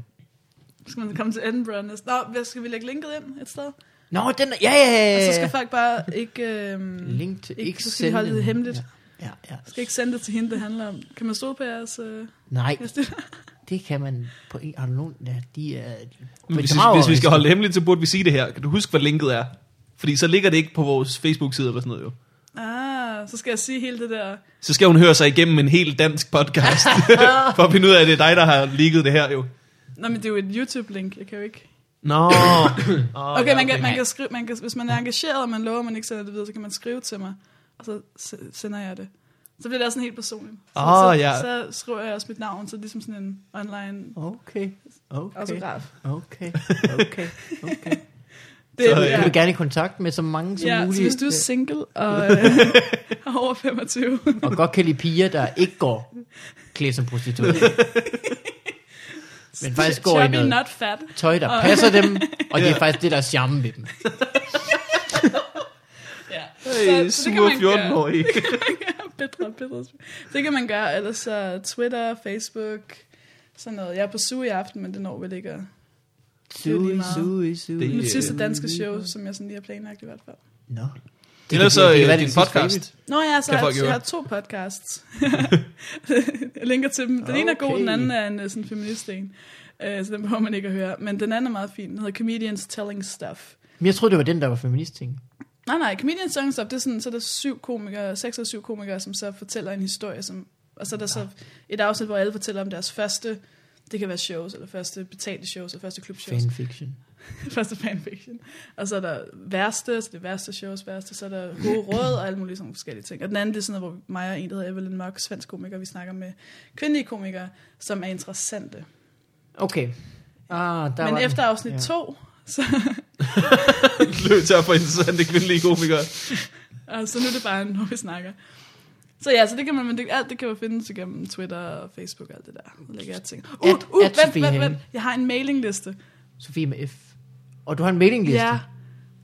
Speaker 3: ikke. Skal man komme til Edinburgh næste? Nå, hvad, skal vi lægge linket ind et sted?
Speaker 2: Nå, den er... Ja, ja, ja,
Speaker 3: Og
Speaker 2: ja.
Speaker 3: så skal folk bare ikke... Øhm,
Speaker 2: Link til ikke
Speaker 3: så skal de holde
Speaker 2: sende-
Speaker 3: det hemmeligt.
Speaker 2: Ja.
Speaker 3: Ja.
Speaker 2: Ja, ja.
Speaker 3: Skal ikke sende det til hende, det handler om. Kan man stå på jeres... Øh,
Speaker 2: Nej,
Speaker 3: jeres det?
Speaker 2: det kan man på en... Har du nogen... Ja, de er...
Speaker 1: Men Hvis,
Speaker 2: bedrager-
Speaker 1: hvis vi skal holde det hemmeligt, så burde vi sige det her. Kan du huske, hvad linket er? Fordi så ligger det ikke på vores Facebook-side eller sådan noget jo.
Speaker 3: Ah, så skal jeg sige hele det der...
Speaker 1: Så skal hun høre sig igennem en helt dansk podcast, for at finde ud af, at det er dig, der har ligget det her jo.
Speaker 3: Nå, men det er jo et YouTube-link, jeg kan jo ikke...
Speaker 1: Nå. Oh,
Speaker 3: Okay, okay, man kan, man kan skrive, man kan, hvis man er engageret, og man lover, at man ikke sender det videre, så kan man skrive til mig, og så se- sender jeg det. Så bliver det også sådan helt personligt. Så,
Speaker 1: Ah,
Speaker 3: så,
Speaker 1: ja.
Speaker 3: så skriver jeg også mit navn, så det er ligesom sådan en online
Speaker 2: Okay, okay,
Speaker 3: autograf.
Speaker 2: okay, okay, okay.
Speaker 3: Det,
Speaker 1: Så,
Speaker 3: så,
Speaker 1: øh,
Speaker 2: Jeg
Speaker 3: ja.
Speaker 2: vil gerne i kontakt med så mange som
Speaker 3: ja,
Speaker 2: muligt.
Speaker 3: så hvis du er single og øh, er over 25,
Speaker 2: øh, Og godt kan lide piger, der ikke går klædt som prostituerede. Men faktisk går i
Speaker 3: chubby
Speaker 2: noget
Speaker 3: not fat.
Speaker 2: tøj, der
Speaker 3: Og-
Speaker 2: passer dem, og det er faktisk det, der er charmen ved dem.
Speaker 3: Ja.
Speaker 1: Hey, sure 14-årig.
Speaker 3: bedre, bedre. Det kan man gøre, ellers så Twitter, Facebook, sådan noget. Jeg er på suge i aften, men det når vel ikke at... Det er lige
Speaker 2: Sui,
Speaker 3: meget.
Speaker 2: sui, sui.
Speaker 1: Det er-
Speaker 3: Mit
Speaker 1: Øh,
Speaker 3: sidste danske show, som jeg sådan lige har planlagt i hvert fald.
Speaker 2: Nå.
Speaker 1: Det er så
Speaker 2: det kan
Speaker 1: øh,
Speaker 2: være
Speaker 1: din
Speaker 2: din sidste
Speaker 1: podcast.
Speaker 3: Nå ja, så
Speaker 1: Kan
Speaker 3: har
Speaker 1: folk
Speaker 3: jeg,
Speaker 1: høre?
Speaker 3: jeg har to podcasts. jeg linker til dem. Den okay. ene er god,
Speaker 2: Okay.
Speaker 3: den anden er en øh, sådan feminist en. Øh, så den behøver man ikke at høre. Men den anden er meget fin. Den hedder Comedians Telling Stuff.
Speaker 2: Men jeg troede, det var den, der var feminist-ting.
Speaker 3: Nej, nej, Comedians Telling Stuff, det er sådan, så er der syv komikere, seks eller syv komikere, som så fortæller en historie, som, og så er der så et afsnit, hvor alle fortæller om deres første, det kan være shows, eller første betalte shows, eller første klubshows.
Speaker 2: Fanfiction.
Speaker 3: Første fanfiction. Og så er der værste, så det er værste shows værste, så er der gode råd og alle mulige sådan nogle forskellige ting. Og den anden, det er sådan noget, hvor mig og en, der hedder Evelyn Mørk, svensk komiker, vi snakker med kvindelige komikere, som er interessante.
Speaker 2: Okay. Ah, der
Speaker 3: Der Men
Speaker 2: var den.
Speaker 3: efter afsnit
Speaker 2: Ja.
Speaker 3: 2, så,
Speaker 1: Løb til at få interessante kvindelige komikere.
Speaker 3: og så Altså, nu er det bare, når vi snakker. Så ja, så det kan man, men det, alt det kan jo findes igennem Twitter og Facebook og alt det der. Så lægger jeg ting. Uh,
Speaker 2: At-
Speaker 3: uh,
Speaker 2: at
Speaker 3: vent,
Speaker 2: Sofie
Speaker 3: vent, vent.
Speaker 2: Hagen.
Speaker 3: Jeg har en mailingliste.
Speaker 2: Sofie med F. Og du har en mailingliste.
Speaker 3: Ja.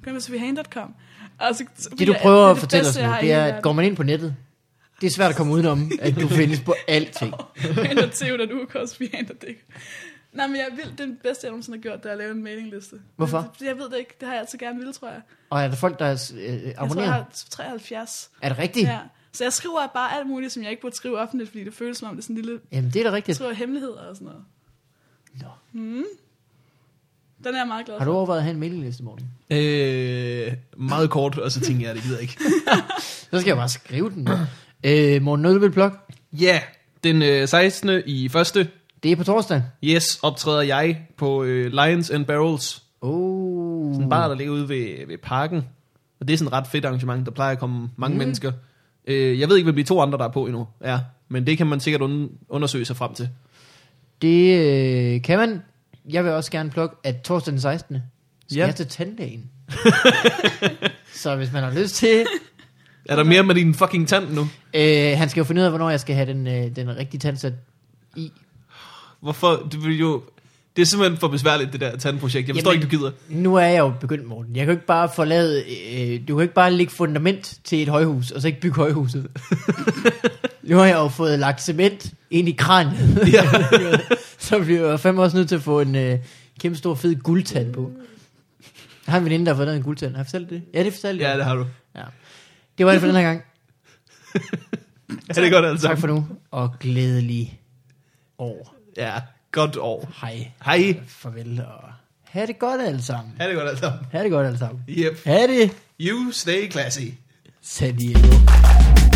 Speaker 3: Kom med sofiehane.com. Altså,
Speaker 2: Det du prøver at fortælle os nu, det er, at går man ind på nettet, det er svært at komme udenom, at du findes på alting.
Speaker 3: Henter Theod og Ukos, vi henter det ikke. Nej, men jeg vil, det er den bedste, jeg nogensinde har gjort, det er at lave en mailingliste.
Speaker 2: Hvorfor?
Speaker 3: Men det- Jeg ved det ikke. Det har jeg altid gerne ville, tror jeg.
Speaker 2: Og er der folk, der er, øh,
Speaker 3: Jeg tror,
Speaker 2: abonnerer?
Speaker 3: jeg har 73.
Speaker 2: Er det rigtigt?
Speaker 3: Ja. Så jeg skriver bare alt muligt, som jeg ikke burde skrive offentligt, fordi det føles som om, det er sådan en lille...
Speaker 2: Jamen, det er da
Speaker 3: Jeg
Speaker 2: rigtigt.
Speaker 3: skriver hemmeligheder og sådan noget. Mm.
Speaker 2: Nå.
Speaker 3: Den er jeg meget glad
Speaker 2: Har
Speaker 3: for.
Speaker 2: du overvejet at have en mailingliste, morgen?
Speaker 1: Øh, meget kort, og så tænkte jeg, det gider jeg ikke.
Speaker 2: Så skal jeg bare skrive den. øh, Morten Nødebøl Blok,
Speaker 1: Ja, den øh, 16. i første,
Speaker 2: det er på torsdag.
Speaker 1: yes, optræder jeg på øh, Lions and Barrels.
Speaker 2: Oh.
Speaker 1: En bar, der ligger ude ved, ved parken. Og det er sådan et ret fedt arrangement, der plejer at komme mange mm. mennesker. Øh, jeg ved ikke, hvad de to andre, der er på endnu, er. Men det kan man sikkert un- undersøge sig frem til.
Speaker 2: Det øh, kan man. Jeg vil også gerne plukke, at torsdag den 16. skal
Speaker 1: Ja.
Speaker 2: jeg til tandlægen. så hvis man har lyst til...
Speaker 1: Er der mere med din fucking tand nu?
Speaker 2: Øh, han skal jo finde ud af, hvornår jeg skal have den, øh, den rigtige tandsat i.
Speaker 1: Hvorfor? Det, vil jo, det er simpelthen for besværligt, det der tandprojekt. Jeg forstår
Speaker 2: Jamen-
Speaker 1: ikke, du gider.
Speaker 2: Nu er jeg jo begyndt, Morten. Jeg kan jo ikke bare forlade... Øh, du kan jo ikke bare lægge fundament til et højhus, og så ikke bygge højhuset. nu har jeg jo fået lagt cement ind i kraniet.
Speaker 1: Ja.
Speaker 2: så bliver jeg fandme også nødt til at få en øh, kæmpe stor fed guldtand på. Jeg har en veninde, der har fået lavet en guldtand. Har jeg fortalt det? Ja, det fortalte jeg.
Speaker 1: Ja, det har du.
Speaker 2: Ja. Det var det for den her gang.
Speaker 1: Ja, det er godt altså.
Speaker 2: Tak for nu, og glædelig år.
Speaker 1: Ja, godt år.
Speaker 2: Hej,
Speaker 1: Hej.
Speaker 2: farvel, og ha' det godt alle sammen.
Speaker 1: Ha' det godt altså.
Speaker 2: Ha' det godt alle sammen.
Speaker 1: Yep.
Speaker 2: Ha' det,
Speaker 1: You stay classy.
Speaker 2: sagde Diego.